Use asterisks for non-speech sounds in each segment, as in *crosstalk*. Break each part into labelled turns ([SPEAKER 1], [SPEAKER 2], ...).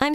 [SPEAKER 1] I'm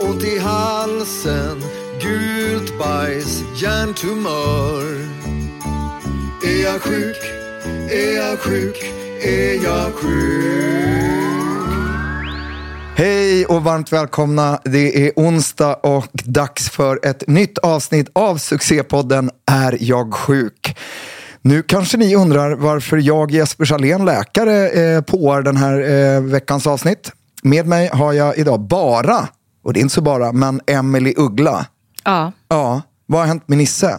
[SPEAKER 2] Ont i halsen, gult bajs, hjärntumör. Är jag sjuk? Är jag sjuk? Är jag sjuk?
[SPEAKER 3] Hej och varmt välkomna. Det är onsdag och dags för ett nytt avsnitt av succépodden Är jag sjuk? Nu kanske ni undrar varför jag, Jesper Salén, läkare, eh, påar den här eh, veckans avsnitt. Med mig har jag idag bara, och det är inte så bara, men Emily Uggla.
[SPEAKER 4] Ja.
[SPEAKER 3] Ja, vad har hänt med Nisse?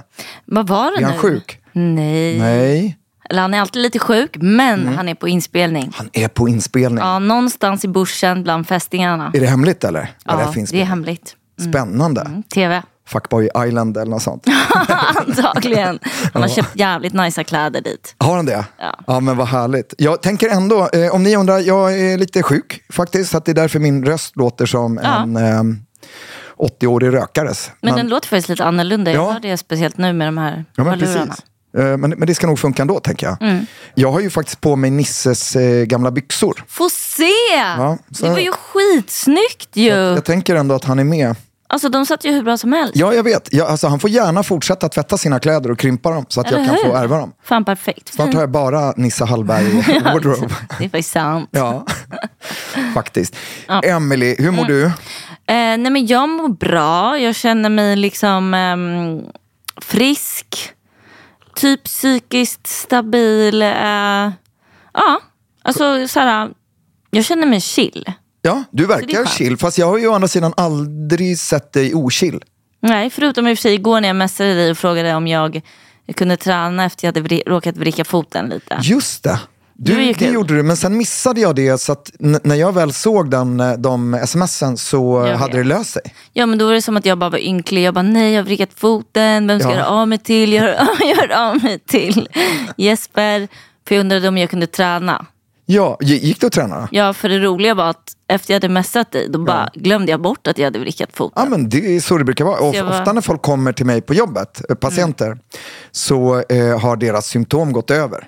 [SPEAKER 4] Vad var det
[SPEAKER 3] Är
[SPEAKER 4] nu?
[SPEAKER 3] han sjuk?
[SPEAKER 4] Nej.
[SPEAKER 3] Nej,
[SPEAKER 4] Eller han är alltid lite sjuk, men
[SPEAKER 3] Mm.
[SPEAKER 4] han är på inspelning.
[SPEAKER 3] han är på inspelning.
[SPEAKER 4] Ja, någonstans i bussen bland fästingarna.
[SPEAKER 3] Är det hemligt eller?
[SPEAKER 4] Ja,
[SPEAKER 3] Vad det finns
[SPEAKER 4] det Mm. är
[SPEAKER 3] på?
[SPEAKER 4] hemligt.
[SPEAKER 3] Spännande.
[SPEAKER 4] TV.
[SPEAKER 3] Fuckboy Island eller något sånt.
[SPEAKER 4] *laughs* Antagligen. Han har köpt jävligt najsa kläder dit.
[SPEAKER 3] Har han det?
[SPEAKER 4] Ja.
[SPEAKER 3] men vad härligt. Jag tänker ändå, eh, om ni undrar, jag är lite sjuk faktiskt. Så att det är därför min röst låter som
[SPEAKER 4] Ja.
[SPEAKER 3] en eh, 80-årig rökares.
[SPEAKER 4] Men, den låter faktiskt lite annorlunda. Jag
[SPEAKER 3] Ja.
[SPEAKER 4] hör det speciellt nu med Mm. de här
[SPEAKER 3] ja, men
[SPEAKER 4] hörlurarna.
[SPEAKER 3] precis. Eh, Men, men det ska nog funka ändå, tänker jag. Jag har ju faktiskt på mig Nisses eh, gamla byxor.
[SPEAKER 4] Få se!
[SPEAKER 3] Ja, så-
[SPEAKER 4] Det var ju skitsnyggt ju.
[SPEAKER 3] Jag tänker ändå att han är med.
[SPEAKER 4] Alltså de satt ju hur bra som helst.
[SPEAKER 3] Ja, jag vet. Jag, alltså, han får gärna fortsätta tvätta sina kläder och krympa dem så att jag
[SPEAKER 4] Eller
[SPEAKER 3] kan få
[SPEAKER 4] hur?
[SPEAKER 3] ärva dem.
[SPEAKER 4] Fan perfekt.
[SPEAKER 3] Snart har jag bara Nisse Hallberg
[SPEAKER 4] *laughs*
[SPEAKER 3] i wardrobe.
[SPEAKER 4] Det är faktiskt sant.
[SPEAKER 3] Ja, faktiskt. Emily, hur
[SPEAKER 4] Mm.
[SPEAKER 3] mår du?
[SPEAKER 4] Eh, nej men jag mår bra. Jag känner mig liksom ehm, frisk. Typ psykiskt stabil. Eh, ja, alltså såhär. Jag känner mig chill.
[SPEAKER 3] Ja, du
[SPEAKER 4] det är
[SPEAKER 3] verkar
[SPEAKER 4] skönt.
[SPEAKER 3] chill. Fast jag har ju å andra sidan aldrig sett dig ochill.
[SPEAKER 4] Nej, förutom i och för sig igår när jag messade dig och frågade om jag kunde träna efter jag hade vri- råkat vricka foten lite.
[SPEAKER 3] Just det. Du,
[SPEAKER 4] Det är ju
[SPEAKER 3] det
[SPEAKER 4] kul.
[SPEAKER 3] gjorde du, men sen missade jag det. Så att n- när jag väl såg den, eh, de smsen så
[SPEAKER 4] Jag
[SPEAKER 3] hade
[SPEAKER 4] vet.
[SPEAKER 3] det löst sig.
[SPEAKER 4] Ja men då var det som att jag bara var ynklig. Jag bara nej jag har vrickat foten. Vem ska
[SPEAKER 3] Ja.
[SPEAKER 4] jag höra av mig till? Jag hör, jag hör *laughs* av mig till Jesper. För jag undrade om jag kunde träna.
[SPEAKER 3] Ja, g- gick du att träna? Ja,
[SPEAKER 4] Ja, för det roliga var att efter jag hade messat dig, då bara glömde jag bort att jag hade vrickat foten.
[SPEAKER 3] ah, men det är så det brukar vara. Och
[SPEAKER 4] jag var- Mm.
[SPEAKER 3] Ofta när folk kommer till mig på jobbet, eh, patienter, så eh, har deras symptom gått över.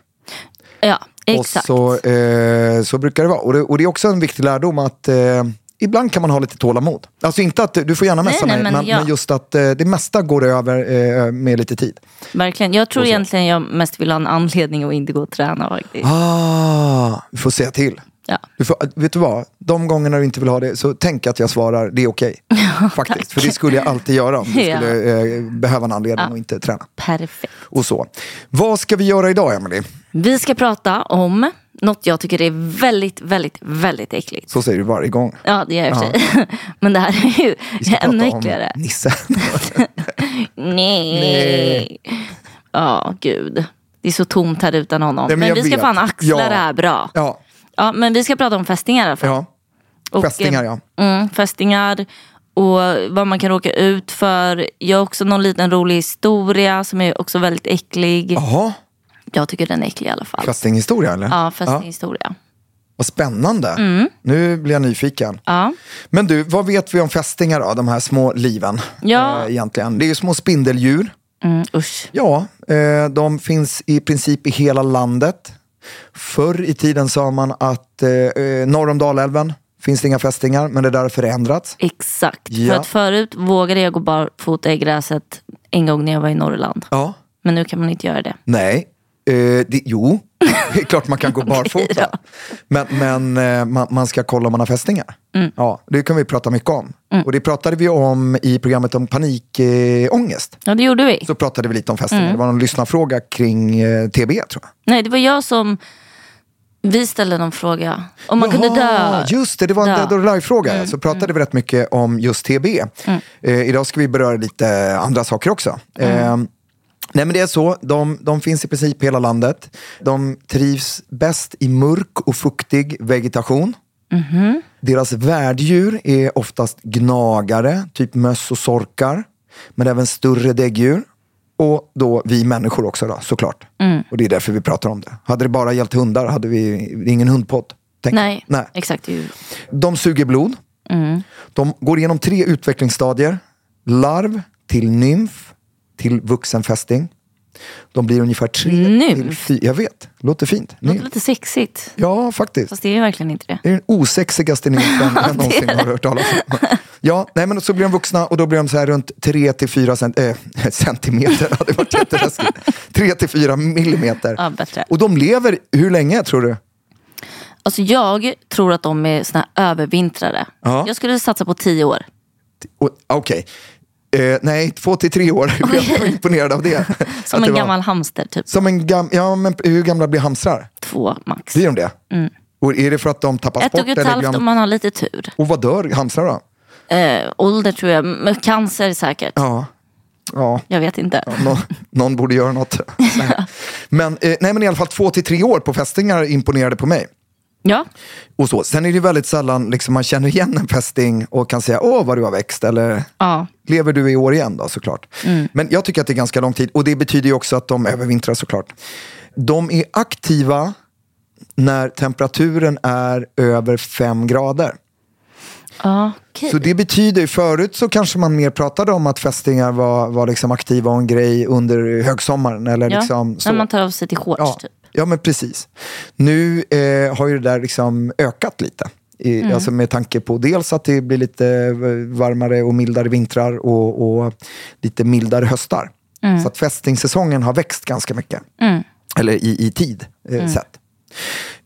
[SPEAKER 4] Ja, exakt.
[SPEAKER 3] Och så, eh, så brukar det vara. Och det, och det är också en viktig lärdom att eh, ibland kan man ha lite tålamod. Alltså inte att du får gärna
[SPEAKER 4] Nej,
[SPEAKER 3] messa
[SPEAKER 4] nej,
[SPEAKER 3] mig, men,
[SPEAKER 4] men
[SPEAKER 3] men,
[SPEAKER 4] ja.
[SPEAKER 3] just att eh, det mesta går över eh, med lite tid.
[SPEAKER 4] Verkligen. Jag tror
[SPEAKER 3] och så.
[SPEAKER 4] egentligen jag mest vill ha en anledning att inte gå och träna faktiskt.
[SPEAKER 3] Ah, du får säga till.
[SPEAKER 4] Ja.
[SPEAKER 3] Du får, vet du vad? De gångerna du inte vill ha det, så tänk att jag svarar, det är
[SPEAKER 4] *laughs*
[SPEAKER 3] okej. Faktiskt, för det skulle jag alltid göra om jag
[SPEAKER 4] Ja.
[SPEAKER 3] skulle eh, behöva en anledning att inte träna.
[SPEAKER 4] Perfekt.
[SPEAKER 3] Och så. Vad ska vi göra idag, Emily?
[SPEAKER 4] Vi ska prata om något jag tycker är väldigt, väldigt, väldigt äckligt.
[SPEAKER 3] Så säger du varje gång.
[SPEAKER 4] Ja, det gör jag i och för sig. *laughs* Men det här är ju
[SPEAKER 3] Vi ska
[SPEAKER 4] *laughs* ännu
[SPEAKER 3] prata om
[SPEAKER 4] äckligare.
[SPEAKER 3] Nisse. *laughs*
[SPEAKER 4] Nej.
[SPEAKER 3] Nej.
[SPEAKER 4] Ja, gud. Det är så tomt här utan honom.
[SPEAKER 3] Nej, men
[SPEAKER 4] men
[SPEAKER 3] jag
[SPEAKER 4] vi ska
[SPEAKER 3] vet.
[SPEAKER 4] fan axla
[SPEAKER 3] Ja.
[SPEAKER 4] det här bra.
[SPEAKER 3] ja.
[SPEAKER 4] Ja, men vi ska prata om fästingar i alla fall.
[SPEAKER 3] Ja,
[SPEAKER 4] Och,
[SPEAKER 3] fästingar
[SPEAKER 4] eh,
[SPEAKER 3] ja.
[SPEAKER 4] Mm, fästingar och vad man kan råka ut för. Jag har också någon liten rolig historia som är också väldigt äcklig.
[SPEAKER 3] Jaha,
[SPEAKER 4] Jag tycker den är äcklig i alla fall.
[SPEAKER 3] fästinghistoria eller?
[SPEAKER 4] Ja, fästinghistoria.
[SPEAKER 3] Vad spännande. Nu blir jag nyfiken.
[SPEAKER 4] Ja.
[SPEAKER 3] Men du, vad vet vi om fästingar då? De här små liven.
[SPEAKER 4] Ja.
[SPEAKER 3] Eh, egentligen. Det är ju små spindeldjur.
[SPEAKER 4] Mm, usch.
[SPEAKER 3] Ja, eh, de finns i princip i hela landet. Förr i tiden sa man att eh, eh, norr om Dalälven finns det inga fästingar, men det där har förändrats.
[SPEAKER 4] Exakt.
[SPEAKER 3] Ja.
[SPEAKER 4] För att förut vågade jag gå barfota i gräset en gång när jag var i Norrland.
[SPEAKER 3] Ja.
[SPEAKER 4] Men nu kan man inte göra det.
[SPEAKER 3] Nej. Eh, det, jo, *laughs* det är klart man kan *laughs* gå barfota. Men, men eh, man, man ska kolla om man har fästingar. Ja, det kan vi prata mycket om. Och det pratade vi om i programmet om panikångest. Eh, ångest.
[SPEAKER 4] Ja, det gjorde vi.
[SPEAKER 3] så pratade vi lite om fästingar. Det var någon lyssnarfråga kring eh, TB tror jag.
[SPEAKER 4] Nej, det var jag som... Vi ställde någon fråga. Om man kunde dö.
[SPEAKER 3] Jaha, Just det, det var en
[SPEAKER 4] Dö. Mm.
[SPEAKER 3] dead or alive-fråga. så pratade vi rätt mycket om just TB. Eh, idag ska vi beröra lite andra saker också.
[SPEAKER 4] Mm.
[SPEAKER 3] Eh, Nej men det är så, de, de finns i princip i hela landet. De trivs bäst i mörk och fuktig vegetation. Deras värddjur är oftast gnagare, typ möss och sorkar. Men även större däggdjur. Och då vi människor också då, såklart.
[SPEAKER 4] Mm.
[SPEAKER 3] Och det är därför vi pratar om det. Hade det bara gällt hundar hade vi det är ingen hundpodd. tänker jag.
[SPEAKER 4] Nej,
[SPEAKER 3] Nej.
[SPEAKER 4] exakt. det är ju-
[SPEAKER 3] De suger blod. De går igenom tre utvecklingsstadier. Larv till nymf till vuxenfästing. De blir ungefär tre
[SPEAKER 4] Nymf?
[SPEAKER 3] till fy- Jag vet, låter fint.
[SPEAKER 4] Det låter
[SPEAKER 3] Nymf.
[SPEAKER 4] lite sexigt.
[SPEAKER 3] Ja, faktiskt.
[SPEAKER 4] Fast det är ju verkligen inte det.
[SPEAKER 3] Det är den osexigaste
[SPEAKER 4] *laughs*
[SPEAKER 3] nymfen jag någonsin har hört talas om. Ja, nej, men så blir de vuxna och då blir de så här runt 3-4 cent eh, *laughs* centimeter. Det hade varit jätteläskigt. 3-4 millimeter.
[SPEAKER 4] Ja, bättre.
[SPEAKER 3] Och de lever hur länge tror du?
[SPEAKER 4] Alltså jag tror att de är såna här övervintrare.
[SPEAKER 3] Ja.
[SPEAKER 4] Jag skulle satsa på tio år.
[SPEAKER 3] Och- Okej. Eh, nej, två till tre
[SPEAKER 4] *laughs*
[SPEAKER 3] år. Jag blev så imponerad av det.
[SPEAKER 4] Som
[SPEAKER 3] Att det
[SPEAKER 4] en
[SPEAKER 3] var-
[SPEAKER 4] gammal hamster, typ
[SPEAKER 3] Som en gam... Ja, men hur gamla blir hamstrar?
[SPEAKER 4] två max.
[SPEAKER 3] Blir de det? Och är det för att de tappas
[SPEAKER 4] Mm. Ett
[SPEAKER 3] bort?
[SPEAKER 4] och ett
[SPEAKER 3] Eller blir
[SPEAKER 4] halvt om
[SPEAKER 3] de...
[SPEAKER 4] man har lite tur.
[SPEAKER 3] Och vad dör hamstrar då?
[SPEAKER 4] Eh, ålder tror jag, men cancer säkert.
[SPEAKER 3] Ja. ja.
[SPEAKER 4] Jag vet inte. *laughs*
[SPEAKER 3] Nå, någon borde göra något. men, eh, nej, men i alla fall två till tre år på fästingar imponerade på mig.
[SPEAKER 4] Ja,
[SPEAKER 3] Och så. Sen är det ju väldigt sällan liksom, man känner igen en fästing och kan säga åh vad du har växt eller
[SPEAKER 4] ja. Mm.
[SPEAKER 3] lever du i år igen då såklart. Men jag tycker att det är ganska lång tid och det betyder ju också att de övervintrar såklart. De är aktiva när temperaturen är över fem grader.
[SPEAKER 4] Okej.
[SPEAKER 3] Så det betyder, förut så kanske man mer pratade om att fästingar var, var liksom aktiva och en grej under högsommaren. Eller
[SPEAKER 4] Ja.
[SPEAKER 3] liksom så.
[SPEAKER 4] När man tar av sig till shorts,
[SPEAKER 3] Ja,
[SPEAKER 4] typ.
[SPEAKER 3] ja men precis. Nu eh, har ju det där liksom ökat lite. I, Alltså med tanke på dels att det blir lite eh, varmare och mildare vintrar och, och lite mildare höstar. Så att fästingsäsongen har växt ganska mycket. Eller i, i tid eh, sett.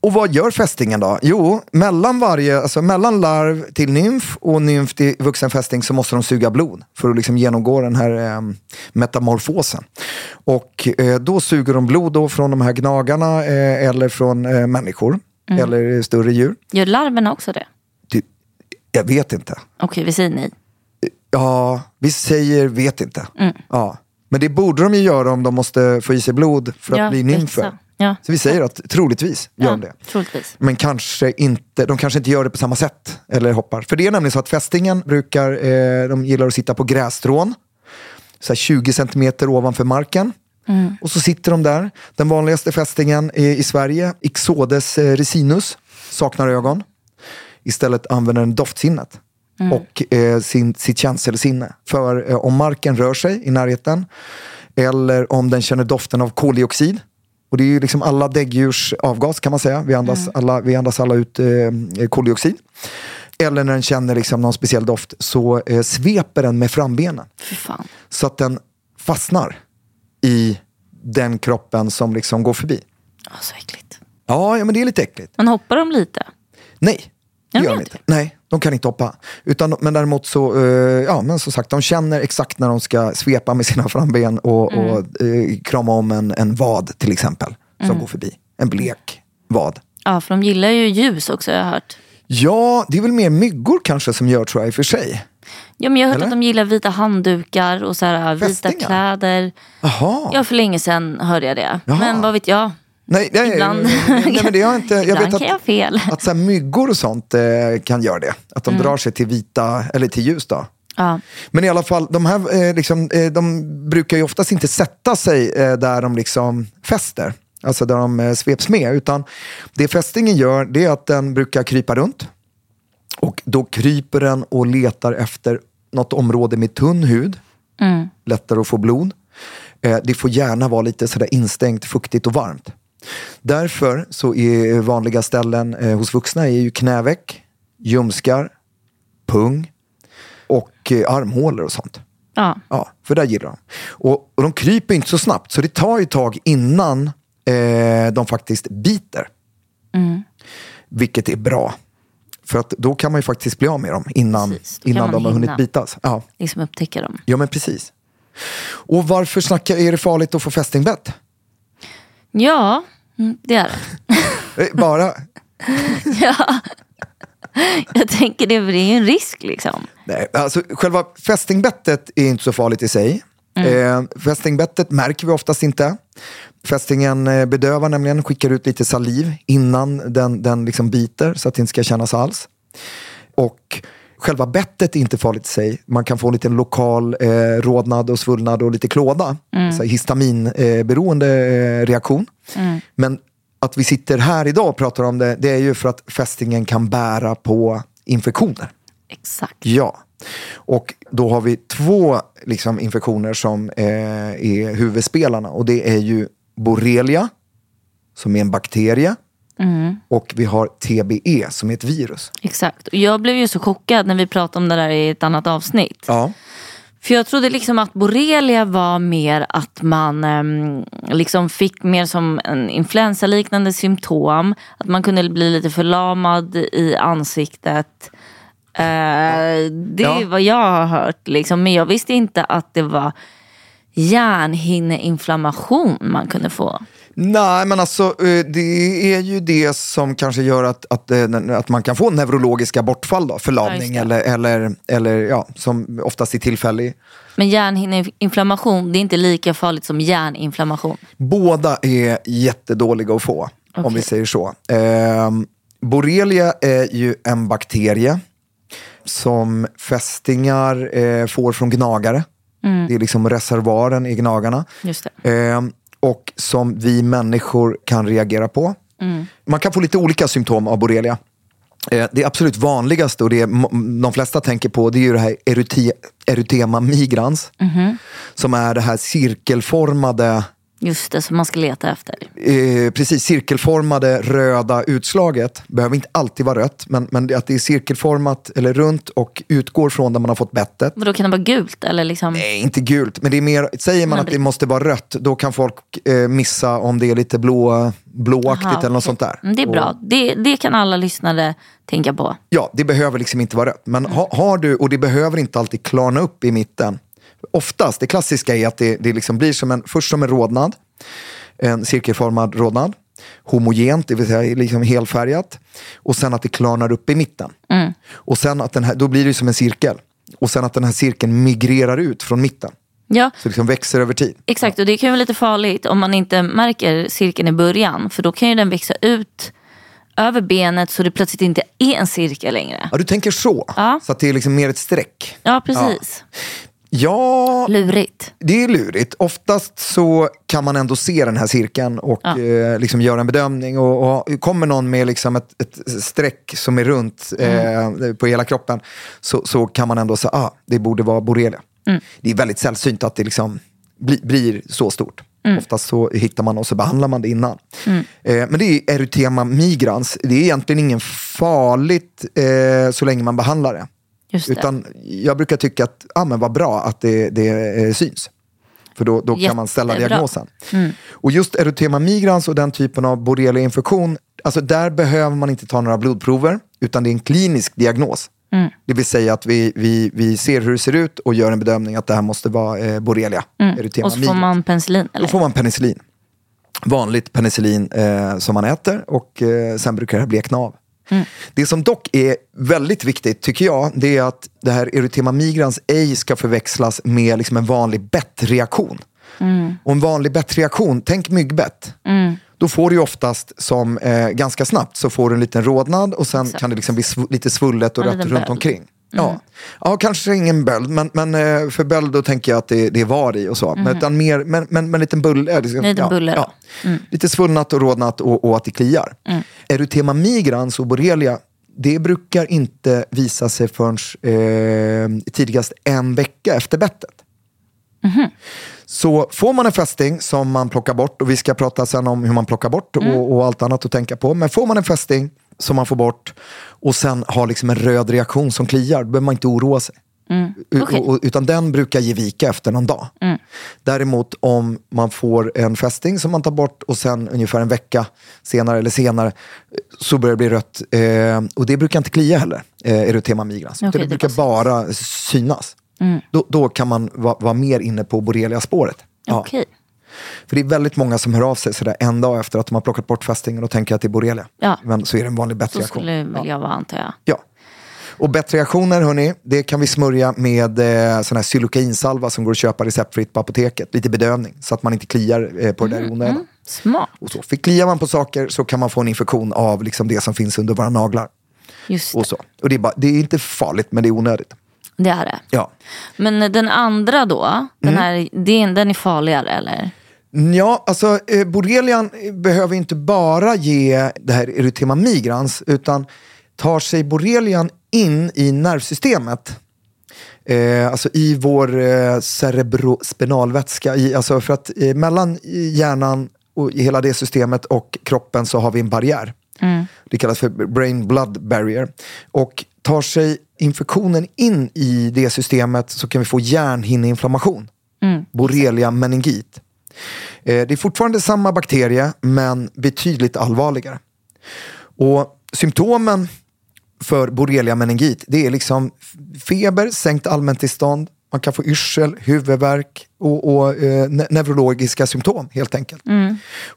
[SPEAKER 3] Och vad gör fästingen då? Jo, mellan, varje, alltså mellan larv till nymf och nymf till vuxen fästing så måste de suga blod för att liksom genomgå den här eh, metamorfosen. Och eh, då suger de blod då från de här gnagarna eh, eller från eh, människor
[SPEAKER 4] Mm.
[SPEAKER 3] eller större djur.
[SPEAKER 4] Gör larverna också det?
[SPEAKER 3] Du, jag vet inte.
[SPEAKER 4] Okej, vi säger nej.
[SPEAKER 3] Ja, vi säger vet inte.
[SPEAKER 4] Mm.
[SPEAKER 3] Ja. Men det borde de ju göra om de måste få i sig blod för att
[SPEAKER 4] Ja,
[SPEAKER 3] bli
[SPEAKER 4] exakt.
[SPEAKER 3] nymfer.
[SPEAKER 4] Ja.
[SPEAKER 3] Så vi säger att troligtvis gör de det.
[SPEAKER 4] troligtvis.
[SPEAKER 3] Men kanske inte, de kanske inte gör det på samma sätt. Eller hoppar. För det är nämligen så att fästingen brukar, eh, de gillar att sitta på grässtrån. Så här 20 centimeter ovanför marken. Och så sitter de där. Den vanligaste fästingen i, i Sverige, Ixodes eh, resinus, saknar ögon. Istället använder den doftsinnet. Och eh, sin, sitt känselsinne. För eh, om marken rör sig i närheten. Eller om den känner doften av koldioxid. Och det är ju liksom alla däggdjurs avgas kan man säga. Vi andas, alla, vi andas alla ut eh, koldioxid. Eller när den känner liksom någon speciell doft så eh, sveper den med frambenen
[SPEAKER 4] Fy fan.
[SPEAKER 3] så att den fastnar i den kroppen som liksom går förbi.
[SPEAKER 4] Ja, så äckligt.
[SPEAKER 3] Ja, ja men det är lite äckligt.
[SPEAKER 4] Men hoppar de lite?
[SPEAKER 3] Nej, det
[SPEAKER 4] Ja,
[SPEAKER 3] gör
[SPEAKER 4] men
[SPEAKER 3] de
[SPEAKER 4] jag
[SPEAKER 3] inte. Nej, de kan inte hoppa. Utan, men däremot så, eh, ja men som sagt, de känner exakt när de ska svepa med sina *laughs* framben och, och
[SPEAKER 4] Mm.
[SPEAKER 3] eh, krama om en, en vad till exempel, som går förbi. En blek vad.
[SPEAKER 4] Ja, för de gillar ju ljus också jag har jag hört.
[SPEAKER 3] Ja, det är väl mer myggor kanske som gör tror jag i och för sig.
[SPEAKER 4] Ja, men jag har hört
[SPEAKER 3] Eller?
[SPEAKER 4] att de gillar vita handdukar och så här, vita
[SPEAKER 3] Fästingar?
[SPEAKER 4] kläder.
[SPEAKER 3] Jaha,
[SPEAKER 4] Ja, för länge sedan hörde jag det.
[SPEAKER 3] Jaha.
[SPEAKER 4] Men vad vet jag?
[SPEAKER 3] Nej, nej,
[SPEAKER 4] Ibland.
[SPEAKER 3] nej, men det har jag inte. Jag
[SPEAKER 4] *laughs* Ibland
[SPEAKER 3] vet att,
[SPEAKER 4] kan jag ha fel.
[SPEAKER 3] att så här, myggor och sånt eh, kan göra det. Att de drar sig till vita, eller till ljus då.
[SPEAKER 4] Ja.
[SPEAKER 3] Men i alla fall, de här eh, liksom, eh, de brukar ju oftast inte sätta sig eh, där de liksom fäster. Alltså där de eh, sveps med. Utan det fästingen gör, det är att den brukar krypa runt. Och då kryper den och letar efter något område med tunn hud. Lättare att få blod. Eh, Det får gärna vara lite sådär instängt, fuktigt och varmt. Därför så är vanliga ställen eh, hos vuxna är ju knäveck, ljumskar, pung och eh, armhålor och sånt.
[SPEAKER 4] Ja.
[SPEAKER 3] Ja, för där gillar de. Och, och de kryper inte så snabbt, så det tar ju ett tag innan eh, de faktiskt biter.
[SPEAKER 4] Mm.
[SPEAKER 3] Vilket är bra. För att då kan man ju faktiskt bli av med dem innan,
[SPEAKER 4] Precis, då kan
[SPEAKER 3] innan
[SPEAKER 4] man
[SPEAKER 3] de har
[SPEAKER 4] hinna.
[SPEAKER 3] hunnit bitas. Ja,
[SPEAKER 4] Liksom upptäcka dem.
[SPEAKER 3] ja men precis. Och varför snackar, är det farligt att få fästingbett?
[SPEAKER 4] Ja, mm, det är det. *laughs*
[SPEAKER 3] Eh, Bara?
[SPEAKER 4] Jag tänker det, för det är ju en risk liksom.
[SPEAKER 3] Nej, alltså själva fästingbettet är inte så farligt i sig. Eh, fästingbettet märker vi oftast inte. Fästingen eh, bedövar nämligen, skickar ut lite saliv innan den, den liksom biter så att det inte ska kännas alls. Och själva bettet är inte farligt i sig. Man kan få en liten lokal eh, rodnad och svullnad och lite klåda. Så här histaminberoende eh, beroende, eh, reaktion. Men att vi sitter här idag och pratar om det, det är ju för att fästingen kan bära på infektioner.
[SPEAKER 4] Exakt.
[SPEAKER 3] Ja. Och då har vi två liksom, infektioner som eh, är huvudspelarna. Och det är ju borrelia, som är en bakterie.
[SPEAKER 4] Mm.
[SPEAKER 3] Och vi har TBE, som är ett virus.
[SPEAKER 4] Exakt. Och Jag blev ju så chockad när vi pratade om det där i ett annat avsnitt.
[SPEAKER 3] Ja.
[SPEAKER 4] För jag trodde liksom att borrelia var mer att man ehm, liksom fick mer som en influensaliknande symptom. Att man kunde bli lite förlamad i ansiktet. Eh, det
[SPEAKER 3] Ja.
[SPEAKER 4] är vad jag har hört. Liksom. Men jag visste inte att det var hjärnhinneinflammation man kunde få.
[SPEAKER 3] Nej, men alltså eh, det är ju det som kanske gör att, att, eh, den- att man kan få neurologiska bortfall. Då,
[SPEAKER 4] Ja, just
[SPEAKER 3] förlamning
[SPEAKER 4] det.
[SPEAKER 3] eller, eller, eller ja, som oftast är tillfällig.
[SPEAKER 4] Men hjärnhinneinflammation, det är inte lika farligt som hjärninflammation.
[SPEAKER 3] Båda är jättedåliga att få, om vi säger så. Ehm, borrelia är ju en bakterie som fästingar eh, får från gnagare. Det är liksom reservoaren i gnagarna.
[SPEAKER 4] Just det.
[SPEAKER 3] Ehm, och som vi människor kan reagera på. Man kan få lite olika symptom av borrelia. Eh, Det absolut vanligaste och det m- de flesta tänker på det är ju det här eryte- erytema migrans. Som är det här cirkelformade
[SPEAKER 4] Just det, som man ska leta efter.
[SPEAKER 3] eh, precis cirkelformade röda utslaget behöver inte alltid vara rött, men, men det- att det är cirkelformat eller runt och utgår från där man har fått bettet.
[SPEAKER 4] Vadå, kan det vara gult? Eller liksom...
[SPEAKER 3] Nej, inte gult, men det är mer, säger man
[SPEAKER 4] Men
[SPEAKER 3] att
[SPEAKER 4] det-
[SPEAKER 3] det måste vara rött, då kan folk eh, missa om det är lite blå, blåaktigt
[SPEAKER 4] Aha,
[SPEAKER 3] eller något
[SPEAKER 4] okej.
[SPEAKER 3] sånt där.
[SPEAKER 4] Mm, Det är
[SPEAKER 3] Och-
[SPEAKER 4] bra. Det, det kan alla lyssnare tänka på.
[SPEAKER 3] Ja, det behöver liksom inte vara rött. Men ha, har du, och det behöver inte alltid klarna upp i mitten. Oftast, det klassiska är att det, det liksom blir som en, först som en rodnad, en cirkelformad rodnad, homogent, det vill säga liksom helfärgat, och sen att det klarnar upp i mitten. Och sen att den här, då blir det som en cirkel. Och sen att den här cirkeln migrerar ut från mitten,
[SPEAKER 4] Ja,
[SPEAKER 3] så det liksom växer över tid.
[SPEAKER 4] exakt. Och det kan ju vara lite farligt om man inte märker cirkeln i början. För då kan ju den växa ut över benet så det plötsligt inte är en cirkel längre.
[SPEAKER 3] Ja, du tänker så,
[SPEAKER 4] Ja.
[SPEAKER 3] så att det är liksom mer ett streck.
[SPEAKER 4] Ja, precis.
[SPEAKER 3] Ja,
[SPEAKER 4] Lurigt.
[SPEAKER 3] Det är lurigt. Oftast så kan man ändå se den här cirkeln och eh, liksom göra en bedömning. Och, och kommer någon med liksom ett, ett streck som är runt
[SPEAKER 4] Mm.
[SPEAKER 3] eh, på hela kroppen så, så kan man ändå säga att ah, det borde vara borrelia.
[SPEAKER 4] Mm.
[SPEAKER 3] Det är väldigt sällsynt att det liksom bli, blir så stort.
[SPEAKER 4] Mm.
[SPEAKER 3] Oftast så hittar man och så behandlar man det innan. Eh, men det är erytema migrans. Det är egentligen ingen farligt eh, så länge man behandlar det.
[SPEAKER 4] Just det.
[SPEAKER 3] Utan jag brukar tycka att ah, men vad bra att det, det eh, syns. För då, då kan man ställa
[SPEAKER 4] Jättebra. Mm.
[SPEAKER 3] diagnosen. Och just erotema migrans och den typen av borreliainfektion, alltså där behöver man inte ta några blodprover, utan det är en klinisk diagnos.
[SPEAKER 4] Mm.
[SPEAKER 3] Det vill säga att vi, vi, vi ser hur det ser ut och gör en bedömning att det här måste vara eh, borrelia. erotema
[SPEAKER 4] Mm. Och så får
[SPEAKER 3] migrans.
[SPEAKER 4] man penicillin.
[SPEAKER 3] Då
[SPEAKER 4] Eller?
[SPEAKER 3] får man penicillin. Vanligt penicillin eh, som man äter och eh, sen brukar det här blekna av.
[SPEAKER 4] Mm.
[SPEAKER 3] Det som dock är väldigt viktigt, tycker jag, det är att det här erytema migrans ej ska förväxlas med
[SPEAKER 4] Mm.
[SPEAKER 3] liksom en vanlig bettreaktion. Och en vanlig bettreaktion, tänk myggbett. Då får du ju oftast som eh, ganska snabbt så får du en liten rodnad och sen kan det liksom bli sv- lite svullet och
[SPEAKER 4] En
[SPEAKER 3] rött
[SPEAKER 4] liten
[SPEAKER 3] runt
[SPEAKER 4] böld. Mm.
[SPEAKER 3] omkring. Ja. ja, kanske ingen böld, men, men eh, för böld då tänker jag att det, det är var i och så.
[SPEAKER 4] Mm.
[SPEAKER 3] Men, utan mer, men, men, men liten bulle. eh, Liksom,
[SPEAKER 4] Liten bulle,
[SPEAKER 3] ja. Lite svullnat och rodnat och, och att det kliar. Erytema migrans och borrelia, det brukar inte visa sig förrän eh, tidigast en vecka efter bettet. Så får man en fästing som man plockar bort, och vi ska prata sen om hur man plockar bort
[SPEAKER 4] Mm.
[SPEAKER 3] och, och allt annat att tänka på. Men får man en fästing som man får bort och sen har liksom en röd reaktion som kliar, då behöver man inte oroa sig. U-
[SPEAKER 4] Mm. Okej. Mm.
[SPEAKER 3] och- och- Utan den brukar ge vika efter någon dag. Däremot om man får en fästing som man tar bort och sen ungefär en vecka senare eller senare så börjar det bli rött. Eh, och det brukar inte klia heller, eh, erotema migrans.
[SPEAKER 4] Okej,
[SPEAKER 3] Utan det
[SPEAKER 4] det
[SPEAKER 3] brukar
[SPEAKER 4] bara syns.
[SPEAKER 3] bara synas.
[SPEAKER 4] Mm.
[SPEAKER 3] Då, då kan man va- vara mer inne på borrelia-spåret. Ja.
[SPEAKER 4] Okej.
[SPEAKER 3] För det är väldigt många som hör av sig sådär en dag efter att de har plockat bort fästingen och tänker att det är borrelia.
[SPEAKER 4] Ja.
[SPEAKER 3] Men så är det en vanlig
[SPEAKER 4] Så
[SPEAKER 3] bettreaktion.
[SPEAKER 4] skulle väl jag vara antar jag.
[SPEAKER 3] Ja. Och bettreaktioner, hörni, det kan vi smörja med eh, sån här xylokainsalva som går att köpa receptfritt på apoteket. Lite bedövning, så att man inte kliar eh, på
[SPEAKER 4] Mm,
[SPEAKER 3] det där i onödan.
[SPEAKER 4] Smart.
[SPEAKER 3] Och så. För kliar man på saker så kan man få en infektion av liksom, det som finns under våra naglar.
[SPEAKER 4] Just det.
[SPEAKER 3] Och så. Och det, är bara, det är inte farligt, men det är onödigt.
[SPEAKER 4] Det är det.
[SPEAKER 3] Ja. Mm.
[SPEAKER 4] Men den andra då, den, här, den, den är farligare eller?
[SPEAKER 3] Ja, alltså eh, borrelian behöver inte bara ge det här erytema migrans, utan tar sig borrelian in i nervsystemet, eh, alltså i vår eh, cerebrospinalvätska, i, alltså för att eh, mellan hjärnan och i hela det systemet och kroppen så har vi en barriär. Det kallas för brain blood barrier. Och tar sig infektionen in i det systemet så kan vi få hjärnhinneinflammation, borrelia meningit. Eh, Det är fortfarande samma bakterie, men betydligt allvarligare. Och symptomen för borrelia meningit, det är liksom f- feber, sänkt allmäntillstånd, man kan få yrsel, huvudvärk och, och eh, ne- neurologiska symptom helt enkelt.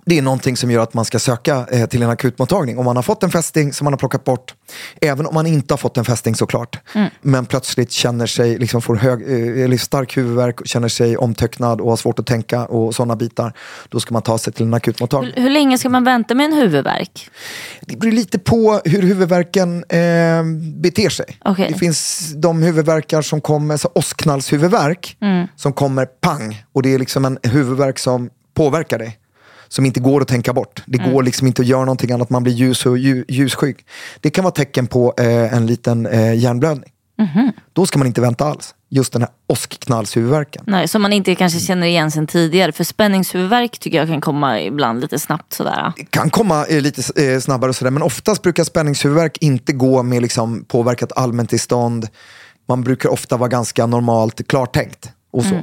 [SPEAKER 3] Det är någonting som gör att man ska söka eh, till en akutmottagning om man har fått en fästing som man har plockat bort. Även om man inte har fått en fästing såklart. Men plötsligt känner sig, liksom får hög, eh, eller stark huvudvärk, känner sig omtöcknad och har svårt att tänka och sådana bitar. Då ska man ta sig till en akutmottagning.
[SPEAKER 4] Hur, hur länge ska man vänta med en huvudvärk?
[SPEAKER 3] Det beror lite på hur huvudvärken eh, beter sig.
[SPEAKER 4] Okej.
[SPEAKER 3] Det finns de huvudvärkar som kommer, så åskknallshuvudvärk, som kommer pang. Och det är liksom en huvudvärk som påverkar dig. Som inte går att tänka bort. Det går liksom inte att göra någonting annat. Man blir ljus och lju- ljusskygg. Det kan vara tecken på eh, en liten eh, hjärnblödning. Då ska man inte vänta alls. Just den här åskknallshuvudvärken.
[SPEAKER 4] Nej, som man inte kanske känner igen sen tidigare. För spänningshuvudvärk tycker jag kan komma ibland lite snabbt sådär.
[SPEAKER 3] kan komma eh, lite eh, snabbare och sådär, men oftast brukar spänningshuvudvärk inte gå med liksom, påverkat allmäntillstånd. Man brukar ofta vara ganska normalt klartänkt och så.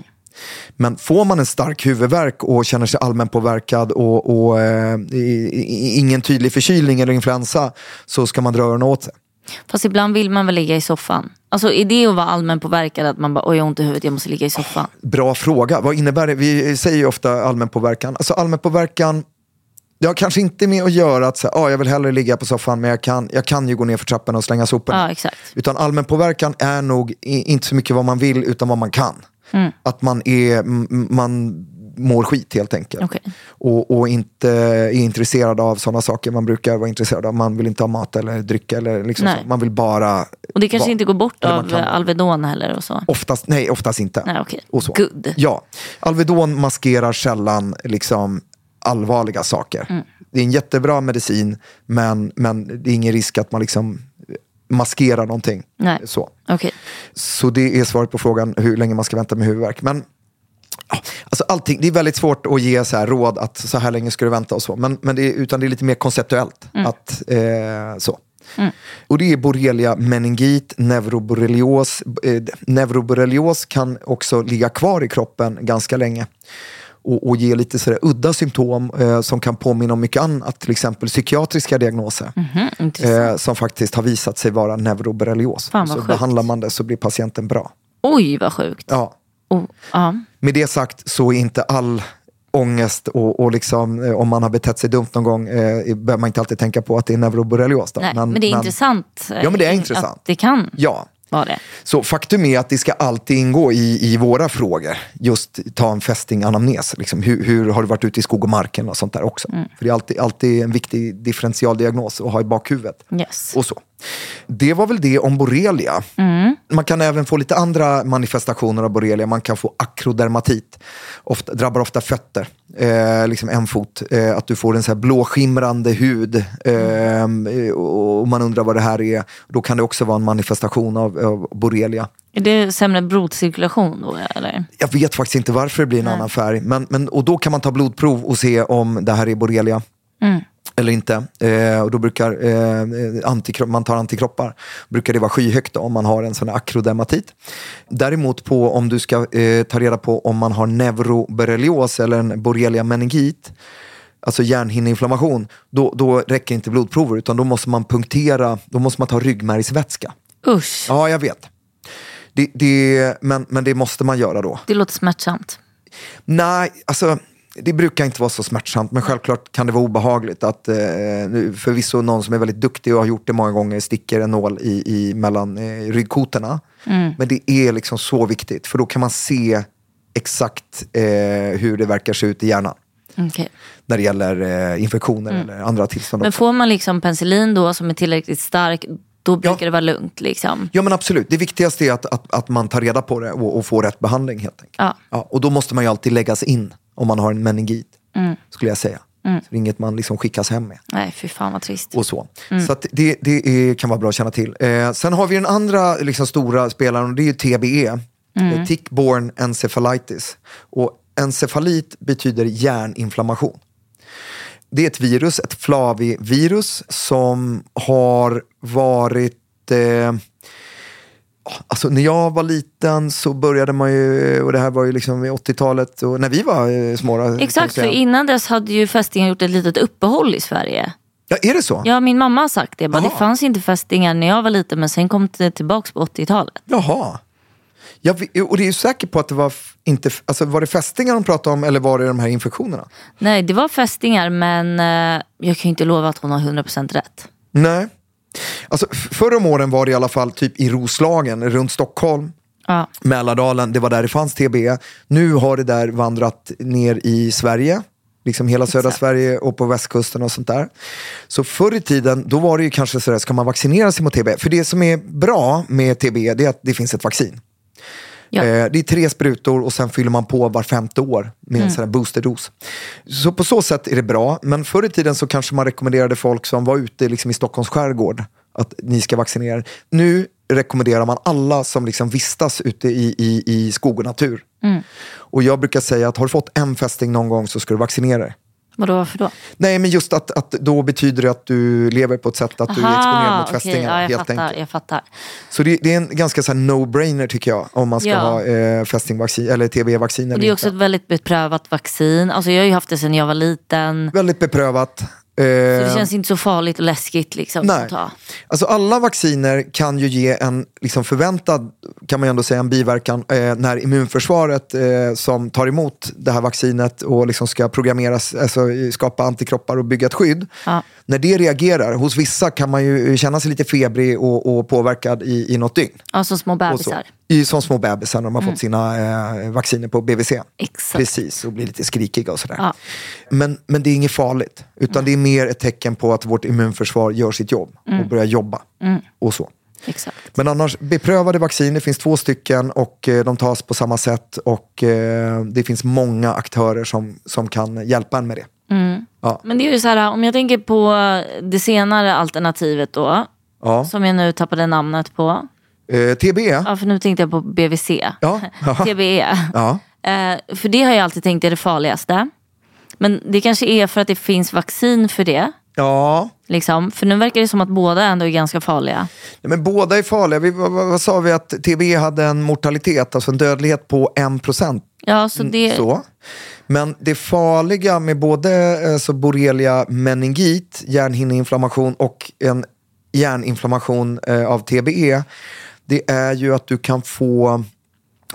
[SPEAKER 3] Men får man en stark huvudvärk och känner sig allmänpåverkad och, och eh, i- i- ingen tydlig förkylning eller influensa så ska man dra öronen åt sig.
[SPEAKER 4] Fast ibland vill man väl ligga i soffan. Alltså är det att vara allmänpåverkad att man bara oj jag har ont i huvudet, jag måste ligga i soffan.
[SPEAKER 3] Bra fråga. Vad innebär det? Vi säger ju ofta allmänpåverkan. Alltså allmänpåverkan, det har kanske inte med att göra att så här, ah, jag vill hellre ligga på soffan men jag kan, jag kan ju gå ner för trappan och slänga soporna.
[SPEAKER 4] Ja, exakt.
[SPEAKER 3] Utan allmänpåverkan är nog i, inte så mycket vad man vill utan vad man kan.
[SPEAKER 4] Mm.
[SPEAKER 3] Att man, är, m- man mår skit helt enkelt.
[SPEAKER 4] Okej.
[SPEAKER 3] Och, och inte är intresserad av sådana saker man brukar vara intresserad av. Man vill inte ha mat eller drycka. Eller liksom
[SPEAKER 4] Nej.
[SPEAKER 3] så. Man vill bara...
[SPEAKER 4] Och det kanske
[SPEAKER 3] vara.
[SPEAKER 4] inte går bort
[SPEAKER 3] Eller man
[SPEAKER 4] av
[SPEAKER 3] kan-
[SPEAKER 4] eh, Alvedon heller och så.
[SPEAKER 3] Oftast, nej, oftast inte.
[SPEAKER 4] Nej, okej.
[SPEAKER 3] Och så.
[SPEAKER 4] Good.
[SPEAKER 3] Ja. Alvedon maskerar sällan liksom, allvarliga saker.
[SPEAKER 4] Mm.
[SPEAKER 3] Det är en jättebra medicin, men, men det är ingen risk att man liksom maskerar någonting.
[SPEAKER 4] Nej.
[SPEAKER 3] Så.
[SPEAKER 4] Okej.
[SPEAKER 3] Så det är svaret på frågan hur länge man ska vänta med huvudvärk. Men ja, alltså allting, det är väldigt svårt att ge så här råd att så här länge ska du vänta och så. Men, men det, är, utan det är lite mer konceptuellt.
[SPEAKER 4] Mm.
[SPEAKER 3] Att, eh, så. Och det är borrelia meningit, neuroborrelios. Eh, neuroborrelios kan också ligga kvar i kroppen ganska länge. Och, och ge lite sådär udda symptom eh, som kan påminna om mycket annat. Till exempel psykiatriska diagnoser.
[SPEAKER 4] Mhm,
[SPEAKER 3] eh, som faktiskt har visat sig vara neuroborrelios.
[SPEAKER 4] Fan, vad
[SPEAKER 3] så
[SPEAKER 4] sjukt.
[SPEAKER 3] behandlar man det så blir patienten bra.
[SPEAKER 4] Oj vad sjukt.
[SPEAKER 3] Ja.
[SPEAKER 4] Oh, ja.
[SPEAKER 3] Med det sagt så är inte all ångest och, och liksom, eh, om man har betett sig dumt någon gång eh, behöver man inte alltid tänka på att det är neuroborrelios. Då.
[SPEAKER 4] Nej, men, det är intressant. eh,
[SPEAKER 3] Ja, men det är
[SPEAKER 4] in-
[SPEAKER 3] intressant.
[SPEAKER 4] Att det kan.
[SPEAKER 3] Ja.
[SPEAKER 4] var det.
[SPEAKER 3] Så faktum är att det ska alltid ingå i, i våra frågor. Just ta en fästinganamnes. Liksom, hur, hur har du varit ute i skog och marken och sånt där också. För det är alltid, alltid en viktig differentialdiagnos att ha i bakhuvudet.
[SPEAKER 4] Yes.
[SPEAKER 3] Och så. Det var väl det om borrelia. Man kan även få lite andra manifestationer av borrelia. Man kan få akrodermatit. Ofta, drabbar ofta fötter, eh, liksom en fot. Eh, att du får en så här blåskimrande hud. Eh, och och man undrar vad det här är. Då kan det också vara en manifestation av, av borrelia.
[SPEAKER 4] Är det sämre blodcirkulation då eller?
[SPEAKER 3] Jag vet faktiskt inte varför det blir en annan färg. Men, men, och då kan man ta blodprov och se om det här är borrelia. Eller inte. Eh, och då brukar eh, antikro- man tar antikroppar. brukar det vara skyhögt då, om man har en sån här akrodermatit. Däremot på om du ska eh, ta reda på om man har neuroborrelios eller en borrelia meningit, alltså hjärnhinneinflammation, då, då räcker inte blodprover utan då måste man punktera, då måste man ta ryggmärgsvätska.
[SPEAKER 4] Usch,
[SPEAKER 3] Ja, jag vet. Det, det, men, men det måste man göra då.
[SPEAKER 4] det låter smärtsamt.
[SPEAKER 3] Nej, alltså det brukar inte vara så smärtsamt, men självklart kan det vara obehagligt att eh, nu- förvisso någon som är väldigt duktig och har gjort det många gånger sticker en nål i, i mellan eh, ryggkotorna.
[SPEAKER 4] Mm.
[SPEAKER 3] Men det är liksom så viktigt, för då kan man se exakt eh, hur det verkar se ut i hjärnan
[SPEAKER 4] Okej.
[SPEAKER 3] när det gäller eh, infektioner eller andra tillstånd.
[SPEAKER 4] Mm. Men
[SPEAKER 3] också.
[SPEAKER 4] får man liksom penicillin då som är tillräckligt stark, då brukar det vara lugnt liksom.
[SPEAKER 3] Ja men absolut, det viktigaste är att, att, att man tar reda på det och, och får rätt behandling helt enkelt.
[SPEAKER 4] Ja.
[SPEAKER 3] och då måste man ju alltid läggas in om man har en meningit,
[SPEAKER 4] Mm.
[SPEAKER 3] skulle jag säga. Så det är inget man liksom skickas hem med.
[SPEAKER 4] Nej, fy fan vad trist.
[SPEAKER 3] och så.
[SPEAKER 4] Mm.
[SPEAKER 3] Så att det, det är, kan vara bra att känna till. Eh, sen har vi den andra liksom, stora spelaren och det är ju TBE. Mm. Tick-borne encephalitis. Och encefalit betyder hjärninflammation. Det är ett virus, ett flavivirus som har varit eh, Alltså när jag var liten så började man ju, och det här var ju liksom i 80-talet, och när vi var eh, små. då, kan jag
[SPEAKER 4] Exakt, för
[SPEAKER 3] säga.
[SPEAKER 4] innan dess hade ju fästingar gjort ett litet uppehåll i Sverige.
[SPEAKER 3] Ja, är det så?
[SPEAKER 4] Ja, min mamma har sagt det. Bara, det
[SPEAKER 3] Jaha.
[SPEAKER 4] fanns inte fästingar när jag var liten men sen kom det tillbaka på 80-talet.
[SPEAKER 3] Jaha. Jag, vi- och det är ju säker på att det var, f- inte, f- alltså var det fästingar de pratade om eller var det de här infektionerna?
[SPEAKER 4] Nej, det var fästingar men eh, jag kan ju inte lova att hon har 100% rätt.
[SPEAKER 3] Nej. Alltså, f- förr om åren var det i alla fall typ i Roslagen, runt Stockholm,
[SPEAKER 4] Ja.
[SPEAKER 3] Mälardalen, det var där det fanns TBE. Nu har det där vandrat ner i Sverige, liksom hela södra Sverige och på västkusten och sånt där. Så förr i tiden, då var det ju kanske sådär, ska man vaccinera sig mot TBE? För det som är bra med TBE, det är att det finns ett vaccin.
[SPEAKER 4] Ja.
[SPEAKER 3] Eh, det är tre sprutor och sen fyller man på var femte år med
[SPEAKER 4] Mm.
[SPEAKER 3] en sån här boosterdos. Så på så sätt är det bra, men förr i tiden så kanske man rekommenderade folk som var ute liksom i Stockholms skärgård att ni ska vaccinera er. Nu rekommenderar man alla som liksom vistas ute i, i, i skog och natur.
[SPEAKER 4] Mm.
[SPEAKER 3] Och jag brukar säga att har du fått en fästing någon gång så ska du vaccinera dig.
[SPEAKER 4] Vadå, varför då?
[SPEAKER 3] Nej, men just att, att då betyder det att du lever på ett sätt att du är exponerad mot
[SPEAKER 4] okej,
[SPEAKER 3] fästingar.
[SPEAKER 4] ja, jag
[SPEAKER 3] helt
[SPEAKER 4] fattar,
[SPEAKER 3] enkelt.
[SPEAKER 4] Jag fattar.
[SPEAKER 3] Så det, det är en ganska så här no-brainer tycker jag om man ska
[SPEAKER 4] Ja.
[SPEAKER 3] ha eh, fästingvaccin eller TB-vaccin.
[SPEAKER 4] Och
[SPEAKER 3] Eller
[SPEAKER 4] det är
[SPEAKER 3] inte.
[SPEAKER 4] också ett väldigt beprövat vaccin. Alltså, jag har ju haft det sedan jag var liten.
[SPEAKER 3] Väldigt beprövat. Eh,
[SPEAKER 4] Så det känns inte så farligt och läskigt liksom,
[SPEAKER 3] nej.
[SPEAKER 4] att ta.
[SPEAKER 3] Alltså alla vacciner kan ju ge en liksom förväntad, kan man ju ändå säga, en biverkan eh, när immunförsvaret eh, som tar emot det här vaccinet och liksom ska programmeras, alltså eh, skapa antikroppar och bygga ett skydd.
[SPEAKER 4] Ja.
[SPEAKER 3] När det reagerar, hos vissa kan man ju känna sig lite febrig och, och påverkad i, i något dygn.
[SPEAKER 4] Ja, som små
[SPEAKER 3] och så.
[SPEAKER 4] bebisar. Mm.
[SPEAKER 3] I, som små bebisar när de har fått sina eh, vacciner på BVC.
[SPEAKER 4] Exakt.
[SPEAKER 3] Precis, och blir lite skrikiga och sådär.
[SPEAKER 4] Ja. Mm.
[SPEAKER 3] Men, men det är inget farligt, utan det är mer ett tecken på att vårt immunförsvar gör sitt jobb
[SPEAKER 4] Mm.
[SPEAKER 3] och börjar jobba. Och så.
[SPEAKER 4] Exakt.
[SPEAKER 3] Men annars, beprövade vaccin, det finns två stycken och eh, de tas på samma sätt och eh, det finns många aktörer som, som kan hjälpa en med det.
[SPEAKER 4] Men det är ju så här, om jag tänker på det senare alternativet då.
[SPEAKER 3] Ja.
[SPEAKER 4] Som jag nu tappade namnet på. Mm.
[SPEAKER 3] Eh, TB,
[SPEAKER 4] Ja, för nu tänkte jag på BVC. *laughs*
[SPEAKER 3] Ja.
[SPEAKER 4] TBE.
[SPEAKER 3] Ja.
[SPEAKER 4] E. Eh, för det har jag alltid tänkt är det farligaste. Men det kanske är för att det finns vaccin för det.
[SPEAKER 3] ja.
[SPEAKER 4] Liksom. För nu verkar det som att båda ändå är ganska farliga.
[SPEAKER 3] Nej, men båda är farliga. Vi, vad, vad vad sa vi att TB hade en mortalitet, alltså en dödlighet på 1%?
[SPEAKER 4] Ja, så det...
[SPEAKER 3] Mm, Så. Men det farliga med både eh, så borrelia meningit, hjärnhinneinflammation och en hjärninflammation eh, av TBE, det är ju att du kan få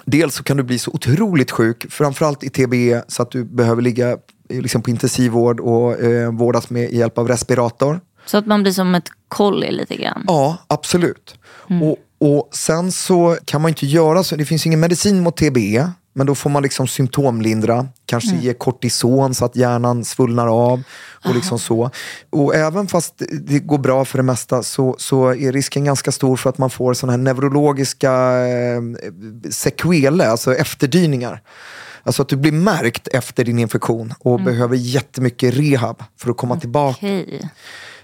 [SPEAKER 3] Dels så kan du bli så otroligt sjuk, framförallt i TBE, så att du behöver ligga eh, liksom på intensivvård och eh, vårdas med hjälp av respirator.
[SPEAKER 4] Så att man blir som ett kolli lite grann.
[SPEAKER 3] Ja, absolut. Och Och sen så kan man inte göra så, det finns ingen medicin mot TBE, men då får man liksom symptomlindra, kanske ge kortison så att hjärnan svullnar av och liksom så. Och även fast det går bra för det mesta så, så är risken ganska stor för att man får sådana här neurologiska eh, sekveler, alltså efterdyningar. Alltså att du blir märkt efter din infektion och behöver jättemycket rehab för att komma tillbaka.
[SPEAKER 4] Okej.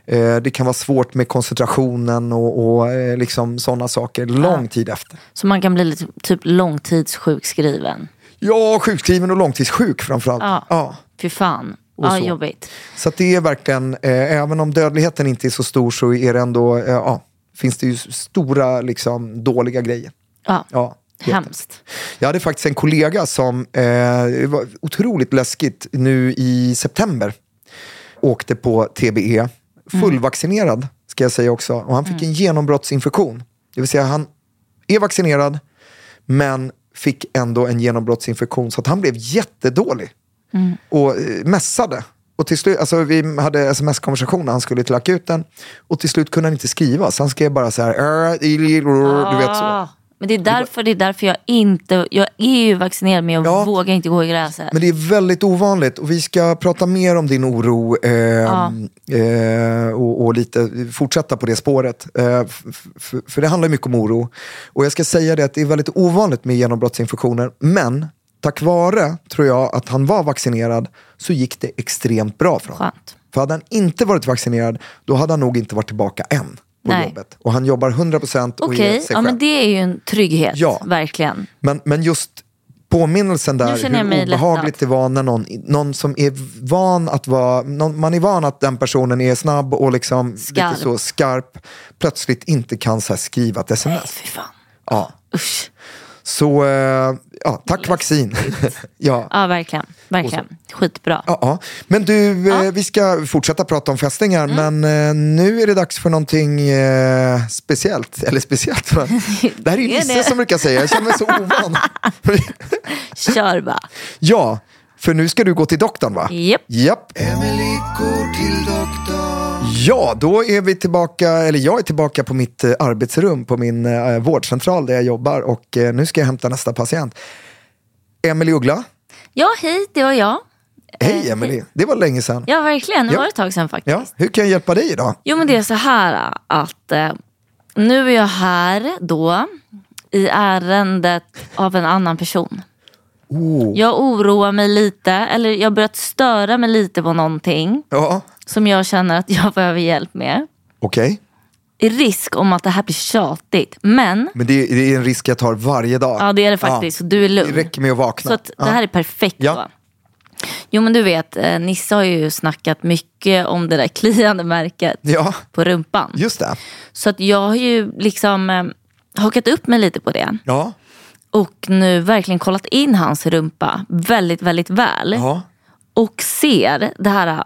[SPEAKER 3] Eh, Det kan vara svårt med koncentrationen och, och eh, liksom sådana saker lång tid efter.
[SPEAKER 4] Så man kan bli lite, typ långtidssjukskriven.
[SPEAKER 3] Ja, sjukskriven och långtidssjuk framförallt.
[SPEAKER 4] Ja.
[SPEAKER 3] Ja.
[SPEAKER 4] Fy fan.
[SPEAKER 3] Och
[SPEAKER 4] Ja,
[SPEAKER 3] så.
[SPEAKER 4] jobbigt.
[SPEAKER 3] Så att det är verkligen, eh, även om dödligheten inte är så stor så är det ändå, eh, ja, finns det ju stora liksom, dåliga grejer.
[SPEAKER 4] Ja.
[SPEAKER 3] Ja, helt
[SPEAKER 4] Hemskt.
[SPEAKER 3] Jag hade faktiskt en kollega som, eh, det var otroligt läskigt, nu i september åkte på TBE. Fullvaccinerad ska jag säga också. Och han fick en genombrottsinfektion. Det vill säga han är vaccinerad men fick ändå en genombrottsinfektion så att han blev jättedålig. Och eh, mässade. Och till slut, alltså vi hade sms-konversation när han skulle till akuten. Och till slut kunde han inte skriva. Så han skrev bara så här. "Äh, il- Du vet så.
[SPEAKER 4] Ah, Men det är, därför, det är därför jag inte, jag är ju vaccinerad men jag
[SPEAKER 3] Ja.
[SPEAKER 4] vågar inte gå i gräset.
[SPEAKER 3] Men det är väldigt ovanligt och vi ska prata mer om din oro eh, eh, och, och lite fortsätta på det spåret. Eh, f- f- för det handlar mycket om oro. Och jag ska säga det att det är väldigt ovanligt med genombrottsinfektioner. Men tack vare, tror jag, att han var vaccinerad så gick det extremt bra för honom.
[SPEAKER 4] Skönt.
[SPEAKER 3] För hade han inte varit vaccinerad, då hade han nog inte varit tillbaka än på
[SPEAKER 4] Nej.
[SPEAKER 3] jobbet. Och han jobbar 100% och
[SPEAKER 4] Okej,
[SPEAKER 3] är sig
[SPEAKER 4] ja, men
[SPEAKER 3] själv.
[SPEAKER 4] det är ju en trygghet.
[SPEAKER 3] Ja.
[SPEAKER 4] Verkligen.
[SPEAKER 3] Men, men just påminnelsen
[SPEAKER 4] Nu
[SPEAKER 3] där,
[SPEAKER 4] känner jag mig
[SPEAKER 3] hur obehagligt
[SPEAKER 4] lättad.
[SPEAKER 3] det var när någon, någon som är van att vara, någon, man är van att den personen är snabb och liksom
[SPEAKER 4] Skarp.
[SPEAKER 3] lite så skarp, plötsligt inte kan så här skriva ett
[SPEAKER 4] Nej,
[SPEAKER 3] sms.
[SPEAKER 4] fy fan.
[SPEAKER 3] Ja.
[SPEAKER 4] Usch.
[SPEAKER 3] Så eh, ja, tack vaccin. *laughs* ja.
[SPEAKER 4] Ja, verkligen. verkligen. Skitbra.
[SPEAKER 3] Ja, ja. Men du, eh, vi ska fortsätta prata om fästingar,
[SPEAKER 4] Mm.
[SPEAKER 3] men eh, nu är det dags för någonting eh, speciellt. Eller speciellt,
[SPEAKER 4] *laughs*
[SPEAKER 3] men det här är ju
[SPEAKER 4] Är
[SPEAKER 3] Nisse
[SPEAKER 4] det?
[SPEAKER 3] som brukar säga, jag känner mig så
[SPEAKER 4] *laughs*
[SPEAKER 3] ovan. *laughs*
[SPEAKER 4] Kör bara.
[SPEAKER 3] Ja, för nu ska du gå till doktorn va?
[SPEAKER 4] Japp.
[SPEAKER 3] Japp.
[SPEAKER 2] Emily går till doktorn.
[SPEAKER 3] Ja, då är vi tillbaka, eller jag är tillbaka på mitt eh, arbetsrum på min eh, vårdcentral där jag jobbar och eh, nu ska jag hämta nästa patient. Emily Uggla.
[SPEAKER 4] Ja, hej, det var jag. Eh,
[SPEAKER 3] Hej Emily, det var länge sedan.
[SPEAKER 4] Ja, verkligen. Det var ett tag sedan faktiskt.
[SPEAKER 3] Ja, hur kan jag hjälpa dig idag?
[SPEAKER 4] Jo men det är så här äh, att eh, nu är jag här då i ärendet av en annan person.
[SPEAKER 3] Oh.
[SPEAKER 4] Jag oroar mig lite, eller jag har börjat störa mig lite på någonting
[SPEAKER 3] Ja,
[SPEAKER 4] som jag känner att jag *laughs* behöver hjälp med.
[SPEAKER 3] okej.
[SPEAKER 4] I risk om att det här blir tjatigt. Men,
[SPEAKER 3] Men det, det är en risk jag tar varje dag.
[SPEAKER 4] ja det är det faktiskt, så du är
[SPEAKER 3] Det
[SPEAKER 4] lugn.
[SPEAKER 3] räcker med att vakna.
[SPEAKER 4] Så att det här är perfekt
[SPEAKER 3] Ja.
[SPEAKER 4] då. Jo men du vet, eh, Nisse har ju snackat mycket om det där kliande märket
[SPEAKER 3] Ja,
[SPEAKER 4] på rumpan.
[SPEAKER 3] just det.
[SPEAKER 4] Så att jag har ju liksom eh, hakat upp mig lite på det.
[SPEAKER 3] Ja,
[SPEAKER 4] Och nu verkligen kollat in hans rumpa väldigt, väldigt väl.
[SPEAKER 3] ja.
[SPEAKER 4] Och ser det här eh,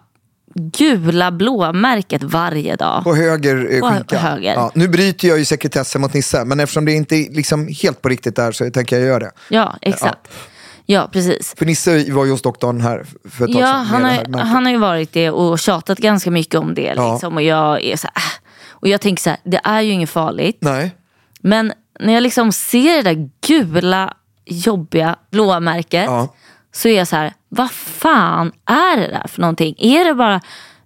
[SPEAKER 4] gula blåmärket varje dag.
[SPEAKER 3] På höger eh,
[SPEAKER 4] På hö-
[SPEAKER 3] skinka.
[SPEAKER 4] höger.
[SPEAKER 3] Ja, nu bryter jag ju sekretessen mot Nisse, men eftersom det inte är liksom helt på riktigt där så tänker jag göra det.
[SPEAKER 4] Ja, exakt. Ja, precis.
[SPEAKER 3] För Nisse var ju hos doktorn här för ett tag sedan.
[SPEAKER 4] Ja,
[SPEAKER 3] med
[SPEAKER 4] han
[SPEAKER 3] det
[SPEAKER 4] har,
[SPEAKER 3] här
[SPEAKER 4] ju-
[SPEAKER 3] märket.
[SPEAKER 4] han har ju varit det och tjatat ganska mycket om det.
[SPEAKER 3] Ja.
[SPEAKER 4] Liksom. Och jag är så här, äh. Och jag tänker så här, det är ju inget farligt.
[SPEAKER 3] Nej.
[SPEAKER 4] Men när jag liksom ser det där gula, jobbiga blåmärket.
[SPEAKER 3] Ja.
[SPEAKER 4] så är jag så här, vad fan är det där för någonting? Är det bara,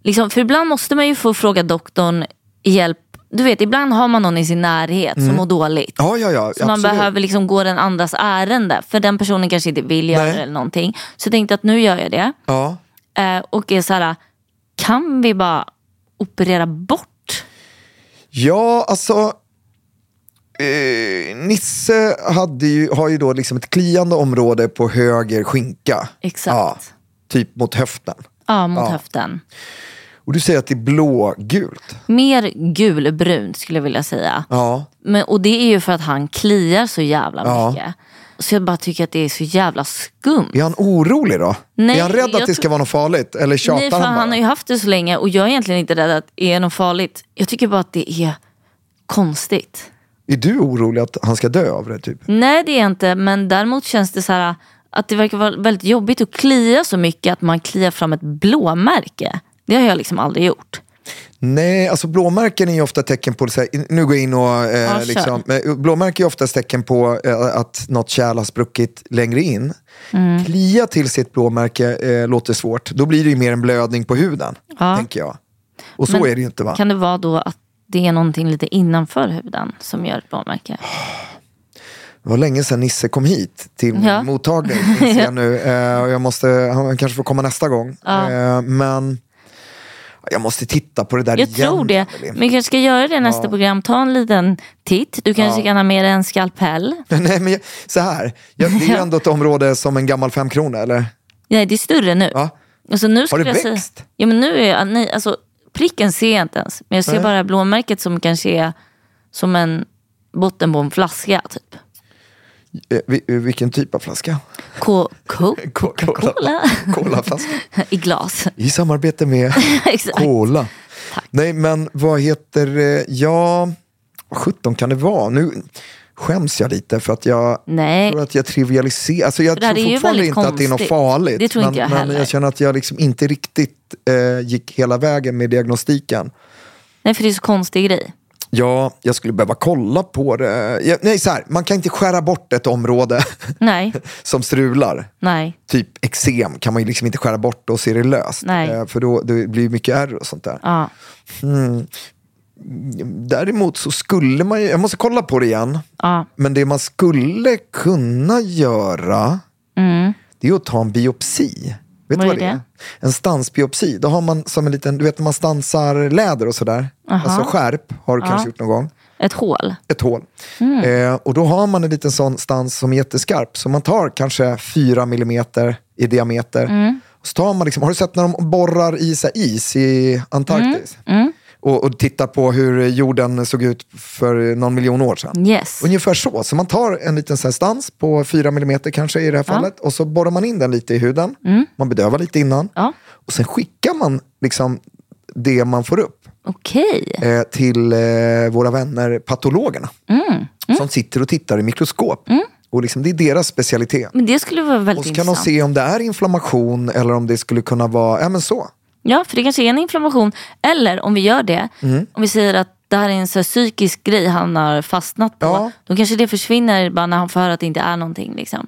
[SPEAKER 4] liksom, för ibland måste man ju få fråga doktorn hjälp. Du vet, ibland har man någon i sin närhet som mår dåligt.
[SPEAKER 3] Ja, ja, Mm. ja.
[SPEAKER 4] Så man
[SPEAKER 3] absolut.
[SPEAKER 4] behöver liksom gå den andras ärende. För den personen kanske inte vill göra
[SPEAKER 3] Nej.
[SPEAKER 4] det eller någonting. Så jag tänkte att nu gör jag det.
[SPEAKER 3] Ja.
[SPEAKER 4] Eh, och är så här, kan vi bara operera bort?
[SPEAKER 3] ja, alltså. Eh, Nisse hade ju, har ju då liksom ett kliande område på höger skinka.
[SPEAKER 4] Exakt.
[SPEAKER 3] Ja, typ mot höften.
[SPEAKER 4] Ja, mot höften.
[SPEAKER 3] Och du säger att det är blågult.
[SPEAKER 4] Mer gulbrunt skulle jag vilja säga.
[SPEAKER 3] Ja.
[SPEAKER 4] Men, och det är ju för att han kliar så jävla
[SPEAKER 3] Ja.
[SPEAKER 4] mycket. Så jag bara tycker att det är så jävla skumt.
[SPEAKER 3] Är han orolig då?
[SPEAKER 4] Nej,
[SPEAKER 3] är han rädd att
[SPEAKER 4] jag
[SPEAKER 3] det
[SPEAKER 4] tror-
[SPEAKER 3] ska vara något farligt? Eller tjatar
[SPEAKER 4] Nej, för
[SPEAKER 3] han
[SPEAKER 4] han,
[SPEAKER 3] bara?
[SPEAKER 4] har ju haft det så länge och jag är egentligen inte rädd att det är något farligt. Jag tycker bara att det är konstigt.
[SPEAKER 3] Är du orolig att han ska dö av det? Typ?
[SPEAKER 4] Nej, det är jag inte. Men däremot känns det så här att det verkar vara väldigt jobbigt att klia så mycket att man kliar fram ett blåmärke. Det har jag liksom aldrig gjort.
[SPEAKER 3] Nej, alltså blåmärken är ju ofta tecken på, så här, nu går jag in och, eh,
[SPEAKER 4] Ja, kör.
[SPEAKER 3] liksom, eh, blåmärken är oftast tecken på eh, att något kärl har spruckit längre in.
[SPEAKER 4] Mm.
[SPEAKER 3] Klia till sitt blåmärke eh, låter svårt, då blir det ju mer en blödning på huden,
[SPEAKER 4] Ja.
[SPEAKER 3] tänker jag. Och så
[SPEAKER 4] Men
[SPEAKER 3] är det ju inte va?
[SPEAKER 4] Kan det vara då att det är någonting lite innanför huden som gör ett blåmärke?
[SPEAKER 3] Det var länge sedan Nisse kom hit till min
[SPEAKER 4] Ja. *laughs*
[SPEAKER 3] mottagning. inser Jag nu. Eh, och jag måste, han kanske får komma nästa gång. Eh, men jag måste titta på det där
[SPEAKER 4] Jag
[SPEAKER 3] igen.
[SPEAKER 4] tror det.
[SPEAKER 3] Emelie.
[SPEAKER 4] Men vi kanske ska göra det i nästa program. Ta en liten titt. Du kanske kan ha med dig en skalpell.
[SPEAKER 3] *laughs* Nej, men jag, så här, jag, det är
[SPEAKER 4] *laughs*
[SPEAKER 3] ju ändå ett område som en gammal femkrona, eller?
[SPEAKER 4] Nej, det är större nu.
[SPEAKER 3] Ja.
[SPEAKER 4] Alltså, nu skulle
[SPEAKER 3] det
[SPEAKER 4] jag säga-
[SPEAKER 3] växt?
[SPEAKER 4] Ja, men nu är jag, nej, alltså, pricken ser jag inte ens. Men jag ser bara blåmärket som kanske är som en botten på en flaska. Typ.
[SPEAKER 3] Eh, vi- eh, vilken typ av flaska?
[SPEAKER 4] Ko-
[SPEAKER 3] *laughs*
[SPEAKER 4] ko- *laughs* Coca-Cola.
[SPEAKER 3] Colaflaska.
[SPEAKER 4] I glas. *laughs*
[SPEAKER 3] I samarbete med
[SPEAKER 4] Exakt.
[SPEAKER 3] Cola. Nej, men vad heter, eh, ja, vad sjutton kan det vara? Nu skäms jag lite för att jag
[SPEAKER 4] Nej.
[SPEAKER 3] tror att jag trivialiserar. Alltså jag
[SPEAKER 4] det här
[SPEAKER 3] tror
[SPEAKER 4] är ju
[SPEAKER 3] fortfarande
[SPEAKER 4] väldigt
[SPEAKER 3] inte att det är något
[SPEAKER 4] konstigt.
[SPEAKER 3] farligt.
[SPEAKER 4] Det tror inte
[SPEAKER 3] men,
[SPEAKER 4] jag
[SPEAKER 3] men
[SPEAKER 4] heller.
[SPEAKER 3] jag känner att jag liksom inte riktigt eh, gick hela vägen med diagnostiken.
[SPEAKER 4] Nej, för det är så konstig grej.
[SPEAKER 3] Ja, jag skulle behöva kolla på det. Jag, nej, så här, man kan inte skära bort ett område *laughs*
[SPEAKER 4] Nej,
[SPEAKER 3] som strular.
[SPEAKER 4] nej.
[SPEAKER 3] Typ eksem kan man ju liksom inte skära bort och se det löst.
[SPEAKER 4] Nej.
[SPEAKER 3] Eh, För då det blir mycket ärr och sånt där.
[SPEAKER 4] Ja.
[SPEAKER 3] Däremot så skulle man ju, jag måste kolla på det igen.
[SPEAKER 4] Ja.
[SPEAKER 3] Men det man skulle kunna göra, det är att ta en biopsi. Vet du Mm. vad det är? En stansbiopsi. Då har man som en liten, du vet när man stansar läder och sådär. Alltså skärp har du kanske gjort någon gång.
[SPEAKER 4] Ett hål.
[SPEAKER 3] ett hål. Eh, och då har man en liten sån stans som är jätteskarp. Så man tar kanske 4 millimeter i diameter. Och så tar man liksom, har du sett när de borrar i så här is i Antarktis? Och, och tittar på hur jorden såg ut för någon miljon år sedan.
[SPEAKER 4] Yes.
[SPEAKER 3] Ungefär så. Så man tar en liten så här stans på 4 millimeter kanske i det här fallet. Och så borrar man in den lite i huden. Man bedövar lite innan.
[SPEAKER 4] Ja.
[SPEAKER 3] Och sen skickar man liksom det man får upp
[SPEAKER 4] Okej.
[SPEAKER 3] eh, till eh, våra vänner patologerna.
[SPEAKER 4] Mm,
[SPEAKER 3] Som sitter och tittar i mikroskop. Och liksom, det är deras specialitet.
[SPEAKER 4] Men det skulle vara väldigt
[SPEAKER 3] Och så kan de
[SPEAKER 4] intressant.
[SPEAKER 3] se om det är inflammation eller om det skulle kunna vara, ja men så.
[SPEAKER 4] Ja, för det kanske är en inflammation. Eller om vi gör det,
[SPEAKER 3] Mm.
[SPEAKER 4] om vi säger att det här är en så här psykisk grej han har fastnat på.
[SPEAKER 3] Ja.
[SPEAKER 4] Då kanske det försvinner bara när han får höra att det inte är någonting. Liksom.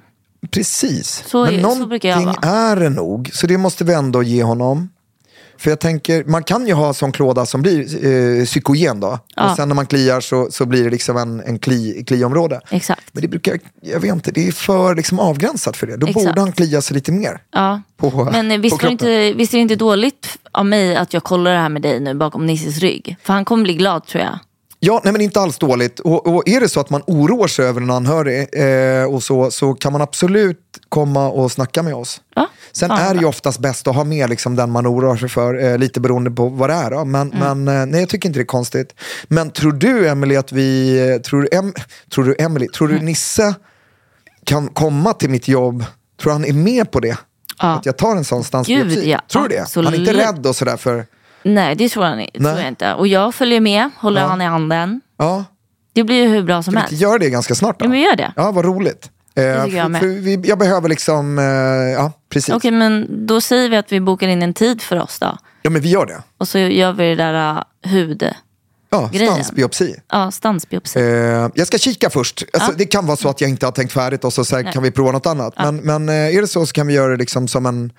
[SPEAKER 3] Precis.
[SPEAKER 4] Så
[SPEAKER 3] men
[SPEAKER 4] är- så brukar jag
[SPEAKER 3] någonting
[SPEAKER 4] vara.
[SPEAKER 3] är det nog. Så det måste vi ändå ge honom. För jag tänker, man kan ju ha sån klåda som blir eh, psykogen då. Och sen när man kliar så, så blir det liksom en, en kli, kliområde.
[SPEAKER 4] Exakt.
[SPEAKER 3] Men det brukar, jag vet inte, det är för liksom avgränsat för det. Då
[SPEAKER 4] Exakt.
[SPEAKER 3] borde han klia sig lite mer.
[SPEAKER 4] Ja.
[SPEAKER 3] På,
[SPEAKER 4] Men eh,
[SPEAKER 3] på
[SPEAKER 4] visst, var det
[SPEAKER 3] kroppen.
[SPEAKER 4] inte, visst är det inte dåligt av mig att jag kollar det här med dig nu bakom Nisses rygg? För han kommer bli glad tror jag.
[SPEAKER 3] Ja, nej men inte alls dåligt. Och, och är det så att man oroar sig över en anhörig eh, och så, så kan man absolut komma och snacka med oss.
[SPEAKER 4] Ja,
[SPEAKER 3] Sen
[SPEAKER 4] fan
[SPEAKER 3] är det
[SPEAKER 4] vad
[SPEAKER 3] ju oftast bäst att ha med liksom den man oroar sig för, eh, lite beroende på vad det är. Då. Men,
[SPEAKER 4] Mm.
[SPEAKER 3] men eh, nej, jag tycker inte det är konstigt. Men tror du, Emily att vi... eh, Tror du, em, tror du, Emily, tror
[SPEAKER 4] Mm.
[SPEAKER 3] du Nisse kan komma till mitt jobb? Tror du han är med på det?
[SPEAKER 4] Ja.
[SPEAKER 3] Att jag tar en sån stansbiopsi?
[SPEAKER 4] Gud, ja.
[SPEAKER 3] Tror du det? Han är inte
[SPEAKER 4] Absolut.
[SPEAKER 3] rädd och sådär för...
[SPEAKER 4] Nej, det tror, han, tror jag inte. Och jag följer med, håller han i handen.
[SPEAKER 3] Ja,
[SPEAKER 4] Det blir ju hur bra som
[SPEAKER 3] kan vi
[SPEAKER 4] helst.
[SPEAKER 3] inte göra det ganska snart då?
[SPEAKER 4] Ja, men gör det.
[SPEAKER 3] Ja, vad roligt. Eh,
[SPEAKER 4] tycker jag
[SPEAKER 3] för,
[SPEAKER 4] med.
[SPEAKER 3] för vi, jag behöver liksom, eh, ja precis.
[SPEAKER 4] Okej, men då säger vi att vi bokar in en tid för oss då.
[SPEAKER 3] Ja men vi gör det.
[SPEAKER 4] Och så gör vi det där uh, hud...
[SPEAKER 3] Ja,
[SPEAKER 4] Grejen.
[SPEAKER 3] stansbiopsi.
[SPEAKER 4] Ja, stansbiopsi.
[SPEAKER 3] Eh, jag ska kika först. Alltså, Det kan vara så att jag inte har tänkt färdigt och så, så här, kan vi prova något annat. Men, men eh, är det så så kan vi göra det liksom som en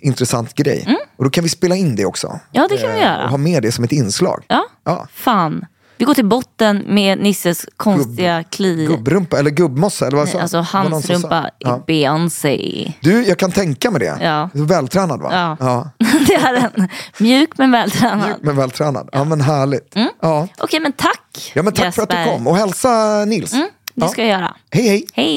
[SPEAKER 3] intressant grej. Och då kan vi spela in det också.
[SPEAKER 4] Mm. Ja, det kan vi
[SPEAKER 3] Eh, Och
[SPEAKER 4] göra.
[SPEAKER 3] ha med det som ett inslag.
[SPEAKER 4] Ja.
[SPEAKER 3] Ja.
[SPEAKER 4] Fan. Vi går till botten med Nisses konstiga kli.
[SPEAKER 3] Gubbrumpa, eller gubbmossa eller vad sa
[SPEAKER 4] Alltså
[SPEAKER 3] Det var någon
[SPEAKER 4] hans
[SPEAKER 3] som sa.
[SPEAKER 4] rumpa i
[SPEAKER 3] Ja.
[SPEAKER 4] Beyoncé. *laughs*
[SPEAKER 3] Du, jag kan tänka mig det.
[SPEAKER 4] Ja.
[SPEAKER 3] Du är vältränad va?
[SPEAKER 4] Ja. det är en mjuk men vältränad.
[SPEAKER 3] Mjuk men vältränad. Ja, men härligt. Ja.
[SPEAKER 4] Okej, men tack
[SPEAKER 3] ja men tack för att du
[SPEAKER 4] Mm. Jesper. Mm.
[SPEAKER 3] kom. Och hälsa Nils.
[SPEAKER 4] Det ska jag göra.
[SPEAKER 3] Hej hej.
[SPEAKER 4] Hej.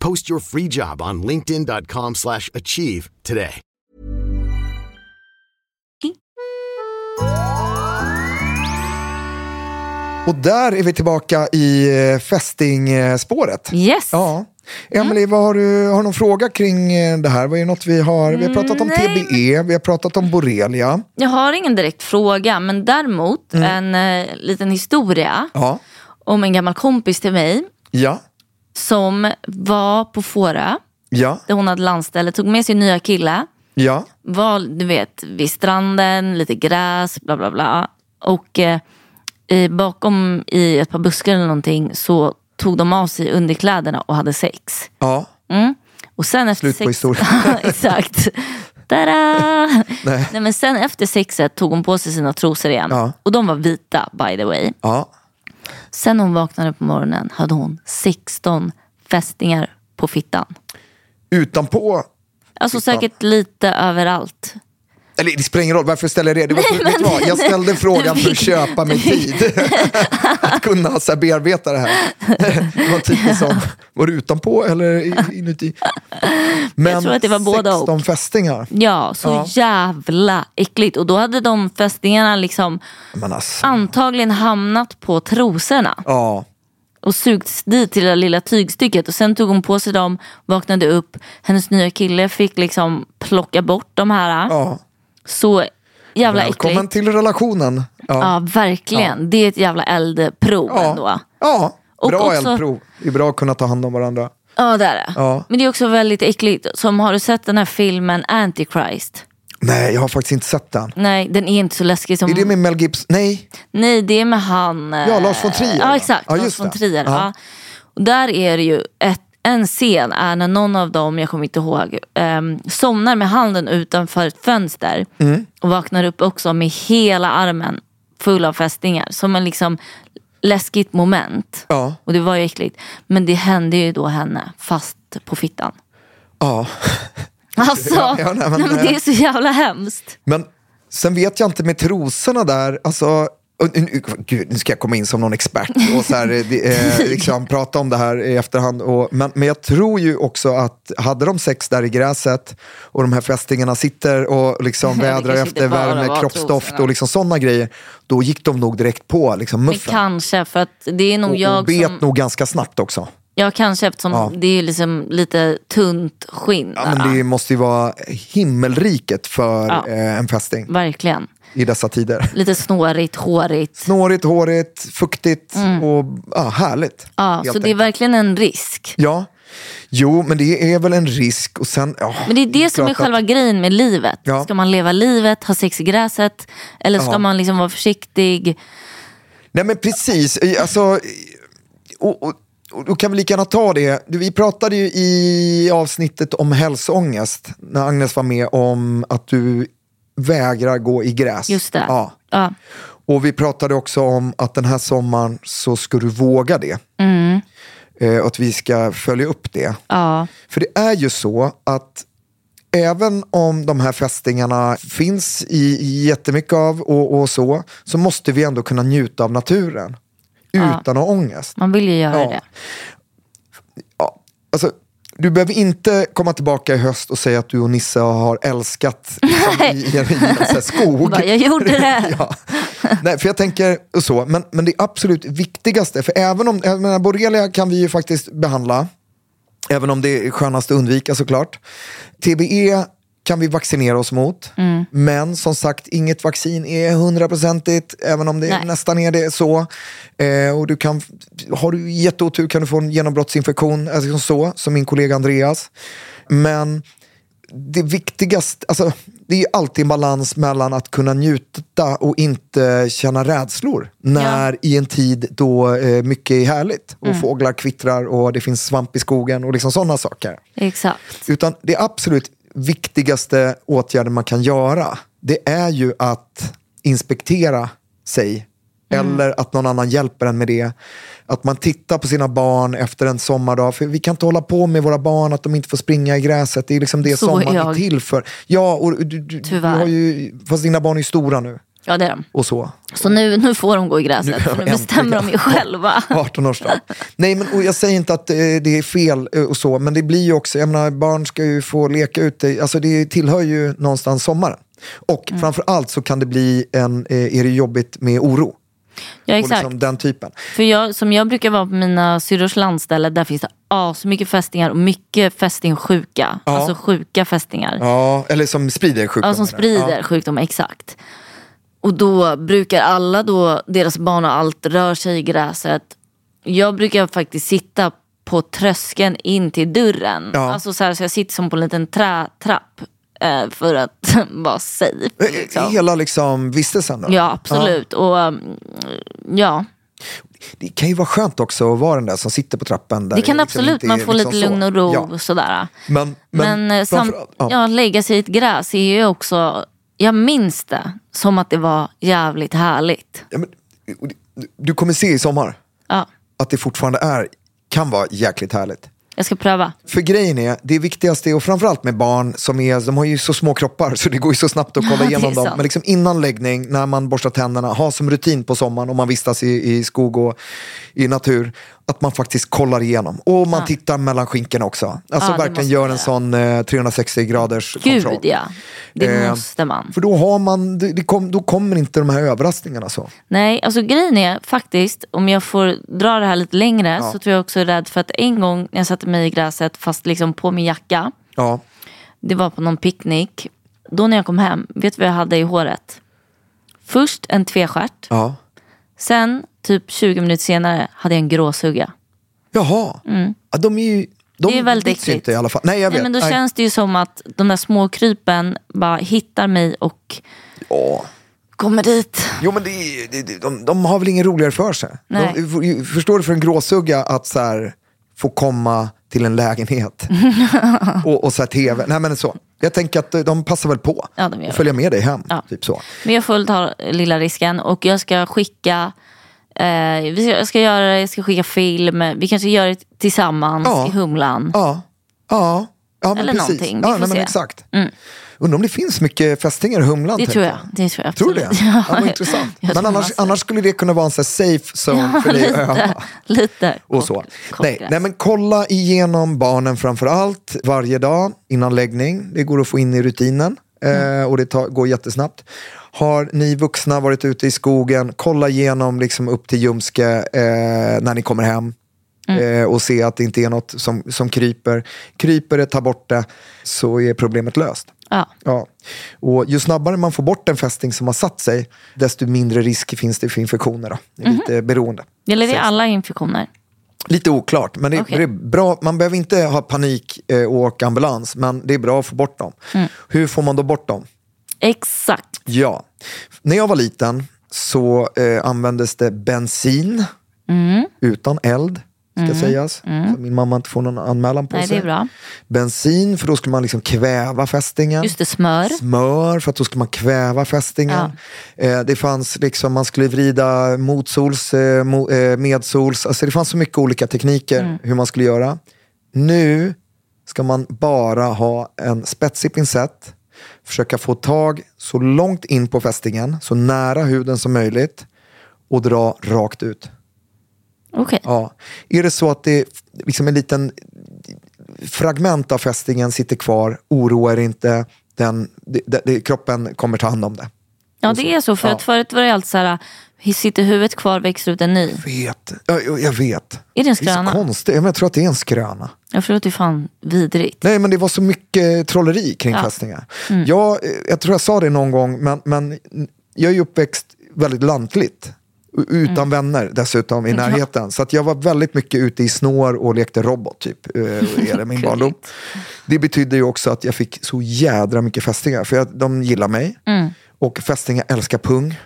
[SPEAKER 5] Post your free job on linkedin.com/achieve slash achieve today.
[SPEAKER 3] Och där är vi tillbaka i eh, fästingspåret.
[SPEAKER 4] Yes.
[SPEAKER 3] Ja. Emily, vad har, du, har du någon fråga kring eh, det här? Vad är något vi har? Vi har pratat om
[SPEAKER 4] Mm, Nej,
[SPEAKER 3] TBE, vi har pratat om borrelia.
[SPEAKER 4] Jag har ingen direkt fråga, men däremot
[SPEAKER 3] Mm.
[SPEAKER 4] en eh, liten historia
[SPEAKER 3] Ja.
[SPEAKER 4] om en gammal kompis till mig
[SPEAKER 3] Ja.
[SPEAKER 4] som var på Fårö,
[SPEAKER 3] Ja.
[SPEAKER 4] där hon hade landställe, tog med sin nya kille.
[SPEAKER 3] Ja.
[SPEAKER 4] var, du vet, vid stranden, lite gräs, bla bla bla. Och eh, i, bakom i ett par buskar eller någonting så tog de av sig underkläderna och hade sex.
[SPEAKER 3] Ja.
[SPEAKER 4] Och sen efter
[SPEAKER 3] Slut på
[SPEAKER 4] sex... *laughs*
[SPEAKER 3] historien.
[SPEAKER 4] Exakt. Tada!
[SPEAKER 3] *laughs* Nej.
[SPEAKER 4] Nej. men sen efter sexet tog hon på sig sina trosor igen.
[SPEAKER 3] Ja.
[SPEAKER 4] Och de var vita by the way.
[SPEAKER 3] Ja.
[SPEAKER 4] Sen hon vaknade på morgonen hade hon 16 fästingar på fittan.
[SPEAKER 3] Utanpå.
[SPEAKER 4] Alltså
[SPEAKER 3] Fittan.
[SPEAKER 4] säkert lite överallt.
[SPEAKER 3] Eller det spelar ingen roll, varför ställer jag det? det var,
[SPEAKER 4] Nej,
[SPEAKER 3] vet du
[SPEAKER 4] men-
[SPEAKER 3] vad? Jag ställde frågan för att
[SPEAKER 4] fick-
[SPEAKER 3] köpa mig tid.
[SPEAKER 4] *laughs*
[SPEAKER 3] att kunna så här, bearbeta det här. det var typiskt som, var det utanpå eller i- inuti? Men
[SPEAKER 4] tror att det var båda och.
[SPEAKER 3] 16 fästingar.
[SPEAKER 4] Ja, så
[SPEAKER 3] Ja.
[SPEAKER 4] jävla äckligt. Och då hade de fästingarna liksom
[SPEAKER 3] Men alltså,
[SPEAKER 4] antagligen hamnat på trosorna
[SPEAKER 3] ja.
[SPEAKER 4] och sugits dit till det där lilla tygstycket. Och sen tog hon på sig dem, vaknade upp, hennes nya kille fick liksom plocka bort de här.
[SPEAKER 3] ja.
[SPEAKER 4] Så jävla
[SPEAKER 3] Välkommen
[SPEAKER 4] äckligt.
[SPEAKER 3] till relationen. Ja,
[SPEAKER 4] Ja, verkligen. Det är ett jävla eldprov ändå.
[SPEAKER 3] ja.
[SPEAKER 4] Och
[SPEAKER 3] bra
[SPEAKER 4] också-
[SPEAKER 3] eldprov. Det är bra att kunna ta hand om varandra.
[SPEAKER 4] Ja, det är det.
[SPEAKER 3] Ja.
[SPEAKER 4] Men det är också väldigt äckligt. Som, har du sett den här filmen Antichrist?
[SPEAKER 3] Nej, jag har faktiskt inte sett den.
[SPEAKER 4] Nej, den är inte så läskig som
[SPEAKER 3] Är det med Mel Gibson? Nej.
[SPEAKER 4] Nej, det är med han... eh,
[SPEAKER 3] Ja, Lars von Trier, va?
[SPEAKER 4] Ja, exakt.
[SPEAKER 3] Ja,
[SPEAKER 4] Lars
[SPEAKER 3] just
[SPEAKER 4] von
[SPEAKER 3] det.
[SPEAKER 4] Trier.
[SPEAKER 3] Ja.
[SPEAKER 4] Ja. Och där är det ju ett, en scen är när någon av dem, jag kommer inte ihåg, ehm, somnar med handen utanför ett fönster
[SPEAKER 3] Mm.
[SPEAKER 4] och vaknar upp också med hela armen full av fästingar. Som en liksom läskigt moment.
[SPEAKER 3] Ja.
[SPEAKER 4] Och det var ju äckligt. Men det hände ju då henne, fast på fittan.
[SPEAKER 3] Ja. *laughs*
[SPEAKER 4] Alltså,
[SPEAKER 3] Ja, ja, nej, men-
[SPEAKER 4] nej, men det är så jävla hemskt.
[SPEAKER 3] Men sen vet jag inte med trosorna där, alltså och nu- nu- Gud, nu ska jag komma in som någon expert och så här, *laughs* eh, det, eh, liksom, prata om det här i efterhand. Och, men, men jag tror ju också att hade de sex där i gräset och de här fästingarna sitter och
[SPEAKER 4] *laughs*
[SPEAKER 3] liksom
[SPEAKER 4] Det
[SPEAKER 3] vädrar
[SPEAKER 4] kanske
[SPEAKER 3] efter
[SPEAKER 4] inte bara
[SPEAKER 3] värme,
[SPEAKER 4] var
[SPEAKER 3] kroppsdoft
[SPEAKER 4] trosorna.
[SPEAKER 3] och liksom sådana grejer, då gick de nog direkt på liksom,
[SPEAKER 4] Men
[SPEAKER 3] muffen.
[SPEAKER 4] kanske, för att det är nog
[SPEAKER 3] Och,
[SPEAKER 4] jag
[SPEAKER 3] och bet
[SPEAKER 4] som...
[SPEAKER 3] nog ganska snabbt också.
[SPEAKER 4] Ja, kanske eftersom det är liksom lite tunt skinn.
[SPEAKER 3] Ja, men det måste ju vara himmelriket för eh, en fästing
[SPEAKER 4] Verkligen.
[SPEAKER 3] i dessa tider.
[SPEAKER 4] Lite snårigt, hårigt.
[SPEAKER 3] Snårigt, hårigt, fuktigt och ja, härligt.
[SPEAKER 4] Mm. Ja,
[SPEAKER 3] helt
[SPEAKER 4] så det är
[SPEAKER 3] enkelt.
[SPEAKER 4] verkligen en risk.
[SPEAKER 3] Ja, jo, men det är väl en risk. Och sen, ja,
[SPEAKER 4] Men det är det som är
[SPEAKER 3] klart
[SPEAKER 4] själva
[SPEAKER 3] att-
[SPEAKER 4] grejen med livet.
[SPEAKER 3] Ja.
[SPEAKER 4] Ska man leva livet, ha sex i gräset? Eller ska
[SPEAKER 3] Ja.
[SPEAKER 4] man liksom vara försiktig?
[SPEAKER 3] Nej, men precis. Eh, Alltså, och, och, och då kan vi lika gärna ta det. Du, Vi pratade ju i avsnittet om hälsoångest, när Agnes var med om att du vägrar gå i gräs.
[SPEAKER 4] Just det.
[SPEAKER 3] Ja.
[SPEAKER 4] Ja.
[SPEAKER 3] Och vi pratade också om att den här sommaren så ska du våga det. Eh, och att vi ska följa upp det.
[SPEAKER 4] Ja.
[SPEAKER 3] För det är ju så att även om de här fästingarna finns i, i jättemycket av och, och så, så måste vi ändå kunna njuta av naturen. Utan att ha ångest.
[SPEAKER 4] Man vill ju göra
[SPEAKER 3] Ja.
[SPEAKER 4] det.
[SPEAKER 3] Ja, alltså, du behöver inte komma tillbaka i höst och säga att du och Nisse har älskat liksom, i, i, en- i en sån här skog.
[SPEAKER 4] Bara, jag gjorde det.
[SPEAKER 3] *laughs* ja. Nej, för jag tänker och så, men, men det absolut viktigaste, för även om, jag menar, borrelia kan vi ju faktiskt behandla, även om det är skönast att undvika såklart. TBE E kan vi vaccinera oss mot.
[SPEAKER 4] Mm.
[SPEAKER 3] Men som sagt, inget vaccin är hundraprocentigt, även om det
[SPEAKER 4] Nej.
[SPEAKER 3] nästan är det så. Eh, och du kan, har du jätteotur kan du få en genombrottsinfektion, alltså liksom så, som min kollega Andreas. Men det viktigaste, alltså, det är ju alltid en balans mellan att kunna njuta och inte känna rädslor. När i en tid då eh, mycket är härligt och fåglar kvittrar och det finns svamp i skogen och liksom sådana saker.
[SPEAKER 4] Exakt.
[SPEAKER 3] Utan det absolut viktigaste åtgärden man kan göra, det är ju att inspektera sig.
[SPEAKER 4] Mm.
[SPEAKER 3] Eller att någon annan hjälper en med det. Att man tittar på sina barn efter en sommardag. För vi kan inte hålla på med våra barn att de inte får springa i gräset. Det är liksom det
[SPEAKER 4] Så är
[SPEAKER 3] sommaren är
[SPEAKER 4] jag.
[SPEAKER 3] till för. Ja, och du, du, du
[SPEAKER 4] Tyvärr.
[SPEAKER 3] har ju, fast dina barn är ju stora nu.
[SPEAKER 4] Ja, det är de.
[SPEAKER 3] Och så.
[SPEAKER 4] Så nu, nu får de gå i gräset, för nu
[SPEAKER 3] Äntligen.
[SPEAKER 4] bestämmer de ju själva.
[SPEAKER 3] 18-årsdag. Nej, men och jag säger inte att eh, det är fel eh, och så, men det blir ju också, jag menar, barn ska ju få leka ute, alltså det tillhör ju någonstans sommaren. Och
[SPEAKER 4] Mm.
[SPEAKER 3] framför allt så kan det bli en, eh, är det jobbigt med oro.
[SPEAKER 4] Ja,
[SPEAKER 3] Och
[SPEAKER 4] exakt.
[SPEAKER 3] liksom den typen.
[SPEAKER 4] För jag, som jag brukar vara på mina syrrors landställe, där finns det asmycket fästingar och mycket fästingsjuka.
[SPEAKER 3] Ja.
[SPEAKER 4] Alltså sjuka fästingar.
[SPEAKER 3] Ja, eller som sprider sjukdomar.
[SPEAKER 4] Ja, som sprider
[SPEAKER 3] Ja.
[SPEAKER 4] sjukdomar, exakt. Och då brukar alla då, deras barn och allt rör sig i gräset. Jag brukar faktiskt sitta på tröskeln in till dörren.
[SPEAKER 3] Ja.
[SPEAKER 4] Alltså så, här, så jag sitter som på en liten trätrapp eh, för att *laughs* vara safe.
[SPEAKER 3] Eh, eh,
[SPEAKER 4] Liksom.
[SPEAKER 3] Hela liksom vistelsen då?
[SPEAKER 4] Ja, absolut. Och mm, ja,
[SPEAKER 3] Det kan ju vara skönt också att vara den där som sitter på trappen. Där
[SPEAKER 4] det kan
[SPEAKER 3] liksom
[SPEAKER 4] absolut,
[SPEAKER 3] inte är
[SPEAKER 4] man får
[SPEAKER 3] liksom
[SPEAKER 4] lite lugn
[SPEAKER 3] så.
[SPEAKER 4] och ro
[SPEAKER 3] Ja.
[SPEAKER 4] och sådär.
[SPEAKER 3] Men, men,
[SPEAKER 4] Men, eh, samt,
[SPEAKER 3] framförallt-
[SPEAKER 4] ja. lägga sig i ett gräs är ju också, jag minns det som att det var jävligt härligt.
[SPEAKER 3] Ja, men, du kommer se i sommar
[SPEAKER 4] Ja,
[SPEAKER 3] att det fortfarande är, kan vara jäkligt härligt.
[SPEAKER 4] jag ska pröva.
[SPEAKER 3] För grejen är, det viktigaste, är- och framförallt med barn, som är, de har ju så små kroppar så det går ju så snabbt att
[SPEAKER 4] Ja, det
[SPEAKER 3] kolla
[SPEAKER 4] är
[SPEAKER 3] igenom dem.
[SPEAKER 4] sant.
[SPEAKER 3] Men liksom innan läggning, när man borstar tänderna, ha som rutin på sommaren om man vistas i, i skog och i natur, att man faktiskt kollar igenom. Och man tittar mellan skinkorna också. Alltså
[SPEAKER 4] Ja, det måste
[SPEAKER 3] verkligen gör
[SPEAKER 4] man
[SPEAKER 3] en
[SPEAKER 4] göra.
[SPEAKER 3] sån eh, 360 graders
[SPEAKER 4] Gud
[SPEAKER 3] kontroll.
[SPEAKER 4] ja, det
[SPEAKER 3] Eh,
[SPEAKER 4] måste man.
[SPEAKER 3] För då, har man, det, det kom, då kommer inte de här överraskningarna. så.
[SPEAKER 4] Nej, alltså grejen är faktiskt, om jag får dra det här lite längre så tror jag också jag är rädd för att en gång när jag satte mig i gräset fast liksom på min jacka,
[SPEAKER 3] Ja.
[SPEAKER 4] det var på någon picknick. Då när jag kom hem, vet du vad jag hade i håret? Först en tvestjärt,
[SPEAKER 3] Ja.
[SPEAKER 4] sen typ 20 minuter senare hade jag en gråsugga.
[SPEAKER 3] Jaha, ja, de är ju... De
[SPEAKER 4] Mm. Det är väldigt
[SPEAKER 3] byts ju
[SPEAKER 4] äckligt.
[SPEAKER 3] inte i alla fall. Nej, jag vet.
[SPEAKER 4] Nej, men då
[SPEAKER 3] Nej.
[SPEAKER 4] känns det ju som att de där små krypen bara hittar mig och
[SPEAKER 3] Ja.
[SPEAKER 4] kommer dit.
[SPEAKER 3] Jo men det, är- det, det, de, de har väl ingen roligare för sig.
[SPEAKER 4] Nej.
[SPEAKER 3] De, f- förstår du för en gråsugga att så här, få komma till en lägenhet
[SPEAKER 4] *laughs*
[SPEAKER 3] och, och så här, tv. Nej men så. Jag tänker att eh, de passar väl på
[SPEAKER 4] Ja, de gör
[SPEAKER 3] och följer med dig hem.
[SPEAKER 4] Ja.
[SPEAKER 3] Typ så.
[SPEAKER 4] Men jag får ta lilla risken och jag ska skicka eh, vi ska, jag, ska göra, jag ska skicka film, vi kanske gör det tillsammans
[SPEAKER 3] Ja.
[SPEAKER 4] i Humlan.
[SPEAKER 3] Ja, ja. ja men
[SPEAKER 4] Eller
[SPEAKER 3] precis.
[SPEAKER 4] någonting. Vi
[SPEAKER 3] Ja,
[SPEAKER 4] får
[SPEAKER 3] nej, men
[SPEAKER 4] se. Mm.
[SPEAKER 3] exakt. Undrar om det finns mycket fästingar i Humlan?
[SPEAKER 4] Det
[SPEAKER 3] tänker
[SPEAKER 4] tror jag. Det tror jag
[SPEAKER 3] Tror du
[SPEAKER 4] *laughs*
[SPEAKER 3] det?
[SPEAKER 4] absolut.
[SPEAKER 3] Ja, vad intressant.
[SPEAKER 4] jag
[SPEAKER 3] Men
[SPEAKER 4] tror
[SPEAKER 3] annars,
[SPEAKER 4] massor.
[SPEAKER 3] annars skulle det kunna vara en så här safe zone för dig att
[SPEAKER 4] lite,
[SPEAKER 3] öva.
[SPEAKER 4] lite
[SPEAKER 3] och så.
[SPEAKER 4] kort-
[SPEAKER 3] Nej,
[SPEAKER 4] kortgräs.
[SPEAKER 3] nej, men kolla igenom barnen framför allt varje dag innan läggning. Det går att få in i rutinen eh, och det tar, går jättesnabbt. Har ni vuxna varit ute i skogen, kolla igenom liksom upp till ljumske eh, när ni kommer hem. Eh, och se att det inte är något som, som kryper. Kryper det, ta bort det, så är problemet löst.
[SPEAKER 4] Ja.
[SPEAKER 3] Ja. Och ju snabbare man får bort en fästing som har satt sig, desto mindre risk finns det för infektioner. Då. Det är lite beroende.
[SPEAKER 4] Gäller det alla infektioner?
[SPEAKER 3] Lite oklart, men det,
[SPEAKER 4] Okej.
[SPEAKER 3] det är bra. man behöver inte ha panik eh, och åka ambulans, men det är bra att få bort dem.
[SPEAKER 4] Mm.
[SPEAKER 3] Hur får man då bort dem?
[SPEAKER 4] Exakt.
[SPEAKER 3] Ja, när jag var liten så eh, användes det bensin
[SPEAKER 4] Mm.
[SPEAKER 3] utan eld, ska sägas. Så min mamma inte får någon anmälan på
[SPEAKER 4] Nej, det
[SPEAKER 3] sig.
[SPEAKER 4] är bra.
[SPEAKER 3] Bensin, för då skulle man liksom kväva fästingen.
[SPEAKER 4] Just det, smör.
[SPEAKER 3] Smör, för att då skulle man kväva fästingen. Eh, det fanns liksom, man skulle vrida motsols, eh, mo, eh, medsols. Alltså det fanns så mycket olika tekniker hur man skulle göra. Nu ska man bara ha en spetsig pincett, försöka få tag så långt in på fästingen, så nära huden som möjligt och dra rakt ut.
[SPEAKER 4] Okej.
[SPEAKER 3] Ja. Är det så att det är liksom en liten fragment av fästingen sitter kvar, oroa er inte, den, det, det- det, kroppen kommer ta hand om det.
[SPEAKER 4] Ja, det är så. För
[SPEAKER 3] Ja.
[SPEAKER 4] att förut var det alltid så här, sitter huvudet kvar växer ut en ny.
[SPEAKER 3] Vet. Jag, jag, jag vet.
[SPEAKER 4] Är det en
[SPEAKER 3] Det är så
[SPEAKER 4] skröna?
[SPEAKER 3] konstigt. Ja, men Jag tror att det är en skröna.
[SPEAKER 4] Okej. Ja, för det låter ju fan vidrigt.
[SPEAKER 3] Nej, men det var så mycket trolleri kring
[SPEAKER 4] Ja. Mm.
[SPEAKER 3] fästingar. Jag, eh, jag tror jag sa det någon gång, men, men jag är ju uppväxt väldigt lantligt. U- Utan
[SPEAKER 4] Mm.
[SPEAKER 3] vänner dessutom i närheten. Så att jag var väldigt mycket ute i snår och lekte robot typ. eh, Är det
[SPEAKER 4] *laughs*
[SPEAKER 3] min barndom. Det betyder ju också att jag fick så jädra mycket fästingar. För jag, de gillar mig. Och fästingar älskar pung.
[SPEAKER 4] Mm.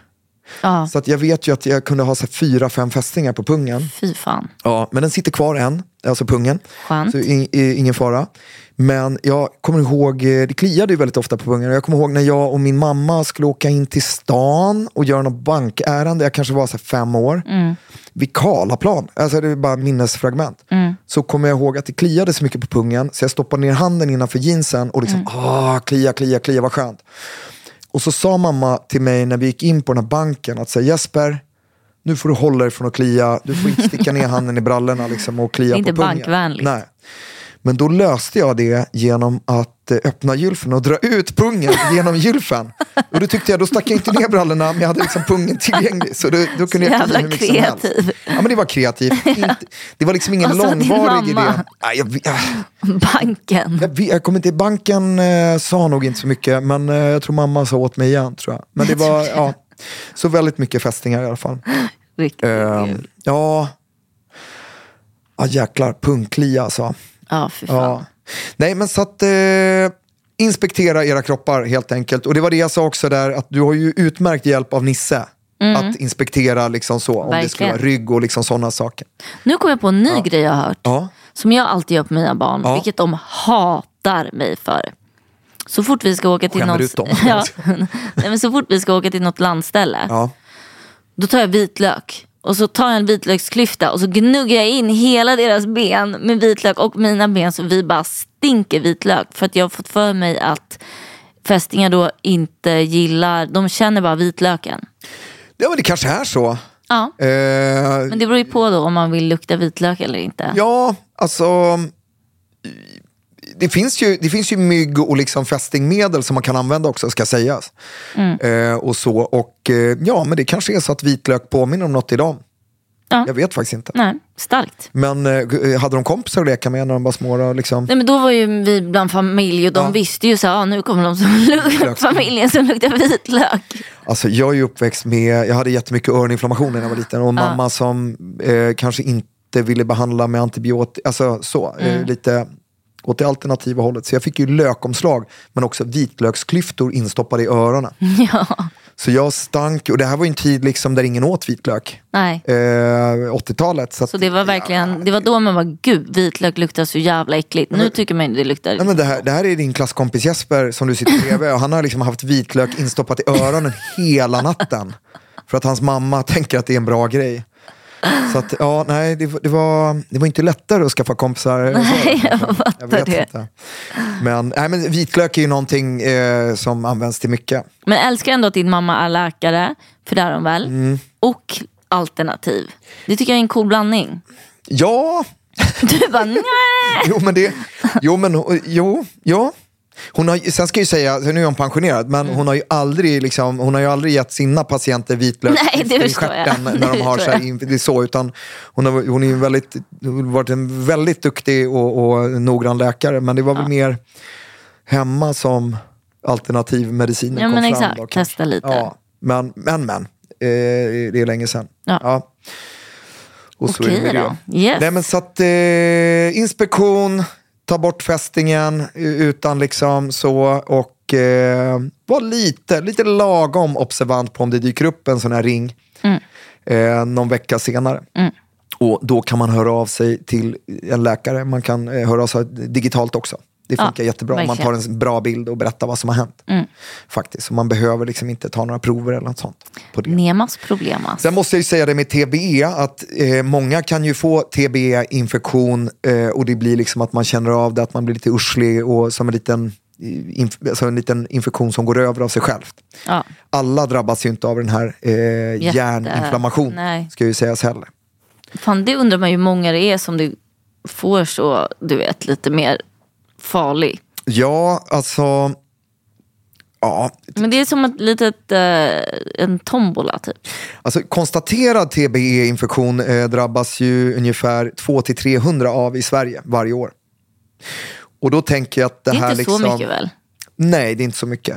[SPEAKER 4] Ja,
[SPEAKER 3] Så att jag vet ju att jag kunde ha så här, fyra, fem fästingar på pungen.
[SPEAKER 4] fy fan. *laughs*
[SPEAKER 3] Ja, men den sitter kvar än, alltså pungen.
[SPEAKER 4] Skönt.
[SPEAKER 3] Så i- i- ingen fara. Men jag kommer ihåg, eh, det kliade ju väldigt ofta på pungen. Och Jag kommer ihåg när jag och min mamma skulle åka in till stan och göra något bankärende. Jag kanske var så här fem år. Vid Karlaplan, alltså det är bara minnesfragment. Så kommer jag ihåg att det kliade så mycket på pungen. Så jag stoppade ner handen innanför jeansen och liksom, ah, klia, klia, klia, vad skönt. Och så sa mamma till mig när vi gick in på den här banken att säga Jesper, nu får du hålla dig från att klia, du får inte sticka ner handen i brallorna liksom, och klia
[SPEAKER 4] Det är
[SPEAKER 3] på
[SPEAKER 4] inte
[SPEAKER 3] pungen.
[SPEAKER 4] bankvänligt.
[SPEAKER 3] Nej. Men då löste jag det genom att eh, öppna gylfen och dra ut pungen genom gylfen. Och då tyckte jag, då stack jag inte ner brallorna, men jag hade liksom pungen tillgänglig. Så då, då kunde
[SPEAKER 4] Så
[SPEAKER 3] jag klia
[SPEAKER 4] jävla
[SPEAKER 3] hur mycket som helst.
[SPEAKER 4] kreativ.
[SPEAKER 3] Ja, men det var kreativt. Inte, det var liksom ingen
[SPEAKER 4] *laughs* Och så din
[SPEAKER 3] långvarig idé.
[SPEAKER 4] mamma.
[SPEAKER 3] Nej, jag, jag,
[SPEAKER 4] Banken.
[SPEAKER 3] jag, vet- jag kommer inte, banken eh, sa nog inte så mycket, men eh, jag tror mamma sa åt mig igen. tror jag. Men det var, ja, så väldigt mycket fästingar i alla fall.
[SPEAKER 4] Riktigt.
[SPEAKER 3] Ehm, ja, ja, jäklar, punklia alltså.
[SPEAKER 4] Ja, fy fan.
[SPEAKER 3] Ja. Nej, men så att... Eh, Inspektera era kroppar helt enkelt. Och det var det jag sa också där, att du har ju utmärkt hjälp av Nisse. Att inspektera liksom så, om det skulle
[SPEAKER 4] Verkligen.
[SPEAKER 3] vara rygg och liksom sådana saker.
[SPEAKER 4] Nu kom jag på en ny grej jag har hört.
[SPEAKER 3] Ja.
[SPEAKER 4] Som jag alltid gör på mina barn.
[SPEAKER 3] Ja.
[SPEAKER 4] Vilket de hatar mig för. Så fort vi ska åka till
[SPEAKER 3] Skämmer
[SPEAKER 4] något...
[SPEAKER 3] ut dem.
[SPEAKER 4] *laughs* ja, nej, men så fort vi ska åka till något landställe.
[SPEAKER 3] Ja.
[SPEAKER 4] Då tar jag vitlök. Och så tar jag en vitlöksklyfta och så gnuggar jag in hela deras ben med vitlök och mina ben så vi bara stinker vitlök. För att jag har fått för mig att fästingar då inte gillar, de känner bara vitlöken.
[SPEAKER 3] ja, men det kanske är så.
[SPEAKER 4] Ja,
[SPEAKER 3] Eh,
[SPEAKER 4] men det beror ju på då om man vill lukta vitlök eller inte.
[SPEAKER 3] Ja, alltså... Det finns, ju, det finns ju mygg och liksom fästingmedel som man kan använda också, ska sägas. Eh, och så. Och eh, ja, men det kanske är så att vitlök påminner om något idag.
[SPEAKER 4] Ja.
[SPEAKER 3] Jag vet faktiskt inte.
[SPEAKER 4] Nej, starkt.
[SPEAKER 3] Men eh, hade de kompisar att leka med när de var små? Då, liksom?
[SPEAKER 4] Nej men då var ju vi bland familj och de
[SPEAKER 3] Ja.
[SPEAKER 4] visste ju så här, ah, nu kommer de
[SPEAKER 3] *laughs*
[SPEAKER 4] som luk- familjen som luktar vitlök.
[SPEAKER 3] Alltså, jag är ju uppväxt med, jag hade jättemycket öroninflammation när jag var liten och mamma som eh, kanske inte ville behandla med antibiotika, alltså så, eh, lite åt det alternativa hållet. Så jag fick ju lökomslag men också vitlöksklyftor instoppade i öronen. Så jag stank, och det här var ju en tid liksom där ingen åt vitlök.
[SPEAKER 4] Nej.
[SPEAKER 3] Eh, 80-talet. Så, att,
[SPEAKER 4] Så det var verkligen, det var då man var gud vitlök luktar så jävla äckligt. Nu tycker man ju det luktar.
[SPEAKER 3] Nej, men det, här, det här är din klasskompis Jesper som du sitter bredvid och han har liksom haft vitlök instoppat i öronen hela natten. För att hans mamma tänker att det är en bra grej. Så att, ja, nej, det, det, var, det var inte lättare att skaffa kompisar. Nej, jag fattar
[SPEAKER 4] det.
[SPEAKER 3] Men, nej, men vitlök är ju någonting eh, som används till mycket.
[SPEAKER 4] Men jag älskar ändå att din mamma är läkare, för det är hon väl.
[SPEAKER 3] Mm.
[SPEAKER 4] Och alternativ. Det tycker jag är en cool blandning. *laughs*
[SPEAKER 3] Ja,
[SPEAKER 4] Du bara nej.
[SPEAKER 3] jo men det, jo men jo, ja. Hon har, sen ska jag ju säga, nu är hon pensionerad, men hon, har ju aldrig, liksom, hon har ju aldrig gett sina patienter vitlök
[SPEAKER 4] Nej, det
[SPEAKER 3] i
[SPEAKER 4] förstår jag.
[SPEAKER 3] stjärten
[SPEAKER 4] Det
[SPEAKER 3] när de har
[SPEAKER 4] förstår
[SPEAKER 3] så, här, in- det är så utan hon har, hon är ju väldigt, hon har varit en väldigt duktig och, och noggrann läkare, men det var väl mer hemma som alternativmedicinen
[SPEAKER 4] Ja,
[SPEAKER 3] kom
[SPEAKER 4] men
[SPEAKER 3] fram.
[SPEAKER 4] exakt.
[SPEAKER 3] då, kanske.
[SPEAKER 4] Testa lite.
[SPEAKER 3] Ja, men, men, men. Eh, det är länge sedan.
[SPEAKER 4] Ja.
[SPEAKER 3] Och så är det
[SPEAKER 4] Okej
[SPEAKER 3] med det.
[SPEAKER 4] då. Yes.
[SPEAKER 3] Nej, men så att, eh, inspektion, ta bort fästingen eh, utan liksom så och eh, var lite, lite lagom observant på om det dyker upp en sån här ring
[SPEAKER 4] Mm.
[SPEAKER 3] eh, någon vecka senare. Och Då kan man höra av sig till en läkare. Man kan eh, höra av sig digitalt också. Det
[SPEAKER 4] Ja,
[SPEAKER 3] funkar jättebra om man tar
[SPEAKER 4] verkligen. Mm.
[SPEAKER 3] en bra bild och berättar vad som har hänt. Faktiskt. Så man behöver liksom inte ta några prover eller något sånt. På det.
[SPEAKER 4] Nemas alltså. problemas.
[SPEAKER 3] Sen måste jag ju säga det med TBE, att eh, många kan ju få TBE-infektion eh, och det blir liksom att man känner av det, att man blir lite urslig och som en liten, eh, inf- alltså en liten infektion som går över av sig självt.
[SPEAKER 4] Ja.
[SPEAKER 3] Alla drabbas ju inte av den här eh, hjärninflammation,
[SPEAKER 4] nej.
[SPEAKER 3] ska ju sägas heller.
[SPEAKER 4] Fan, det undrar man ju hur många det är som du får så, du vet, lite mer farlig.
[SPEAKER 3] Ja, alltså... Ja,
[SPEAKER 4] Men det är som ett litet, eh, en tombola typ.
[SPEAKER 3] Alltså, konstaterad TBE-infektion eh, drabbas ju ungefär 200-300 av i Sverige varje år. Och då tänker jag att det,
[SPEAKER 4] Det är
[SPEAKER 3] här
[SPEAKER 4] inte så
[SPEAKER 3] liksom...
[SPEAKER 4] mycket väl?
[SPEAKER 3] Nej, det är inte så mycket.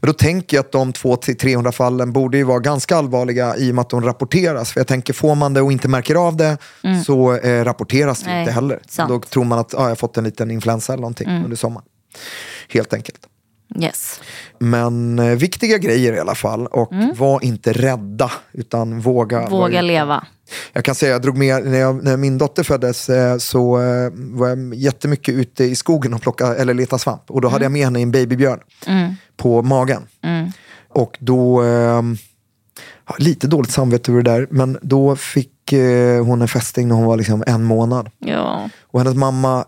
[SPEAKER 3] Men då tänker jag att de 200-300 fallen borde ju vara ganska allvarliga i och med att de rapporteras. För jag tänker, får man det och inte märker av det så eh, rapporteras det
[SPEAKER 4] Mm. Nej,
[SPEAKER 3] inte heller.
[SPEAKER 4] sant. Mm.
[SPEAKER 3] Då tror man att ah, jag har fått en liten influensa eller någonting under sommaren. Helt enkelt.
[SPEAKER 4] Yes.
[SPEAKER 3] Men eh, viktiga grejer i alla fall. Och var inte rädda, utan våga. vara
[SPEAKER 4] Mm. Våga
[SPEAKER 3] ute.
[SPEAKER 4] leva.
[SPEAKER 3] Jag kan säga, jag drog med, när, jag, när min dotter föddes eh, så eh, var jag jättemycket ute i skogen och plocka, eller leta svamp. Och då hade jag med henne i en babybjörn på magen. Och då, eh, ja, lite dåligt samvete över det där, men då fick eh, hon en fästing när hon var liksom en månad.
[SPEAKER 4] Ja.
[SPEAKER 3] Och hennes mamma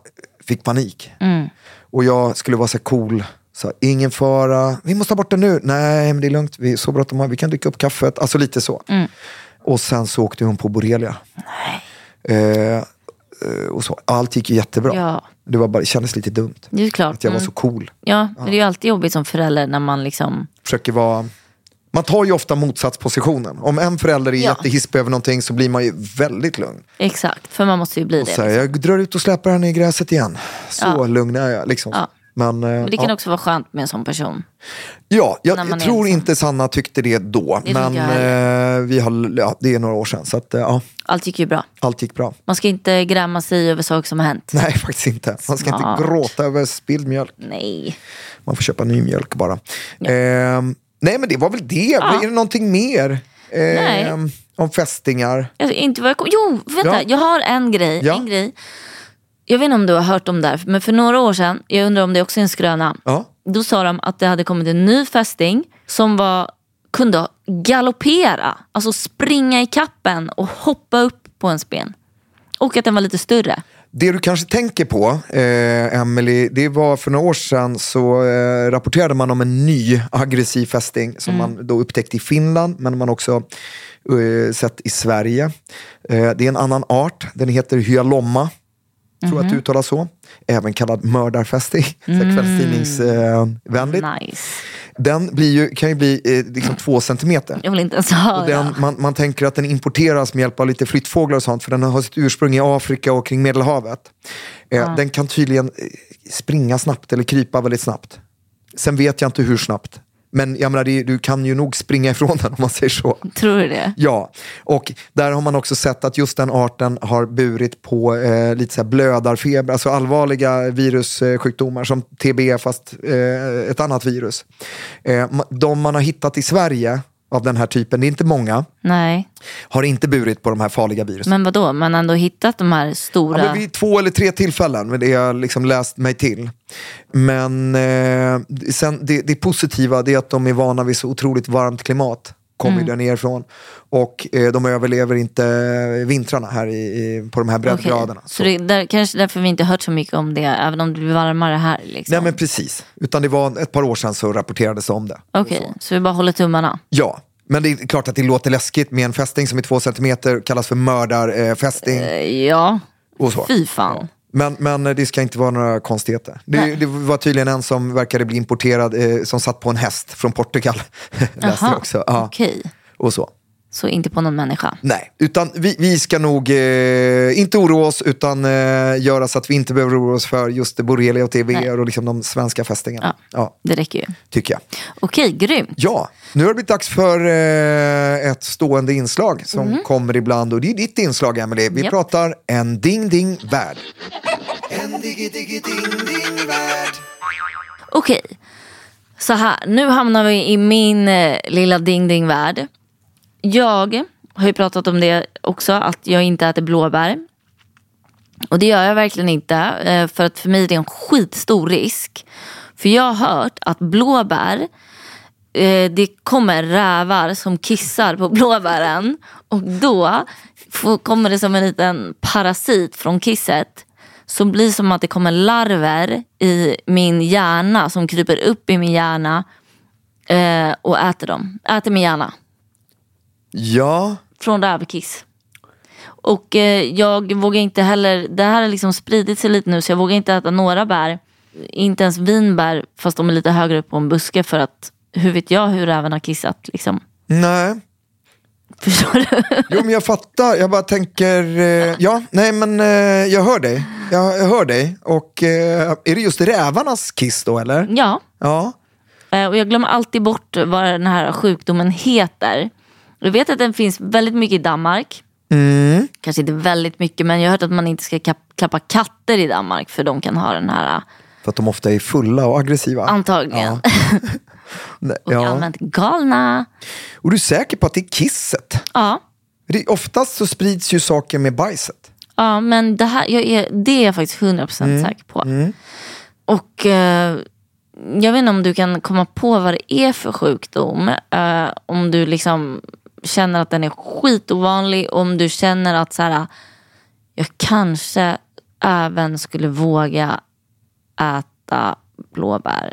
[SPEAKER 3] fick panik.
[SPEAKER 4] Mm.
[SPEAKER 3] Och jag skulle vara så här cool. Så ingen fara, vi måste ta bort den nu. Nej, men det är lugnt, vi, så bråttom har vi, vi kan dricka upp kaffet. Alltså lite så.
[SPEAKER 4] Mm.
[SPEAKER 3] Och sen så åkte hon på borrelia. Eh, eh, och så. Allt gick ju jättebra.
[SPEAKER 4] Ja.
[SPEAKER 3] Det, var bara, det kändes lite dumt.
[SPEAKER 4] Det är klart.
[SPEAKER 3] Att jag var
[SPEAKER 4] Mm.
[SPEAKER 3] så cool.
[SPEAKER 4] Ja, men det är ju alltid jobbigt som förälder när man liksom...
[SPEAKER 3] Försöker vara... Man tar ju ofta motsatspositionen. Om en förälder är
[SPEAKER 4] Ja.
[SPEAKER 3] jättehispig över någonting så blir man ju väldigt lugn.
[SPEAKER 4] Exakt, för man måste ju bli det. liksom.
[SPEAKER 3] Så här, jag drar ut och släpar henne i gräset igen. Så lugn är jag. Liksom.
[SPEAKER 4] Ja.
[SPEAKER 3] Men, eh,
[SPEAKER 4] Men det kan
[SPEAKER 3] ja.
[SPEAKER 4] också vara skönt med en sån person.
[SPEAKER 3] Ja, jag,
[SPEAKER 4] När man
[SPEAKER 3] jag
[SPEAKER 4] är
[SPEAKER 3] tror
[SPEAKER 4] ensam.
[SPEAKER 3] inte Sanna tyckte det då.
[SPEAKER 4] Det
[SPEAKER 3] men
[SPEAKER 4] tycker jag
[SPEAKER 3] eh, vi har, ja, det är några år sedan. Så att, eh, ja,
[SPEAKER 4] Allt gick ju bra.
[SPEAKER 3] allt gick bra. *laughs*
[SPEAKER 4] Man ska inte gräma sig över saker som har hänt.
[SPEAKER 3] Nej, faktiskt inte. Man ska
[SPEAKER 4] Smart.
[SPEAKER 3] inte gråta över spilld mjölk.
[SPEAKER 4] Nej.
[SPEAKER 3] Man får köpa ny mjölk bara. Ehm, nej, men det var väl det. Är det någonting mer? Ehm,
[SPEAKER 4] Nej.
[SPEAKER 3] Om fästingar?
[SPEAKER 4] Jag, inte vad jag kom... Jo,
[SPEAKER 3] Ja.
[SPEAKER 4] vänta. Jag har en grej.
[SPEAKER 3] Ja.
[SPEAKER 4] en grej. Jag vet inte om du har hört om det här, men för några år sedan, jag undrar om det också är en skröna.
[SPEAKER 3] Ja.
[SPEAKER 4] Då sa de att det hade kommit en ny fästing som var, kunde galoppera, alltså springa i kappen och hoppa upp på ens ben. Och att den var lite större.
[SPEAKER 3] Det du kanske tänker på, eh, Emily, det var för några år sedan så eh, rapporterade man om en ny aggressiv fästing som man då upptäckte i Finland, men man också eh, sett i Sverige. Eh, det är en annan art, den heter hyalomma. Tror att det uttalas så. Även kallad mördarfästing. Mm. Kvällstidningsvänligt.
[SPEAKER 4] Nice.
[SPEAKER 3] den blir ju, kan ju bli eh, liksom två centimeter.
[SPEAKER 4] Jag vill inte ens höra.
[SPEAKER 3] Och den, man, man tänker att den importeras med hjälp av lite flyttfåglar och sånt, för den har sitt ursprung i Afrika och kring Medelhavet. Eh, Den kan tydligen eh, springa snabbt eller krypa väldigt snabbt. Sen vet jag inte hur snabbt. Men jag menar, det, du kan ju nog springa *laughs* ifrån den om man säger så.
[SPEAKER 4] Tror du det?
[SPEAKER 3] Ja, och där har man också sett att just den arten har burit på eh, lite så här blödarfeber, alltså allvarliga virussjukdomar som TB fast eh, ett annat virus. Eh, ma- de man har hittat i Sverige av den här typen, det är inte många,
[SPEAKER 4] Nej.
[SPEAKER 3] har inte burit på de här farliga virusen.
[SPEAKER 4] Men vad då? man har ändå hittat de här stora...
[SPEAKER 3] Ja, men vid två eller tre tillfällen, men det har jag liksom läst mig till. Men eh, sen, det, det positiva det är att de är vana vid så otroligt varmt klimat. Kommer
[SPEAKER 4] Mm.
[SPEAKER 3] ju där nerifrån. Och eh, de överlever inte vintrarna här i, i, på de här
[SPEAKER 4] Okej.
[SPEAKER 3] breddgraderna.
[SPEAKER 4] Så det är där, kanske därför vi inte hört så mycket om det, även om det blir varmare här. Liksom.
[SPEAKER 3] Nej men precis, utan det var ett par år sedan så rapporterades det om det.
[SPEAKER 4] Okej, så. vi bara håller tummarna.
[SPEAKER 3] Ja, men det är klart att det låter läskigt med en fästing som är två centimeter, kallas för mördarfästing.
[SPEAKER 4] Eh, Ja,
[SPEAKER 3] och så.
[SPEAKER 4] fy fan.
[SPEAKER 3] Men, men det ska inte vara några konstigheter. Det,
[SPEAKER 4] Nej.
[SPEAKER 3] det var tydligen en som verkade bli importerad, eh, som satt på en häst från Portugal. *laughs* Läste jag också. Ja.
[SPEAKER 4] Okej,
[SPEAKER 3] Och så.
[SPEAKER 4] så inte på någon människa.
[SPEAKER 3] Nej, utan vi, vi ska nog eh, inte oroa oss, utan eh, göra så att vi inte behöver oroa oss för just borrelia och TB och liksom de svenska fästingarna. Ja.
[SPEAKER 4] Det räcker ju.
[SPEAKER 3] tycker jag.
[SPEAKER 4] Okej, grymt.
[SPEAKER 3] Ja, nu har det blivit dags för eh, ett stående inslag som kommer ibland. Och det är ditt inslag, Emily. Vi
[SPEAKER 4] Mhm. Japp.
[SPEAKER 3] pratar en ding-ding-värld.
[SPEAKER 4] Okej, så här. Nu hamnar vi i min eh, lilla ding-ding-värld. Jag har ju pratat om det också, att jag inte äter blåbär. Och det gör jag verkligen inte, eh, för att för mig är det en skitstor risk. För jag har hört att blåbär, eh, det kommer rävar som kissar på blåbären. Och då får, kommer det som en liten parasit från kisset. Som blir som att det kommer larver i min hjärna som kryper upp i min hjärna eh, och äter dem. Äter min hjärna
[SPEAKER 3] Ja,
[SPEAKER 4] från rävkiss. Och eh, jag vågar inte heller, det här har liksom spridit sig lite nu så jag vågar inte äta några bär. Inte ens vinbär fast de är lite högre upp på en buske för att hur vet jag hur räven har kissat liksom.
[SPEAKER 3] nej.
[SPEAKER 4] Förstår du?
[SPEAKER 3] Jo, men jag fattar. Jag bara tänker, eh, ja, nej men eh, jag hör dig. Jag, jag hör dig. Och eh, är det just rävarnas kiss då eller?
[SPEAKER 4] Ja.
[SPEAKER 3] Ja.
[SPEAKER 4] Eh, Och jag glömmer alltid bort vad den här sjukdomen heter. Jag vet att den finns väldigt mycket i Danmark.
[SPEAKER 3] Mm.
[SPEAKER 4] Kanske inte väldigt mycket men jag har hört att man inte ska kap- klappa katter i Danmark för de kan ha den här eh,
[SPEAKER 3] För att de ofta är fulla och aggressiva.
[SPEAKER 4] *laughs* antagligen.
[SPEAKER 3] Nej,
[SPEAKER 4] Och allmänt galna.
[SPEAKER 3] Och du är säker på att det är kisset?
[SPEAKER 4] Ja.
[SPEAKER 3] För det- Oftast så sprids ju saker med bajset.
[SPEAKER 4] Ja, men det, här, jag är, det är jag faktiskt 100%
[SPEAKER 3] Mm.
[SPEAKER 4] säker på. Och eh, jag vet inte om du kan komma på vad det är för sjukdom. Eh, om du liksom känner att den är skitovanlig. Om du känner att så här, jag kanske även skulle våga äta blåbär.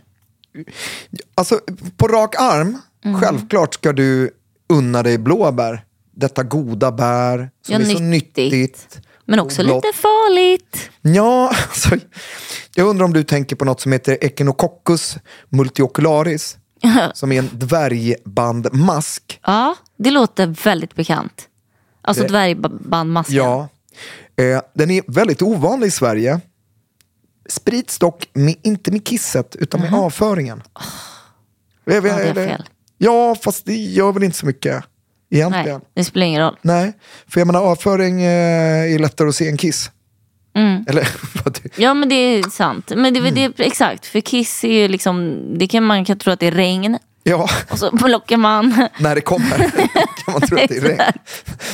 [SPEAKER 3] Alltså, på rak arm,
[SPEAKER 4] Mm.
[SPEAKER 3] självklart ska du unna dig blåbär. Detta goda bär som
[SPEAKER 4] Ja,
[SPEAKER 3] är så
[SPEAKER 4] nyttigt.
[SPEAKER 3] nyttigt.
[SPEAKER 4] Men också
[SPEAKER 3] Blått.
[SPEAKER 4] lite farligt.
[SPEAKER 3] Ja, *laughs* alltså, jag undrar om du tänker på något som heter Echinococcus
[SPEAKER 4] *laughs*
[SPEAKER 3] multiocularis. som är en dvärgbandmask.
[SPEAKER 4] Ja, det låter väldigt bekant. Alltså
[SPEAKER 3] Det-
[SPEAKER 4] dvärgbandmasken.
[SPEAKER 3] Ja. Eh, den är väldigt ovanlig i Sverige. Sprids dock med, inte med kisset, utan med avföringen. Jag vet-
[SPEAKER 4] Mhm. Ah. Ja, det är
[SPEAKER 3] eller-
[SPEAKER 4] fel.
[SPEAKER 3] Ja, fast det gör väl inte så mycket egentligen.
[SPEAKER 4] Nej, det spelar ingen roll.
[SPEAKER 3] Nej, för jag menar avföring eh, är lättare att se än kiss.
[SPEAKER 4] Mm.
[SPEAKER 3] Eller, *laughs* vad det-
[SPEAKER 4] Ja men det är sant. Men
[SPEAKER 3] Mm.
[SPEAKER 4] det, det, exakt, för kiss är ju liksom, det kan, man kan tro att det är regn
[SPEAKER 3] ja,
[SPEAKER 4] och så *laughs* plockar man.
[SPEAKER 3] när det kommer
[SPEAKER 4] *laughs*
[SPEAKER 3] kan man tro att det är regn.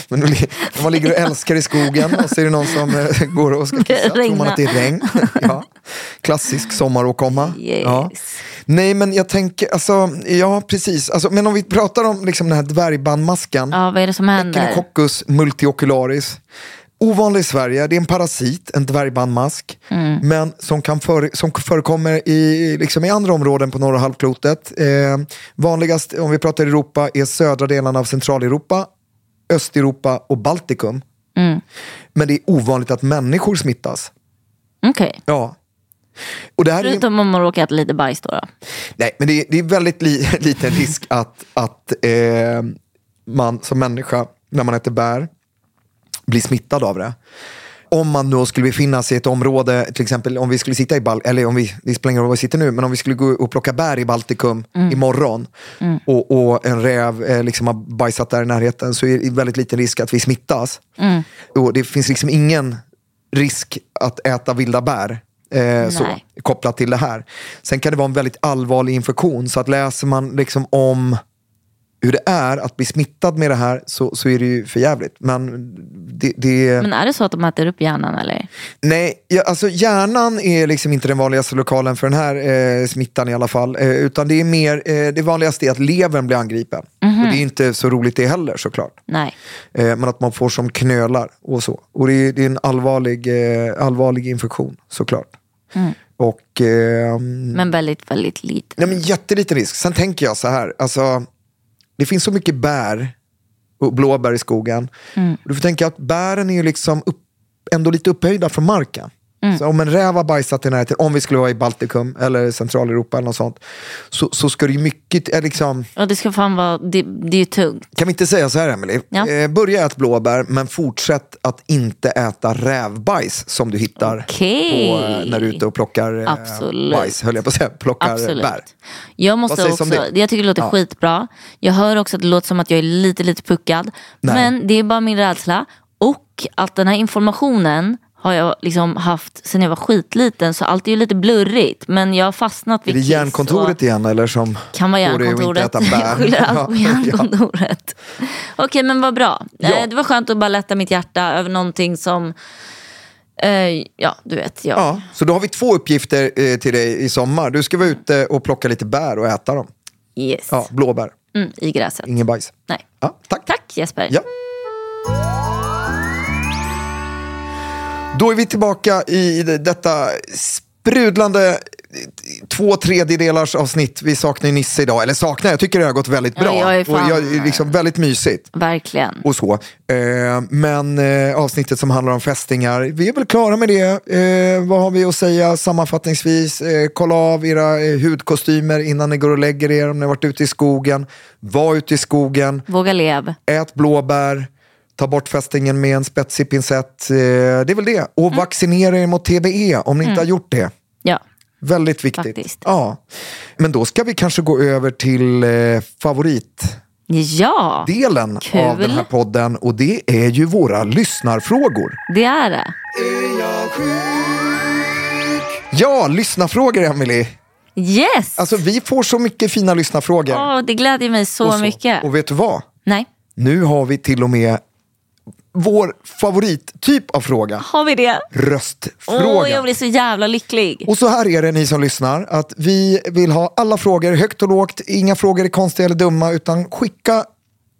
[SPEAKER 3] Men om li- om man ligger och älskar i skogen och så är det någon som eh, går och ska kissa, tror man
[SPEAKER 4] Regna.
[SPEAKER 3] att det är regn. Ja. Klassisk sommaråkomma.
[SPEAKER 4] Yes.
[SPEAKER 3] Ja. Nej men jag tänker, alltså, ja precis. Alltså, men om vi pratar om liksom, den här dvärgbandmasken.
[SPEAKER 4] Ja vad är det som händer?
[SPEAKER 3] Echinococcus multiocularis. Ovanlig i Sverige, det är en parasit, en dvärgbandmask. Men som, kan före, som förekommer i, liksom i andra områden på norra halvklotet. Eh, vanligast om vi pratar Europa är södra delarna av Centraleuropa, Östeuropa och Baltikum. Men det är ovanligt att människor smittas.
[SPEAKER 4] Okej,
[SPEAKER 3] Ja. Och det här är,
[SPEAKER 4] förutom om man råkar äta lite bajs då. då.
[SPEAKER 3] nej, men det är, det är väldigt li, *laughs* liten risk att, att eh, man som människa, när man äter bär, bli smittad av det. Om man då skulle befinna sig i ett område, till exempel om vi skulle sitta i Bal eller om vi, det spelar ingen roll var vi sitter nu, men om vi skulle gå och plocka bär i Baltikum imorgon och, och en räv eh, liksom har bajsat där i närheten så är det väldigt liten risk att vi smittas. Och det finns liksom ingen risk att äta vilda bär. Eh, så,
[SPEAKER 4] Nej.
[SPEAKER 3] kopplat till det här. Sen kan det vara en väldigt allvarlig infektion, så att läser man liksom om hur det är att bli smittad med det här så, så är det ju för jävligt. Men det, det,
[SPEAKER 4] Men är det så att de äter upp hjärnan eller?
[SPEAKER 3] nej, ja, alltså hjärnan är liksom inte den vanligaste lokalen för den här eh, smittan i alla fall. Eh, utan det är mer, eh, det vanligaste är att levern blir angripen. Och det är inte så roligt det heller såklart.
[SPEAKER 4] Nej.
[SPEAKER 3] Eh, men att man får som knölar och så. Och det är, det är en allvarlig, eh, allvarlig infektion såklart. Och ehm,
[SPEAKER 4] Men väldigt, väldigt lite.
[SPEAKER 3] Nej, men jätteliten risk. Sen tänker jag så här. Alltså, det finns så mycket bär och blåbär i skogen.
[SPEAKER 4] Mm.
[SPEAKER 3] Du får tänka att bären är ju liksom upp, ändå lite upphöjda från marken.
[SPEAKER 4] Mm.
[SPEAKER 3] Så om en räv har bajsat i närheten, om vi skulle vara i Baltikum eller Centraleuropa eller något sånt, så, så ska det ju mycket, eh, liksom,
[SPEAKER 4] Och det ska fan vara, det, det är ju tungt.
[SPEAKER 3] kan vi inte säga så här Emily?
[SPEAKER 4] Ja.
[SPEAKER 3] Eh, börja äta blåbär men fortsätt att inte äta rävbajs som du hittar
[SPEAKER 4] Okej.
[SPEAKER 3] på, eh, när du är ute och plockar eh,
[SPEAKER 4] Absolut.
[SPEAKER 3] bajs, höll jag på att säga, plockar
[SPEAKER 4] Absolut.
[SPEAKER 3] bär.
[SPEAKER 4] Jag, måste
[SPEAKER 3] sägs
[SPEAKER 4] också,
[SPEAKER 3] om det?
[SPEAKER 4] jag tycker det låter
[SPEAKER 3] Ja.
[SPEAKER 4] skitbra. Jag hör också att det låter som att jag är lite, lite puckad.
[SPEAKER 3] Nej.
[SPEAKER 4] Men det är bara min rädsla. Och att den här informationen har jag liksom haft sen jag var skitliten. Så allt är ju lite blurrigt. Men jag har fastnat
[SPEAKER 3] Är
[SPEAKER 4] vid
[SPEAKER 3] det
[SPEAKER 4] kiss
[SPEAKER 3] järnkontoret
[SPEAKER 4] och-
[SPEAKER 3] igen eller som
[SPEAKER 4] Kan vara
[SPEAKER 3] får dig att inte äta
[SPEAKER 4] järnkontoret. *laughs* Jag
[SPEAKER 3] bär?
[SPEAKER 4] skyller allt på
[SPEAKER 3] Ja,
[SPEAKER 4] järnkontoret. Okej men vad bra.
[SPEAKER 3] Ja.
[SPEAKER 4] Eh, Det var skönt att bara lätta mitt hjärta över någonting som, eh, ja du vet.
[SPEAKER 3] *laughs*
[SPEAKER 4] Jag,
[SPEAKER 3] Ja, så då har vi två uppgifter eh, till dig i sommar. Du ska vara
[SPEAKER 4] Mm.
[SPEAKER 3] ute och plocka lite bär och äta dem.
[SPEAKER 4] Yes.
[SPEAKER 3] Ja, blåbär,
[SPEAKER 4] Mm, I gräset.
[SPEAKER 3] ingen bajs.
[SPEAKER 4] Nej.
[SPEAKER 3] Ja, tack.
[SPEAKER 4] Tack Jesper.
[SPEAKER 3] Ja. Då är vi tillbaka i det- detta sprudlande två tredjedelars avsnitt. Vi saknar ju Nisse idag. Eller saknar, jag tycker det har gått väldigt bra.
[SPEAKER 4] Ja, jag är
[SPEAKER 3] och
[SPEAKER 4] fan-
[SPEAKER 3] jag, liksom, väldigt mysigt.
[SPEAKER 4] Verkligen.
[SPEAKER 3] Och så. Eh, men eh, avsnittet som handlar om fästingar, vi är väl klara med det. Eh, vad har vi att säga sammanfattningsvis? Eh, kolla av era eh, hudkostymer innan ni går och lägger er om ni har varit ute i skogen. Var ute i skogen.
[SPEAKER 4] Våga lev.
[SPEAKER 3] Ät blåbär, ta bort fästingen med en spetsig pincett. Eh, Det är väl det. Och vaccinera er mot TBE om ni inte har gjort det.
[SPEAKER 4] Ja.
[SPEAKER 3] Väldigt viktigt.
[SPEAKER 4] Faktiskt.
[SPEAKER 3] Ja. Men då ska vi kanske gå över till eh, favoritdelen
[SPEAKER 4] Ja,
[SPEAKER 3] av
[SPEAKER 4] Kul.
[SPEAKER 3] den här podden och det är ju våra lyssnarfrågor.
[SPEAKER 4] det är det.
[SPEAKER 3] Ja, lyssnarfrågor Emily.
[SPEAKER 4] Yes!
[SPEAKER 3] Alltså vi får så mycket fina lyssnarfrågor.
[SPEAKER 4] Åh, det glädjer mig så,
[SPEAKER 3] och så.
[SPEAKER 4] mycket.
[SPEAKER 3] Och vet du vad?
[SPEAKER 4] Nej,
[SPEAKER 3] Nu har vi till och med vår favorittyp av fråga.
[SPEAKER 4] har vi det?
[SPEAKER 3] Röstfråga.
[SPEAKER 4] Åh, jag blir så jävla lycklig.
[SPEAKER 3] Och så här är det ni som lyssnar, att vi vill ha alla frågor högt och lågt. Inga frågor är konstiga eller dumma, utan skicka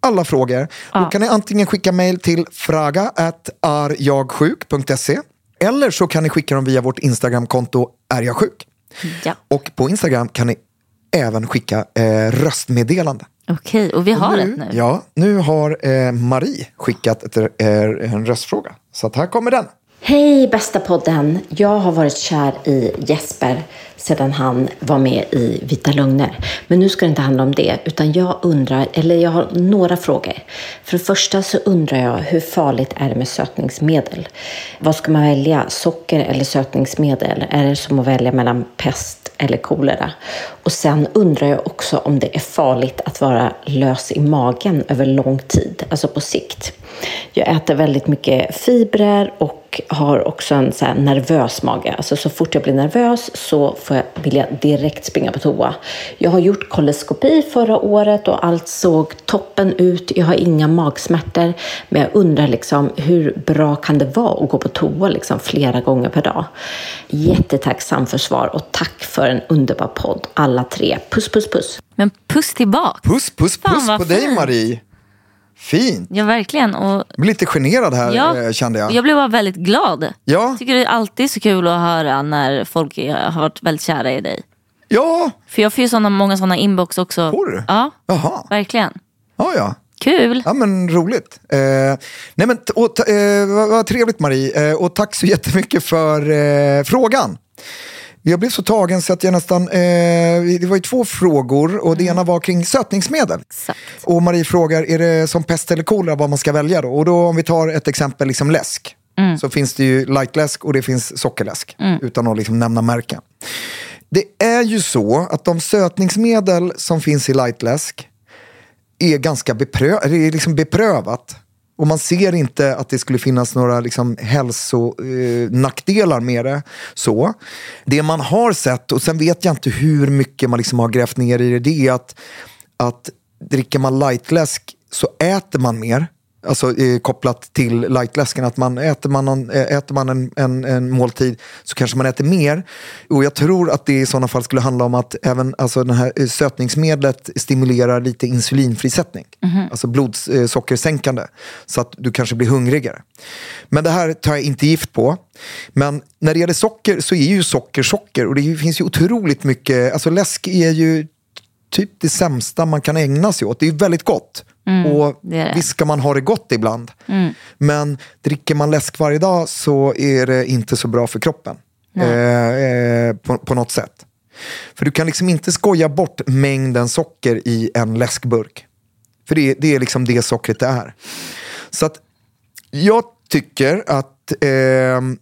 [SPEAKER 3] alla frågor. Då kan ni antingen skicka mejl till fraga arjagsjuk.se eller så kan ni skicka dem via vårt Instagramkonto ärjagsjuk.
[SPEAKER 4] Ja.
[SPEAKER 3] Och på Instagram kan ni även skicka eh, röstmeddelande.
[SPEAKER 4] Okej, och vi har ett nu.
[SPEAKER 3] Ja, nu har eh, Marie skickat ett, eh, en röstfråga. Så att här kommer den.
[SPEAKER 6] Hej bästa podden! Jag har varit kär i Jesper sedan han var med i Vita Lögner. Men nu ska det inte handla om det, utan jag undrar, eller jag har några frågor. För det första så undrar jag, hur farligt är det med sötningsmedel? Vad ska man välja, socker eller sötningsmedel? Är det som att välja mellan pest eller kolera? Och sen undrar jag också om det är farligt att vara lös i magen över lång tid, alltså på sikt. Jag äter väldigt mycket fibrer och har också en så här nervös mage. Alltså så fort jag blir nervös så får jag, vill jag direkt springa på toa. Jag har gjort koloskopi förra året och allt såg toppen ut. Jag har inga magsmärtor. Men jag undrar liksom, hur bra kan det vara att gå på toa liksom flera gånger per dag? Jättetacksam för svar och tack för en underbar podd alla tre. Puss, puss, puss!
[SPEAKER 4] Men puss tillbaka.
[SPEAKER 3] Puss, puss,
[SPEAKER 4] Fan,
[SPEAKER 3] puss
[SPEAKER 4] vad
[SPEAKER 3] på dig
[SPEAKER 4] fint.
[SPEAKER 3] Marie. Fint.
[SPEAKER 4] Ja, verkligen. Och
[SPEAKER 3] Jag blir lite generad här eh,
[SPEAKER 4] jag,
[SPEAKER 3] kände jag.
[SPEAKER 4] jag blev bara väldigt glad.
[SPEAKER 3] Ja,
[SPEAKER 4] Jag tycker det är alltid så kul att höra när folk är- har varit väldigt kära i dig.
[SPEAKER 3] ja,
[SPEAKER 4] För jag får ju såna, många sådana inbox också.
[SPEAKER 3] Får du?
[SPEAKER 4] Ja,
[SPEAKER 3] jaha,
[SPEAKER 4] verkligen.
[SPEAKER 3] ja, ja.
[SPEAKER 4] Kul.
[SPEAKER 3] Ja men roligt. Eh, nej men t- och, ta- eh, vad, vad trevligt Marie eh, och tack så jättemycket för eh, frågan. Jag blev så tagen så att jag nästan, eh, det var ju två frågor och det ena var kring sötningsmedel.
[SPEAKER 4] Mm. Exakt.
[SPEAKER 3] Och Marie frågar, är det som pest eller kolera vad man ska välja då? Och då om vi tar ett exempel, liksom läsk.
[SPEAKER 4] Mm.
[SPEAKER 3] Så finns det ju lightläsk och det finns sockerläsk. Utan att liksom nämna märken. Det är ju så att de sötningsmedel som finns i lightläsk är ganska beprö det är liksom beprövat. Och man ser inte att det skulle finnas några liksom hälsonackdelar eh, nackdelar med det. Så. Det man har sett, och sen vet jag inte hur mycket man liksom har grävt ner i det, det är att, att dricker man lightläsk så äter man mer. Alltså eh, kopplat till lightläsken, att man äter man, någon, eh, äter man en, en, en måltid så kanske man äter mer. Och jag tror att det i sådana fall skulle handla om att även alltså, den här eh, sötningsmedlet stimulerar lite insulinfrisättning.
[SPEAKER 4] Mhm.
[SPEAKER 3] Alltså blodsockersänkande. Så att du kanske blir hungrigare. Men det här tar jag inte gift på. Men när det gäller socker så är ju socker socker. Och det är ju- finns ju otroligt mycket, alltså läsk är ju typ det sämsta man kan ägna sig åt. Det är ju väldigt gott. och
[SPEAKER 4] Mm, det är det.
[SPEAKER 3] visst ska man ha det gott ibland.
[SPEAKER 4] Mm.
[SPEAKER 3] Men dricker man läsk varje dag så är det inte så bra för kroppen. Eh, eh, på, på något sätt. För du kan liksom inte skoja bort mängden socker i en läskburk. För det, det är liksom det sockret det är. Så att jag tycker att ehm,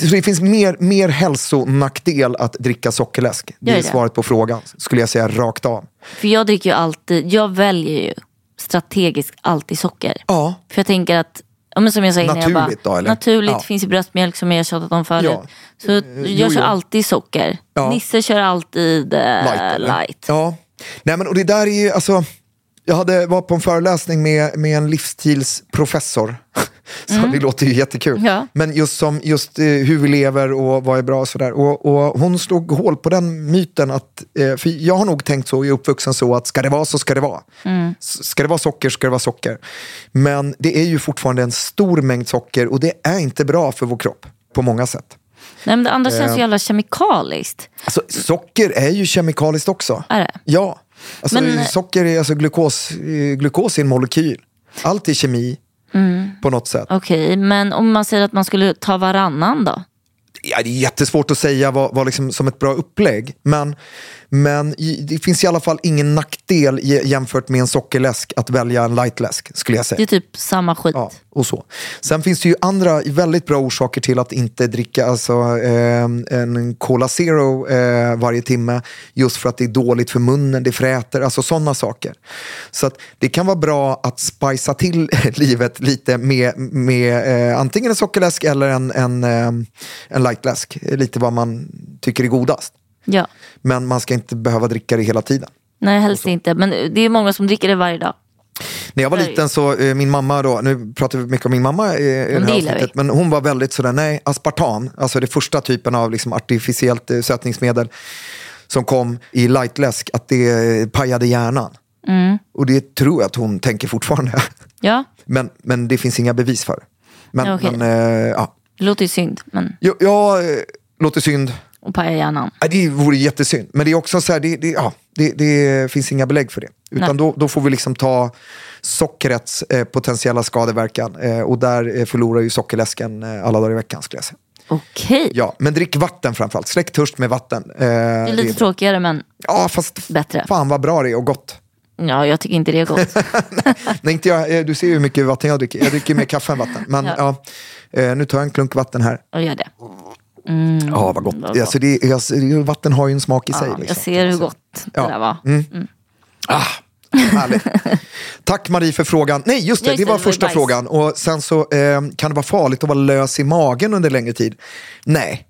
[SPEAKER 3] så det finns mer, mer hälsonackdel att dricka sockerläsk. Det
[SPEAKER 4] Gör
[SPEAKER 3] är
[SPEAKER 4] det.
[SPEAKER 3] svaret på frågan, skulle jag säga rakt av.
[SPEAKER 4] För jag dricker ju alltid, jag väljer ju strategiskt alltid socker.
[SPEAKER 3] Ja,
[SPEAKER 4] För jag tänker att, ja, men som jag sa innan, jag
[SPEAKER 3] Naturligt
[SPEAKER 4] bara,
[SPEAKER 3] då, eller?
[SPEAKER 4] naturligt
[SPEAKER 3] Ja.
[SPEAKER 4] finns i bröstmjölk som jag har tjatat om förut.
[SPEAKER 3] Ja. Eh,
[SPEAKER 4] Så
[SPEAKER 3] jo,
[SPEAKER 4] jag kör
[SPEAKER 3] jo.
[SPEAKER 4] alltid socker.
[SPEAKER 3] Ja.
[SPEAKER 4] Nisse kör alltid eh,
[SPEAKER 3] light.
[SPEAKER 4] light.
[SPEAKER 3] eller? Ja. Nej, men, och det där är ju, alltså, jag hade, var på en föreläsning med, med en livsstilsprofessor. *laughs* Så Det låter ju jättekul.
[SPEAKER 4] Mm. Ja.
[SPEAKER 3] Men just, som, just eh, hur vi lever och vad är bra och sådär. Och, och hon slog hål på den myten. att eh, för Jag har nog tänkt så, jag är uppvuxen så att ska det vara så ska det vara.
[SPEAKER 4] Mm.
[SPEAKER 3] S- Ska det vara socker ska det vara socker. Men det är ju fortfarande en stor mängd socker och det är inte bra för vår kropp på många sätt.
[SPEAKER 4] Nej, men det andra känns
[SPEAKER 3] Eh.
[SPEAKER 4] så jävla kemikaliskt.
[SPEAKER 3] Alltså, socker är ju kemikaliskt också.
[SPEAKER 4] Är det?
[SPEAKER 3] Ja. Alltså,
[SPEAKER 4] Men-
[SPEAKER 3] Socker är alltså glukos, eh, glukos i en molekyl. Allt är kemi
[SPEAKER 4] Mm.
[SPEAKER 3] på något sätt.
[SPEAKER 4] Okej, men om man säger att man skulle ta varannan då?
[SPEAKER 3] Ja, det är jättesvårt att säga vad, vad liksom, som ett bra upplägg. Men, men i- det finns i alla fall ingen nackdel je- jämfört med en sockerläsk att välja en lightläsk. skulle jag säga.
[SPEAKER 4] Det är typ samma skit.
[SPEAKER 3] Ja, och så. Sen finns det ju andra väldigt bra orsaker till att inte dricka alltså, eh, en Cola Zero eh, varje timme. Just för att det är dåligt för munnen, det fräter, alltså sådana saker. Så att det kan vara bra att spicea till *laughs* livet lite med, med eh, antingen en sockerläsk eller en, en, eh, en lightläsk. Lite vad man tycker är godast.
[SPEAKER 4] Ja.
[SPEAKER 3] Men man ska inte behöva dricka det hela tiden.
[SPEAKER 4] Nej, helst inte. Men det är många som dricker det varje dag.
[SPEAKER 3] När jag var
[SPEAKER 4] Nej.
[SPEAKER 3] liten så, eh, min mamma då, nu pratar vi mycket om min mamma eh, i det
[SPEAKER 4] det
[SPEAKER 3] här
[SPEAKER 4] gillar
[SPEAKER 3] avsnittet, men hon var väldigt sådär, nej, aspartam, alltså det första typen av liksom artificiellt eh, sötningsmedel som kom i lightläsk, att det eh, pajade hjärnan.
[SPEAKER 4] Mm.
[SPEAKER 3] Och det tror jag att hon tänker fortfarande. *laughs*
[SPEAKER 4] Ja,
[SPEAKER 3] Men, men det finns inga bevis för. Men,
[SPEAKER 4] Ja, okej.
[SPEAKER 3] men eh, ja.
[SPEAKER 4] det låter ju synd. Men
[SPEAKER 3] Jag, jag eh, låter synd.
[SPEAKER 4] och pajar hjärnan.
[SPEAKER 3] Ja, Äh, Det vore jättesynd. Men det är också så här, det, det, ja, det, det finns inga belägg för det.
[SPEAKER 4] Nej.
[SPEAKER 3] Utan då, då får vi liksom ta sockrets eh, potentiella skadeverkan. Eh, och där eh, förlorar ju sockerläsken eh, alla dagar i veckan skulle jag säga.
[SPEAKER 4] Okej,
[SPEAKER 3] Ja, men drick vatten framförallt. Släck törst med vatten. Eh, det
[SPEAKER 4] det är lite
[SPEAKER 3] bra.
[SPEAKER 4] tråkigare men
[SPEAKER 3] Ja, fast
[SPEAKER 4] bättre.
[SPEAKER 3] fan vad bra det är och gott.
[SPEAKER 4] Ja, jag tycker inte det är gott.
[SPEAKER 3] Nej, inte jag, eh, du ser ju hur mycket vatten jag dricker. Jag dricker ju mer kaffe än vatten.
[SPEAKER 4] *laughs*
[SPEAKER 3] Men ja. eh, nu tar jag en klunk vatten här.
[SPEAKER 4] Och gör
[SPEAKER 3] *laughs*
[SPEAKER 4] det. Mm.
[SPEAKER 3] Ja, vad
[SPEAKER 4] vad
[SPEAKER 3] gott.
[SPEAKER 4] gott.
[SPEAKER 3] Alltså, det, alltså, vatten har ju en smak i sig.
[SPEAKER 4] Ja,
[SPEAKER 3] Liksom.
[SPEAKER 4] jag ser hur gott det
[SPEAKER 3] Ja.
[SPEAKER 4] där var.
[SPEAKER 3] Mm. Härligt. Tack Marie för frågan. Nej, just det,
[SPEAKER 4] Just
[SPEAKER 3] det
[SPEAKER 4] det,
[SPEAKER 3] var
[SPEAKER 4] det var
[SPEAKER 3] första
[SPEAKER 4] bajs.
[SPEAKER 3] frågan. Och sen så, eh, kan det vara farligt att vara lös i magen under längre tid? Nej,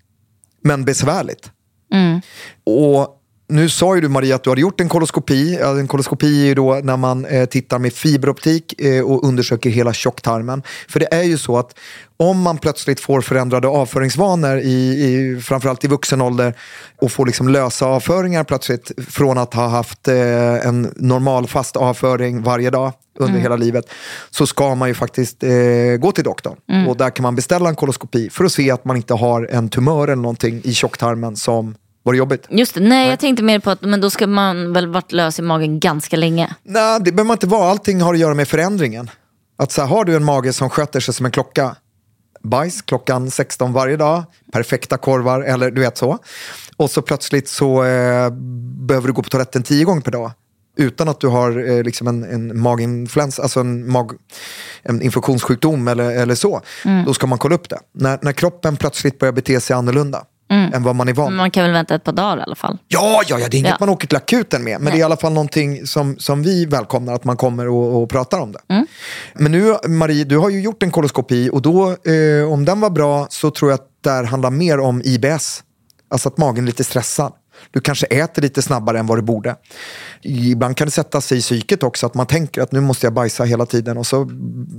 [SPEAKER 3] men besvärligt.
[SPEAKER 4] Mm.
[SPEAKER 3] Och nu sa ju du Maria att du hade gjort en koloskopi. Ja, En koloskopi är ju då när man eh, tittar med fiberoptik eh, och undersöker hela tjocktarmen. För det är ju så att om man plötsligt får förändrade avföringsvanor, i, i, framförallt i vuxen ålder, och får liksom lösa avföringar plötsligt från att ha haft eh, en normal fast avföring varje dag under hela livet, så ska man ju faktiskt eh, gå till doktorn. Och där kan man beställa en koloskopi för att se att man inte har en tumör eller någonting i tjocktarmen som var det jobbigt?
[SPEAKER 4] Just det, nej, jag tänkte mer på att men då ska man väl varit lös i magen ganska länge.
[SPEAKER 3] Nej, det behöver man inte vara. Allting har att göra med förändringen. Att så här, har du en mage som sköter sig som en klocka, bajs klockan 16 varje dag, perfekta korvar eller du vet så. Och så plötsligt så eh, behöver du gå på toaletten tio gånger per dag utan att du har eh, liksom en, en maginfluensa, alltså en, mag, en infektionssjukdom eller, eller så. Då ska man kolla upp det. När, när kroppen plötsligt börjar bete sig annorlunda än vad man är van
[SPEAKER 4] Men man kan väl vänta ett par dagar i alla fall.
[SPEAKER 3] Ja, ja, ja, det är inget
[SPEAKER 4] Ja.
[SPEAKER 3] man åker till akuten med. Men det är i alla fall någonting som, som vi välkomnar att man kommer och, och pratar om det. Men nu Marie, du har ju gjort en koloskopi och då, eh, om den var bra så tror jag att det här handlar mer om IBS. Alltså att magen är lite stressad. Du kanske äter lite snabbare än vad du borde. Ibland kan det sätta sig i psyket också att man tänker att nu måste jag bajsa hela tiden och så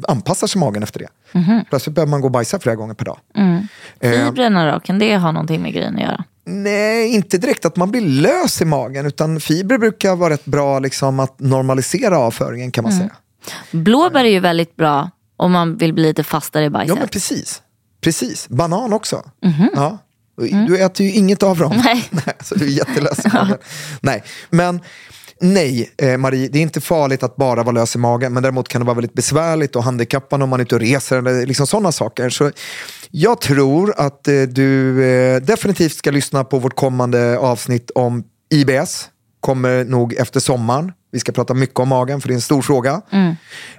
[SPEAKER 3] anpassar sig magen efter det. Plötsligt behöver man gå och bajsa flera gånger per dag. Eh,
[SPEAKER 4] Fibrerna då, kan det ha någonting med grejen att göra?
[SPEAKER 3] Nej, inte direkt att man blir lös i magen. Utan fibrer brukar vara rätt bra liksom, att normalisera avföringen kan man säga.
[SPEAKER 4] Blåbär är ju väldigt bra om man vill bli lite fastare i
[SPEAKER 3] Ja,
[SPEAKER 4] bajset.
[SPEAKER 3] men precis. Precis. Banan också. Ja. Du äter ju inget av dem. *laughs*
[SPEAKER 4] Nej.
[SPEAKER 3] så du är jättelös i magen. Nej, men nej, eh, Marie, det är inte farligt att bara vara lös i magen. Men däremot kan det vara väldigt besvärligt och handikappande om man är ute och reser eller liksom sådana saker. Så jag tror att eh, du eh, definitivt ska lyssna på vårt kommande avsnitt om IBS. Kommer nog efter sommaren. Vi ska prata mycket om magen för det är en stor fråga.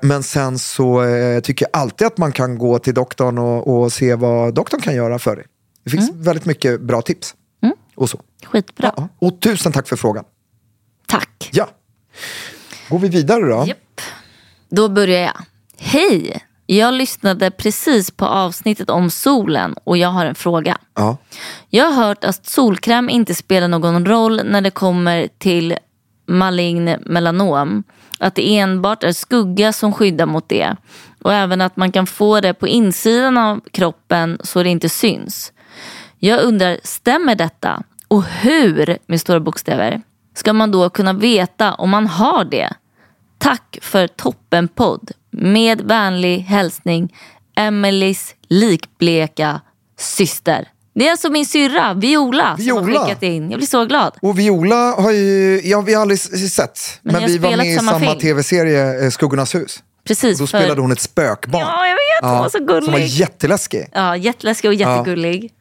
[SPEAKER 3] Men sen så eh, tycker jag alltid att man kan gå till doktorn och, och se vad doktorn kan göra för dig. Det finns väldigt mycket bra tips.
[SPEAKER 4] Mm.
[SPEAKER 3] Och så.
[SPEAKER 4] Skitbra.
[SPEAKER 3] Ja. Och tusen tack för frågan.
[SPEAKER 4] Tack.
[SPEAKER 3] Ja. Går vi vidare då?
[SPEAKER 4] Japp. Då börjar jag. Hej! Jag lyssnade precis på avsnittet om solen och jag har en fråga.
[SPEAKER 3] Ja.
[SPEAKER 4] Jag har hört att solkräm inte spelar någon roll när det kommer till malign melanom. Att det enbart är skugga som skyddar mot det. Och även att man kan få det på insidan av kroppen så det inte syns. Jag undrar, stämmer detta? Och hur, med stora bokstäver, ska man då kunna veta om man har det? Tack för toppenpodd. Med vänlig hälsning Emelies likbleka syster. Det är alltså min syrra, Viola, som har
[SPEAKER 3] Viola?
[SPEAKER 4] skickat in. Jag blir så glad.
[SPEAKER 3] Och Viola har ju, ja, vi har aldrig s- sett,
[SPEAKER 4] Men
[SPEAKER 3] men,
[SPEAKER 4] ni har
[SPEAKER 3] vi var
[SPEAKER 4] spelat
[SPEAKER 3] med i
[SPEAKER 4] samma
[SPEAKER 3] samma,
[SPEAKER 4] film.
[SPEAKER 3] tv-serie eh, Skuggornas hus.
[SPEAKER 4] Precis,
[SPEAKER 3] Och då
[SPEAKER 4] för-
[SPEAKER 3] spelade hon ett spökbarn.
[SPEAKER 4] Ja, jag vet. Hon var så gullig.
[SPEAKER 3] Som var jätteläskig.
[SPEAKER 4] Ja, jätteläskig och jättegullig.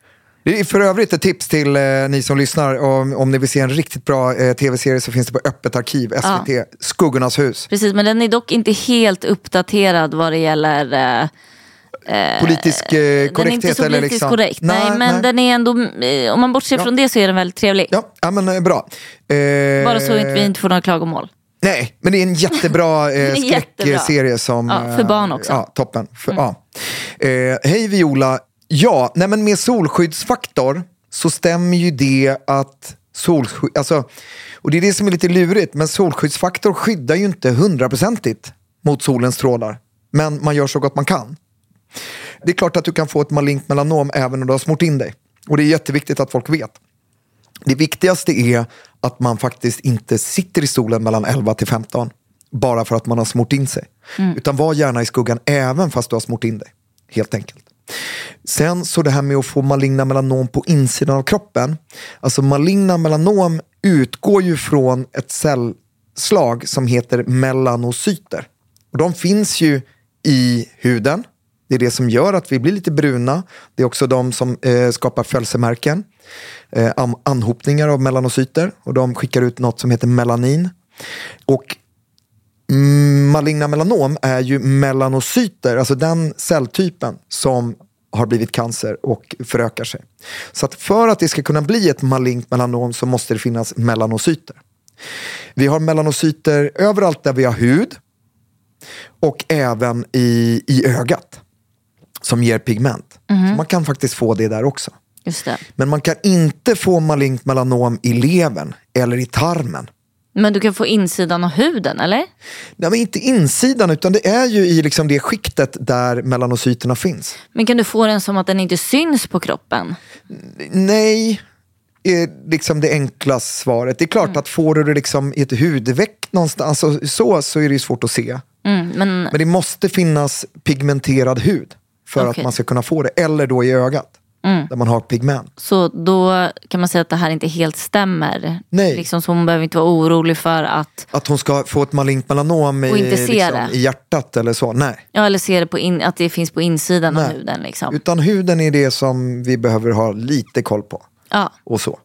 [SPEAKER 3] Det är för övrigt ett tips till eh, ni som lyssnar. Om, om ni vill se en riktigt bra eh, tv-serie så finns det på Öppet arkiv, SVT, Skuggornas hus.
[SPEAKER 4] Precis, men den är dock inte helt uppdaterad vad det gäller... Eh,
[SPEAKER 3] Politisk eh, korrekthet
[SPEAKER 4] den är inte så
[SPEAKER 3] eller
[SPEAKER 4] politiskt
[SPEAKER 3] liksom...
[SPEAKER 4] korrekt. Nej, men den är ändå... eh, Om man bortser
[SPEAKER 3] Ja.
[SPEAKER 4] från det så är den väldigt trevlig.
[SPEAKER 3] Ja, ja men eh, bra. Eh,
[SPEAKER 4] Bara så att vi inte får några klagomål.
[SPEAKER 3] Nej, men det är en
[SPEAKER 4] *laughs*
[SPEAKER 3] jättebra
[SPEAKER 4] är
[SPEAKER 3] eh,
[SPEAKER 4] jättebra.
[SPEAKER 3] skräckserie som...
[SPEAKER 4] Ja, för
[SPEAKER 3] eh,
[SPEAKER 4] barn också. Mm.
[SPEAKER 3] Ja, toppen. För, ja. Eh, hej Viola. Ja, nej, men med solskyddsfaktor så stämmer ju det att solskydd... Alltså, och det är det som är lite lurigt, men solskyddsfaktor skyddar ju inte hundraprocentigt mot solens strålar. Men man gör så gott man kan. Det är klart att du kan få ett malignt melanom även om du har smort in dig. Och det är jätteviktigt att folk vet. Det viktigaste är att man faktiskt inte sitter i solen mellan 11 till 15 bara för att man har smort in sig. Utan var gärna i skuggan även fast du har smort in dig. Helt enkelt. Sen så det här med att få maligna melanom på insidan av kroppen. Alltså maligna melanom utgår ju från ett cellslag som heter melanocyter. Och de finns ju i huden. Det är det som gör att vi blir lite bruna. Det är också de som eh, skapar födelsemärken eh, am- anhopningar av melanocyter och de skickar ut något som heter melanin. Och mm, maligna melanom är ju melanocyter, alltså den celltypen som har blivit cancer och förökar sig. Så att för att det ska kunna bli ett malignt melanom så måste det finnas melanocyter. Vi har melanocyter överallt där vi har hud och även i, i ögat som ger pigment. Så man kan faktiskt få det där också.
[SPEAKER 4] Just det.
[SPEAKER 3] Men man kan inte få malignt melanom i levern eller i tarmen.
[SPEAKER 4] Men du kan få insidan av huden, eller?
[SPEAKER 3] Nej, men inte insidan, utan det är ju i liksom det skiktet där melanocyterna finns.
[SPEAKER 4] Men kan du få den som att den inte syns på kroppen?
[SPEAKER 3] Nej, är liksom det enkla svaret. Det är klart
[SPEAKER 4] Mm.
[SPEAKER 3] att får du det liksom i ett hudveck någonstans alltså, så, så är det ju svårt att se.
[SPEAKER 4] Mm, men,
[SPEAKER 3] Men det måste finnas pigmenterad hud för
[SPEAKER 4] Okej. Mm.
[SPEAKER 3] att man ska kunna få det. Eller då i ögat, där man har pigment.
[SPEAKER 4] Så då kan man säga att det här inte helt stämmer.
[SPEAKER 3] Nej.
[SPEAKER 4] Liksom, så hon behöver inte vara orolig för att,
[SPEAKER 3] Att hon ska få ett malignt melanom i,
[SPEAKER 4] Och inte se
[SPEAKER 3] liksom,
[SPEAKER 4] det.
[SPEAKER 3] i hjärtat eller så. Nej.
[SPEAKER 4] ja, eller se det på in, att det finns på insidan av
[SPEAKER 3] Nej.
[SPEAKER 4] huden. Liksom.
[SPEAKER 3] Utan huden är det som vi behöver ha lite koll på.
[SPEAKER 4] Ja,
[SPEAKER 3] Och så.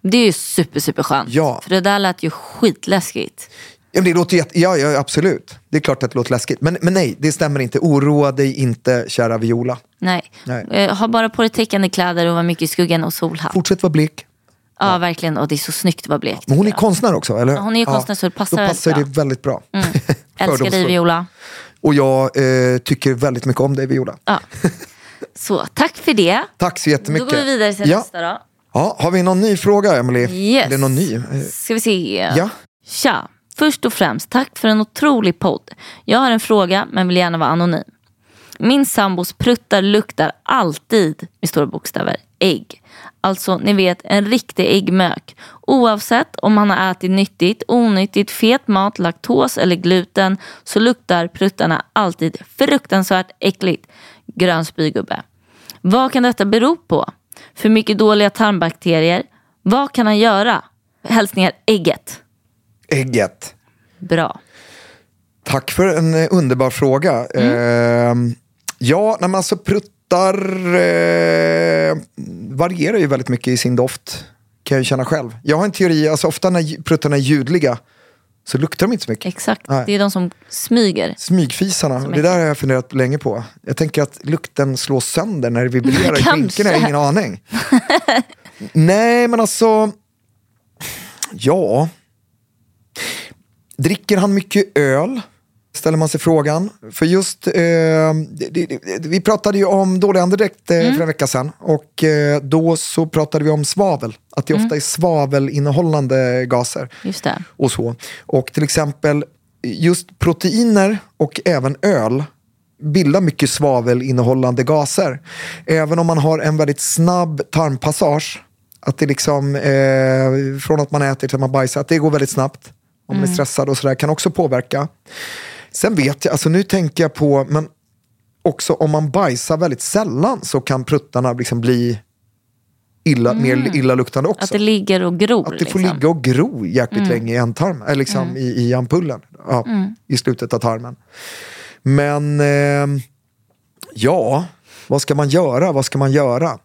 [SPEAKER 4] det är ju super, super skönt.
[SPEAKER 3] Ja.
[SPEAKER 4] För det där lät ju skitläskigt.
[SPEAKER 3] Ja, men det låter jätte... ja, ja, absolut. Det är klart att det låter läskigt. Men, men nej, det stämmer inte. Oroa dig inte, kära Viola.
[SPEAKER 4] Nej.
[SPEAKER 3] Nej.
[SPEAKER 4] Eh, ha bara på dig täckande kläder och var mycket i skuggan och solhatt.
[SPEAKER 3] Fortsätt vara blek.
[SPEAKER 4] Ja, verkligen. Och det är så snyggt att vara blek.
[SPEAKER 3] Men hon är
[SPEAKER 4] tycker jag.
[SPEAKER 3] konstnär också, eller hur?
[SPEAKER 4] hon är ju konstnär, så det passar
[SPEAKER 3] Då passar
[SPEAKER 4] väldigt bra. Mm.
[SPEAKER 3] det väldigt bra. *laughs*
[SPEAKER 4] Älskar dig
[SPEAKER 3] Fördomsfullt.
[SPEAKER 4] Viola.
[SPEAKER 3] Och jag eh, tycker väldigt mycket om dig, Viola.
[SPEAKER 4] Ja. Så, tack för det.
[SPEAKER 3] Tack så jättemycket.
[SPEAKER 4] Då går vi vidare till
[SPEAKER 3] ja.
[SPEAKER 4] nästa då.
[SPEAKER 3] Ja, har vi någon ny fråga, Emily?
[SPEAKER 4] Yes.
[SPEAKER 3] Eller någon ny? Eh,
[SPEAKER 4] Ska vi se.
[SPEAKER 3] Ja.
[SPEAKER 4] Tja! Först och främst, tack för en otrolig podd. Jag har en fråga, men vill gärna vara anonym. Min sambos pruttar luktar alltid, med stora bokstäver, ägg. Alltså, ni vet, en riktig äggmök. Oavsett om han har ätit nyttigt, onyttigt, fet mat, laktos eller gluten så luktar pruttarna alltid fruktansvärt äckligt. Grön spygubbe. Vad kan detta bero på? För mycket dåliga tarmbakterier? Vad kan han göra? Hälsningar ägget.
[SPEAKER 3] Ägget.
[SPEAKER 4] Bra.
[SPEAKER 3] Tack för en eh, underbar
[SPEAKER 4] Mm.
[SPEAKER 3] fråga. Eh, ja, när man alltså pruttar eh, varierar ju väldigt mycket i sin doft. Kan jag ju känna själv. Jag har en teori, alltså ofta när lj- pruttarna är ljudliga så luktar de inte så mycket.
[SPEAKER 4] Exakt.
[SPEAKER 3] Nej.
[SPEAKER 4] Det är de som smyger.
[SPEAKER 3] Smygfisarna, det där har jag funderat länge på. Jag tänker att lukten slås sönder när det vibrerar i
[SPEAKER 4] Kanske.
[SPEAKER 3] skinkorna, jag har ingen aning. Nej, men alltså... Ja. Dricker han mycket öl? Ställer man sig frågan. För just, eh, det, det, det, vi pratade ju om dålig andedräkt eh, för en vecka sedan. Och eh, då så pratade vi om svavel. Att det ofta är svavelinnehållande gaser
[SPEAKER 4] Just det.
[SPEAKER 3] och så. Och till exempel just proteiner och även öl bildar mycket svavelinnehållande gaser. Även om man har en väldigt snabb tarmpassage, att det liksom, eh, från att man äter till att man bajsar, att det går väldigt snabbt om
[SPEAKER 4] Mm.
[SPEAKER 3] man är stressad och sådär, kan också påverka. Sen vet jag, alltså nu tänker jag på, men också om man bajsar väldigt sällan så kan pruttarna liksom bli illa, mer illaluktande också.
[SPEAKER 4] Mm. Att det ligger och gror.
[SPEAKER 3] Att det får
[SPEAKER 4] liksom.
[SPEAKER 3] ligga och gro jäkligt
[SPEAKER 4] Mm.
[SPEAKER 3] länge i ändtarmen, eller liksom
[SPEAKER 4] Mm.
[SPEAKER 3] i, i ampullen. Ja,
[SPEAKER 4] Mm.
[SPEAKER 3] I slutet av tarmen. Men eh, ja, vad ska man göra? Vad ska man göra?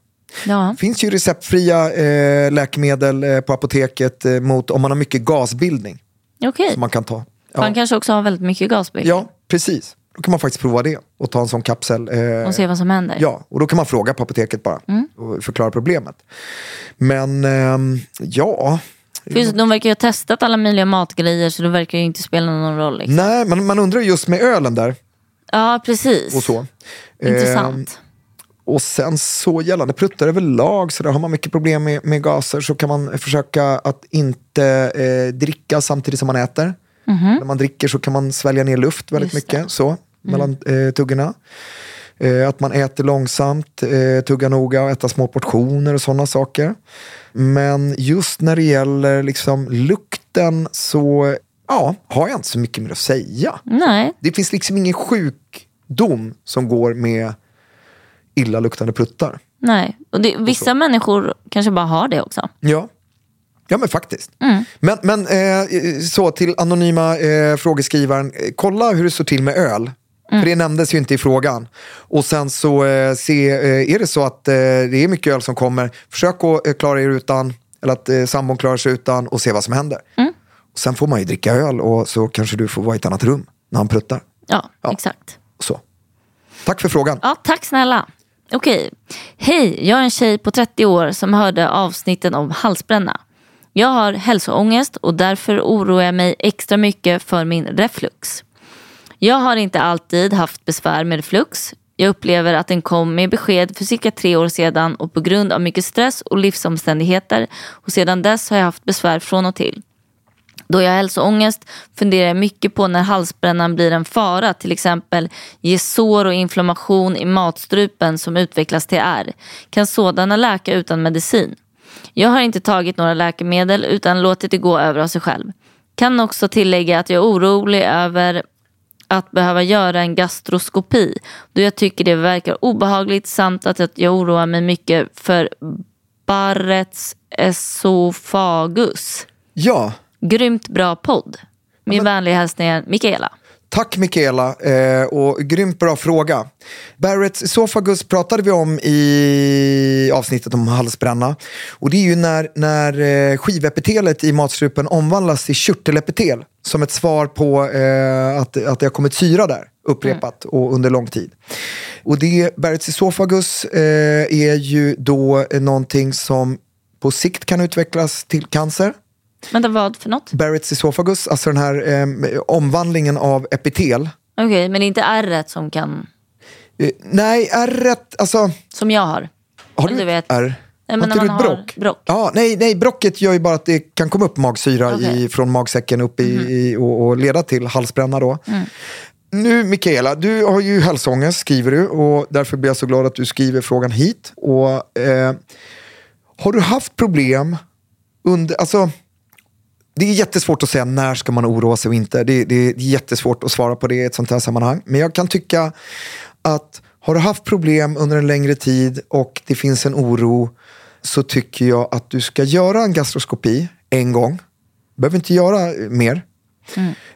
[SPEAKER 4] Ja.
[SPEAKER 3] finns ju receptfria eh, läkemedel eh, på apoteket eh, mot om man har mycket gasbildning
[SPEAKER 4] Okej.
[SPEAKER 3] som man kan ta.
[SPEAKER 4] För Han kanske också har väldigt mycket gasbildning.
[SPEAKER 3] Ja, precis. Då kan man faktiskt prova det och ta en sån kapsel. eh,
[SPEAKER 4] Och Mm. se vad som händer.
[SPEAKER 3] Ja, och då kan man fråga på apoteket bara och förklara problemet. Men ehm, ja,
[SPEAKER 4] Finns, de verkar ju ha testat alla möjliga matgrejer så det verkar ju inte spela någon roll. Liksom.
[SPEAKER 3] nej, men man undrar just med ölen där
[SPEAKER 4] Ja, precis.
[SPEAKER 3] och så. Ehm,
[SPEAKER 4] Intressant.
[SPEAKER 3] Och sen så gällande pruttar överlag, så där har man mycket problem med, med gaser så kan man försöka att inte eh, dricka samtidigt som man äter.
[SPEAKER 4] Mhm.
[SPEAKER 3] När man dricker så kan man svälja ner luft väldigt
[SPEAKER 4] Just Mm.
[SPEAKER 3] mycket så, mellan eh, tuggorna. Eh, att man äter långsamt, eh, tuggar noga och äta små portioner och sådana saker. Men just när det gäller liksom lukten så ja, har jag inte så mycket mer att säga.
[SPEAKER 4] Nej.
[SPEAKER 3] Det finns liksom ingen sjukdom som går med illaluktande pruttar.
[SPEAKER 4] Nej. Och det, vissa människor kanske bara har det också.
[SPEAKER 3] Ja, ja men faktiskt.
[SPEAKER 4] Mm.
[SPEAKER 3] Men, men eh, så till anonyma eh, frågeskrivaren, eh, kolla hur det står till med öl.
[SPEAKER 4] Mm.
[SPEAKER 3] För det nämndes ju inte i frågan. Och sen så eh, se, eh, är det så att eh, det är mycket öl som kommer, försök att eh, klara er utan, eller att eh, sambon klarar sig utan och se vad som händer.
[SPEAKER 4] Mm.
[SPEAKER 3] Och sen får man ju dricka öl och så kanske du får vara i ett annat rum när han pruttar.
[SPEAKER 4] Ja, exakt.
[SPEAKER 3] Så. Tack för frågan.
[SPEAKER 4] Ja, tack snälla. Okej. Hej, jag är en tjej på 30 år som hörde avsnitten om halsbränna. Jag har hälsoångest och därför oroar jag mig extra mycket för min reflux. Jag har inte alltid haft besvär med reflux. Jag upplever att den kom med besked för cirka tre år sedan och på grund av mycket stress och livsomständigheter och sedan dess har jag haft besvär från och till. Då jag har hälsoångest funderar jag mycket på när halsbrännan blir en fara, till exempel ge sår och inflammation i matstrupen som utvecklas till ärr. Kan sådana läka utan medicin? Jag har inte tagit några läkemedel utan låtit det gå över av sig själv. Kan också tillägga att jag är orolig över att behöva göra en gastroskopi då jag tycker det verkar obehagligt samt att att jag oroar mig mycket för Barretts esofagus.
[SPEAKER 3] Ja,
[SPEAKER 4] Grymt bra podd. Min vänliga hälsning Mikaela.
[SPEAKER 3] Tack Mikaela eh, och grymt bra fråga. Barretts esophagus pratade vi om i avsnittet om halsbränna. Och det är ju när, när eh, skivepitelet i matstrupen omvandlas till körtelepitel som ett svar på eh, att, att det har kommit syra där upprepat och under lång tid. Och det, Barretts esophagus eh, är ju då eh, någonting som på sikt kan utvecklas till cancer.
[SPEAKER 4] Vänta, vad för något?
[SPEAKER 3] Barretts esophagus, alltså den här eh, omvandlingen av epitel
[SPEAKER 4] Okej, men det är inte r som kan...
[SPEAKER 3] Eh, nej, r alltså...
[SPEAKER 4] Som jag har.
[SPEAKER 3] Har
[SPEAKER 4] Men
[SPEAKER 3] du,
[SPEAKER 4] du vet.
[SPEAKER 3] ett R?
[SPEAKER 4] Nej, men
[SPEAKER 3] har
[SPEAKER 4] när
[SPEAKER 3] inte du
[SPEAKER 4] man
[SPEAKER 3] ett
[SPEAKER 4] har
[SPEAKER 3] brock? Ja, nej, nej, brocket gör ju bara att det kan komma upp magsyra
[SPEAKER 4] Okej. Mhm.
[SPEAKER 3] i, från magsäcken upp i, i, och, och leda till halsbränna då.
[SPEAKER 4] Mm.
[SPEAKER 3] Nu Mikaela, du har ju hälsoångest skriver du och därför blir jag så glad att du skriver frågan hit. Och, eh, har du haft problem under, alltså det är jättesvårt att säga när ska man oroa sig och inte. Det, det är jättesvårt att svara på det i ett sånt här sammanhang. Men jag kan tycka att har du haft problem under en längre tid och det finns en oro så tycker jag att du ska göra en gastroskopi en gång. behöver inte göra eh, mer.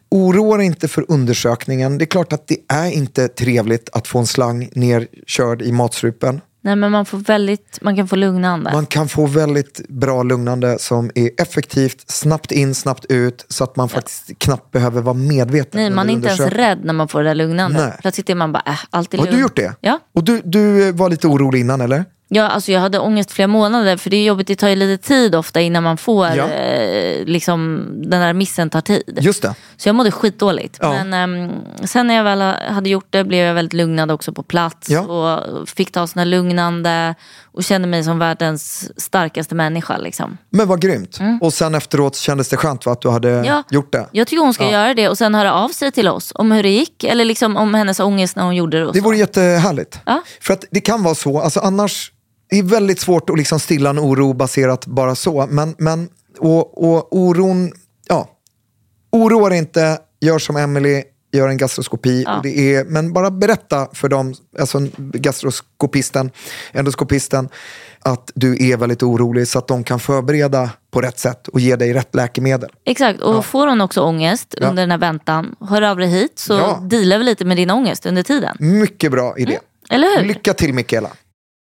[SPEAKER 3] Oroa dig inte för undersökningen. Det är klart att det är inte trevligt att få en slang nerkörd i matstrupen.
[SPEAKER 4] Nej, men man, får väldigt, man kan få lugna andra.
[SPEAKER 3] Man kan få väldigt bra lugnande som är effektivt, snabbt in, snabbt ut så att man faktiskt knappt behöver vara medveten.
[SPEAKER 4] Nej, man är
[SPEAKER 3] under
[SPEAKER 4] inte ens
[SPEAKER 3] undersökningen.
[SPEAKER 4] rädd när man får det där lugnande.
[SPEAKER 3] Nej.
[SPEAKER 4] Plötsligt är man bara, äh, allt är
[SPEAKER 3] Har
[SPEAKER 4] lugnt.
[SPEAKER 3] du gjort det?
[SPEAKER 4] Ja.
[SPEAKER 3] Och du, du eh, var lite orolig innan eller?
[SPEAKER 4] Ja, alltså jag hade ångest flera månader för det är jobbigt, det tar ju lite tid ofta innan man får,
[SPEAKER 3] Ja.
[SPEAKER 4] eh, liksom, den där missen tar tid.
[SPEAKER 3] Just det.
[SPEAKER 4] Så jag mådde skitdåligt.
[SPEAKER 3] Ja.
[SPEAKER 4] Men ehm, sen när jag väl hade gjort det blev jag väldigt lugnad också på plats
[SPEAKER 3] Ja.
[SPEAKER 4] och fick ta såna lugnande och kände mig som världens starkaste människa. Liksom.
[SPEAKER 3] Men vad grymt. Och sen efteråt kändes det skönt va, att du hade
[SPEAKER 4] Mm. Ja.
[SPEAKER 3] gjort det.
[SPEAKER 4] Jag tycker hon ska
[SPEAKER 3] Ja.
[SPEAKER 4] göra det och sen höra av sig till oss om hur det gick eller liksom om hennes ångest när hon gjorde det. Och
[SPEAKER 3] Det
[SPEAKER 4] så.
[SPEAKER 3] vore jättehärligt.
[SPEAKER 4] Ja.
[SPEAKER 3] För att det kan vara så, alltså annars, det är väldigt svårt att liksom stilla en oro baserat bara så. Men, men och, och oron, ja. Oroa dig inte, gör som Emily gör en gastroskopi.
[SPEAKER 4] Ja.
[SPEAKER 3] Och det är, men bara berätta för dem, alltså gastroskopisten, endoskopisten, att du är väldigt orolig så att de kan förbereda på rätt sätt och ge dig rätt läkemedel.
[SPEAKER 4] Exakt, och får hon också ångest
[SPEAKER 3] Ja.
[SPEAKER 4] under den här väntan, hör av dig hit så
[SPEAKER 3] Ja. Mm.
[SPEAKER 4] dealar vi lite med din ångest under tiden.
[SPEAKER 3] Mycket bra
[SPEAKER 4] Mm.
[SPEAKER 3] idé.
[SPEAKER 4] Eller hur?
[SPEAKER 3] Lycka till Mikaela.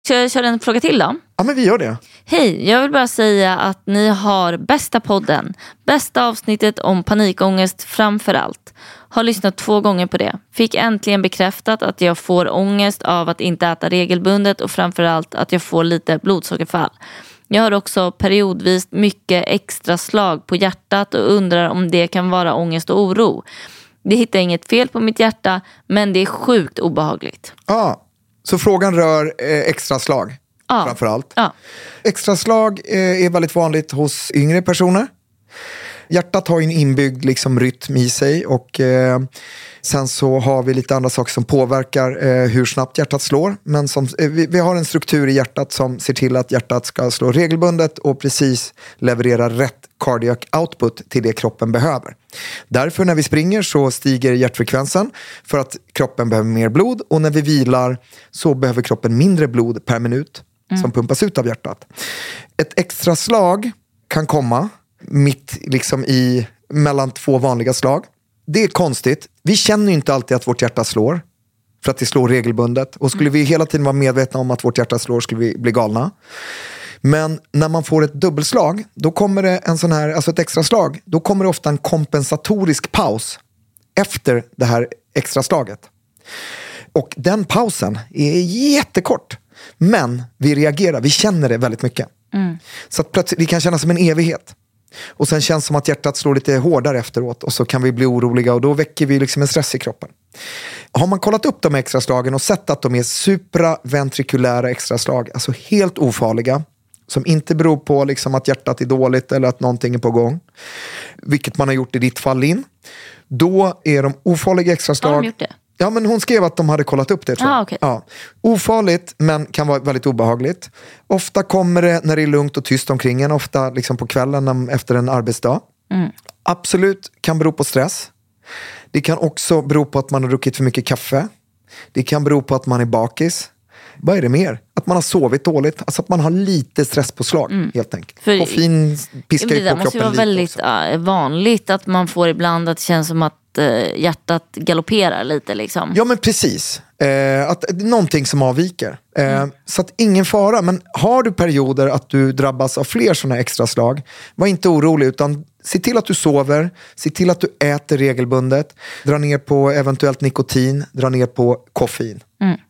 [SPEAKER 4] Ska jag köra en fråga till då?
[SPEAKER 3] Ja, men vi gör det.
[SPEAKER 4] Hej, jag vill bara säga att ni har bästa podden, bästa avsnittet om panikångest framför allt. Har lyssnat två gånger på det. Fick äntligen bekräftat att jag får ångest av att inte äta regelbundet och framför allt att jag får lite blodsockerfall. Jag har också periodvis mycket extra slag på hjärtat och undrar om det kan vara ångest och oro. Det hittar inget fel på mitt hjärta men det är sjukt obehagligt.
[SPEAKER 3] Ja, så frågan rör eh, extraslag
[SPEAKER 4] Ja.
[SPEAKER 3] framförallt.
[SPEAKER 4] Ja.
[SPEAKER 3] Extraslag eh, är väldigt vanligt hos yngre personer. Hjärtat har ju en inbyggd liksom, rytm i sig och eh, sen så har vi lite andra saker som påverkar eh, hur snabbt hjärtat slår. Men som, eh, vi, vi har en struktur i hjärtat som ser till att hjärtat ska slå regelbundet och precis leverera rätt cardiac output till det kroppen behöver. Därför när vi springer så stiger hjärtfrekvensen för att kroppen behöver mer blod och när vi vilar så behöver kroppen mindre blod per minut som pumpas ut av hjärtat. Ett extra slag kan komma mitt liksom i mellan två vanliga slag. Det är konstigt. Vi känner ju inte alltid att vårt hjärta slår. För att det slår regelbundet. Och skulle vi hela tiden vara medvetna om att vårt hjärta slår skulle vi bli galna. Men när man får ett dubbelslag, då kommer det en sån här, alltså ett extra slag, då kommer det ofta en kompensatorisk paus efter det här extra slaget. Och den pausen är jättekort. Men vi reagerar, vi känner det väldigt mycket. Så att plötsligt, det kan kännas som en evighet. Och sen känns det som att hjärtat slår lite hårdare efteråt och så kan vi bli oroliga och då väcker vi liksom en stress i kroppen. Har man kollat upp de här extraslagen och sett att de är supraventrikulära extraslag, alltså helt ofarliga, som inte beror på liksom att hjärtat är dåligt eller att någonting är på gång, vilket man har gjort i ditt fall Linn, då är de ofarliga extraslag.
[SPEAKER 4] Har de gjort det?
[SPEAKER 3] Ja, men hon skrev att de hade kollat upp det. Tror jag.
[SPEAKER 4] Ah, okej.
[SPEAKER 3] ja. Ofarligt, men kan vara väldigt obehagligt. Ofta kommer det när det är lugnt och tyst omkring en, ofta liksom på kvällen när- efter en arbetsdag. Absolut kan bero på stress. Det kan också bero på att man har druckit för mycket kaffe. Det kan bero på att man är bakis. Vad är det mer? Att man har sovit dåligt. Alltså att man har lite stresspåslag helt enkelt.
[SPEAKER 4] Mm. För-
[SPEAKER 3] Koffein
[SPEAKER 4] Ja,
[SPEAKER 3] piskar
[SPEAKER 4] men
[SPEAKER 3] ju
[SPEAKER 4] det där
[SPEAKER 3] på
[SPEAKER 4] måste ju
[SPEAKER 3] kroppen
[SPEAKER 4] vara
[SPEAKER 3] lite.
[SPEAKER 4] väldigt ja, vanligt att man får ibland att det känns som att eh, hjärtat galopperar lite. Liksom.
[SPEAKER 3] Ja, men precis. Eh, att, någonting som avviker. Eh, Så att ingen fara. Men har du perioder att du drabbas av fler sådana extra slag, var inte orolig. utan Se till att du sover, se till att du äter regelbundet, dra ner på eventuellt nikotin, dra ner på koffein.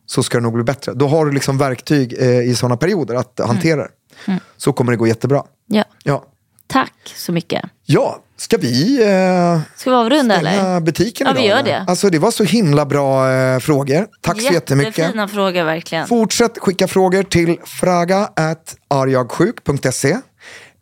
[SPEAKER 3] Så ska det nog bli bättre. Då har du liksom verktyg eh, i sådana perioder att hantera det. Så kommer det gå jättebra.
[SPEAKER 4] Ja.
[SPEAKER 3] Ja,
[SPEAKER 4] Tack så mycket.
[SPEAKER 3] ja ska vi... Eh...
[SPEAKER 4] Ska vi avrunda eller?
[SPEAKER 3] Stänga butiken
[SPEAKER 4] Ja,
[SPEAKER 3] idag.
[SPEAKER 4] vi gör
[SPEAKER 3] eller?
[SPEAKER 4] det.
[SPEAKER 3] Alltså, det var så himla bra eh, frågor. Tack så jättemycket.
[SPEAKER 4] Jättefina frågor verkligen.
[SPEAKER 3] Fortsätt skicka frågor till fraga.arjagsjuk.se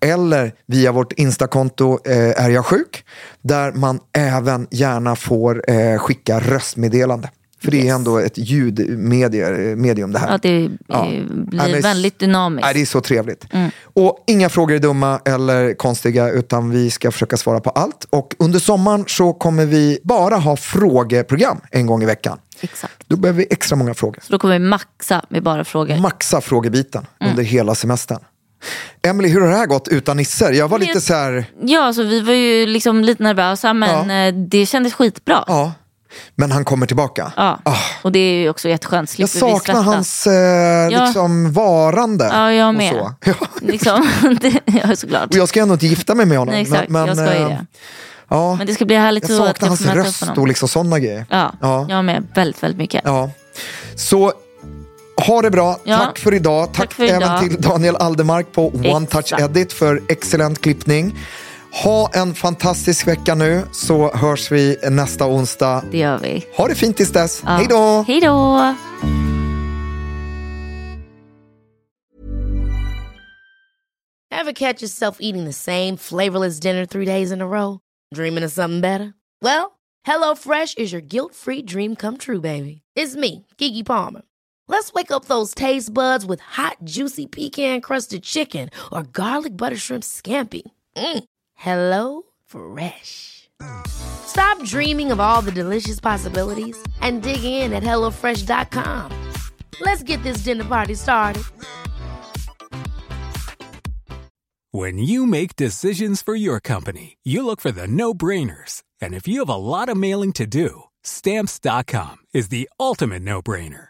[SPEAKER 3] eller via vårt instakonto eh, arjagsjuk där man även gärna får eh, skicka röstmeddelande. För det är ändå ett ljudmedium medium det här.
[SPEAKER 4] Ja, det eh,
[SPEAKER 3] Ja. Ja,
[SPEAKER 4] blir
[SPEAKER 3] men-
[SPEAKER 4] väldigt dynamiskt. Mm.
[SPEAKER 3] Nej, det är så trevligt. Och inga frågor är dumma eller konstiga utan vi ska försöka svara på allt. Och under sommaren så kommer vi bara ha frågeprogram en gång i veckan.
[SPEAKER 4] Exakt.
[SPEAKER 3] Då behöver vi extra många frågor.
[SPEAKER 4] Så då kommer vi maxa med bara frågor.
[SPEAKER 3] Maxa frågebiten
[SPEAKER 4] Mm.
[SPEAKER 3] under hela semestern. Emily, hur har det här gått utan nisser? Jag var lite så här,
[SPEAKER 4] ja, alltså, vi var ju liksom lite nervösa men eh, det kändes skitbra. Ja.
[SPEAKER 3] ja, men han kommer tillbaka.
[SPEAKER 4] Och det är ju också jätteskönt.
[SPEAKER 3] Jag
[SPEAKER 4] Slipper vi
[SPEAKER 3] saknar
[SPEAKER 4] svettas.
[SPEAKER 3] hans eh,
[SPEAKER 4] Ja.
[SPEAKER 3] liksom, varande.
[SPEAKER 4] Ja, jag med.
[SPEAKER 3] Och, så. *laughs* Ja.
[SPEAKER 4] Liksom, *laughs* det, ja, såklart.
[SPEAKER 3] och jag ska ändå inte gifta mig med honom.
[SPEAKER 4] Nej, exakt. jag ska ju
[SPEAKER 3] eh,
[SPEAKER 4] det.
[SPEAKER 3] Ja.
[SPEAKER 4] Men det ska bli härligt
[SPEAKER 3] Jag
[SPEAKER 4] att-
[SPEAKER 3] saknar
[SPEAKER 4] att
[SPEAKER 3] hans
[SPEAKER 4] få möta upp
[SPEAKER 3] röst
[SPEAKER 4] typ honom.
[SPEAKER 3] och liksom sådana grejer.
[SPEAKER 4] Ja,
[SPEAKER 3] Ja.
[SPEAKER 4] jag med. Väldigt, väldigt mycket.
[SPEAKER 3] Ja. Så ha det bra.
[SPEAKER 4] Ja.
[SPEAKER 3] Tack för idag. Tack,
[SPEAKER 4] för idag.
[SPEAKER 3] även till Daniel Aldermark på One
[SPEAKER 4] Exakt.
[SPEAKER 3] Touch Edit för excellent klippning. Ha en fantastisk vecka nu så hörs vi nästa onsdag.
[SPEAKER 4] Det gör vi.
[SPEAKER 3] Ha det fint tills dess.
[SPEAKER 4] Ja.
[SPEAKER 3] Hej då!
[SPEAKER 4] Hej då!
[SPEAKER 7] Ever catch yourself eating the same flavorless dinner three days in a row? Dreaming of something better? Well, HelloFresh is your guilt free dream come true, baby. It's me, Gigi Palmer. Let's wake up those taste buds with hot, juicy pecan crusted chicken or garlic butter shrimp scampi. Mm. Hello Fresh. Stop dreaming of all the delicious possibilities and dig in at HelloFresh.com. Let's get this dinner party started.
[SPEAKER 8] When you make decisions for your company, you look for the no brainers. And if you have a lot of mailing to do, stamps.com is the ultimate no brainer.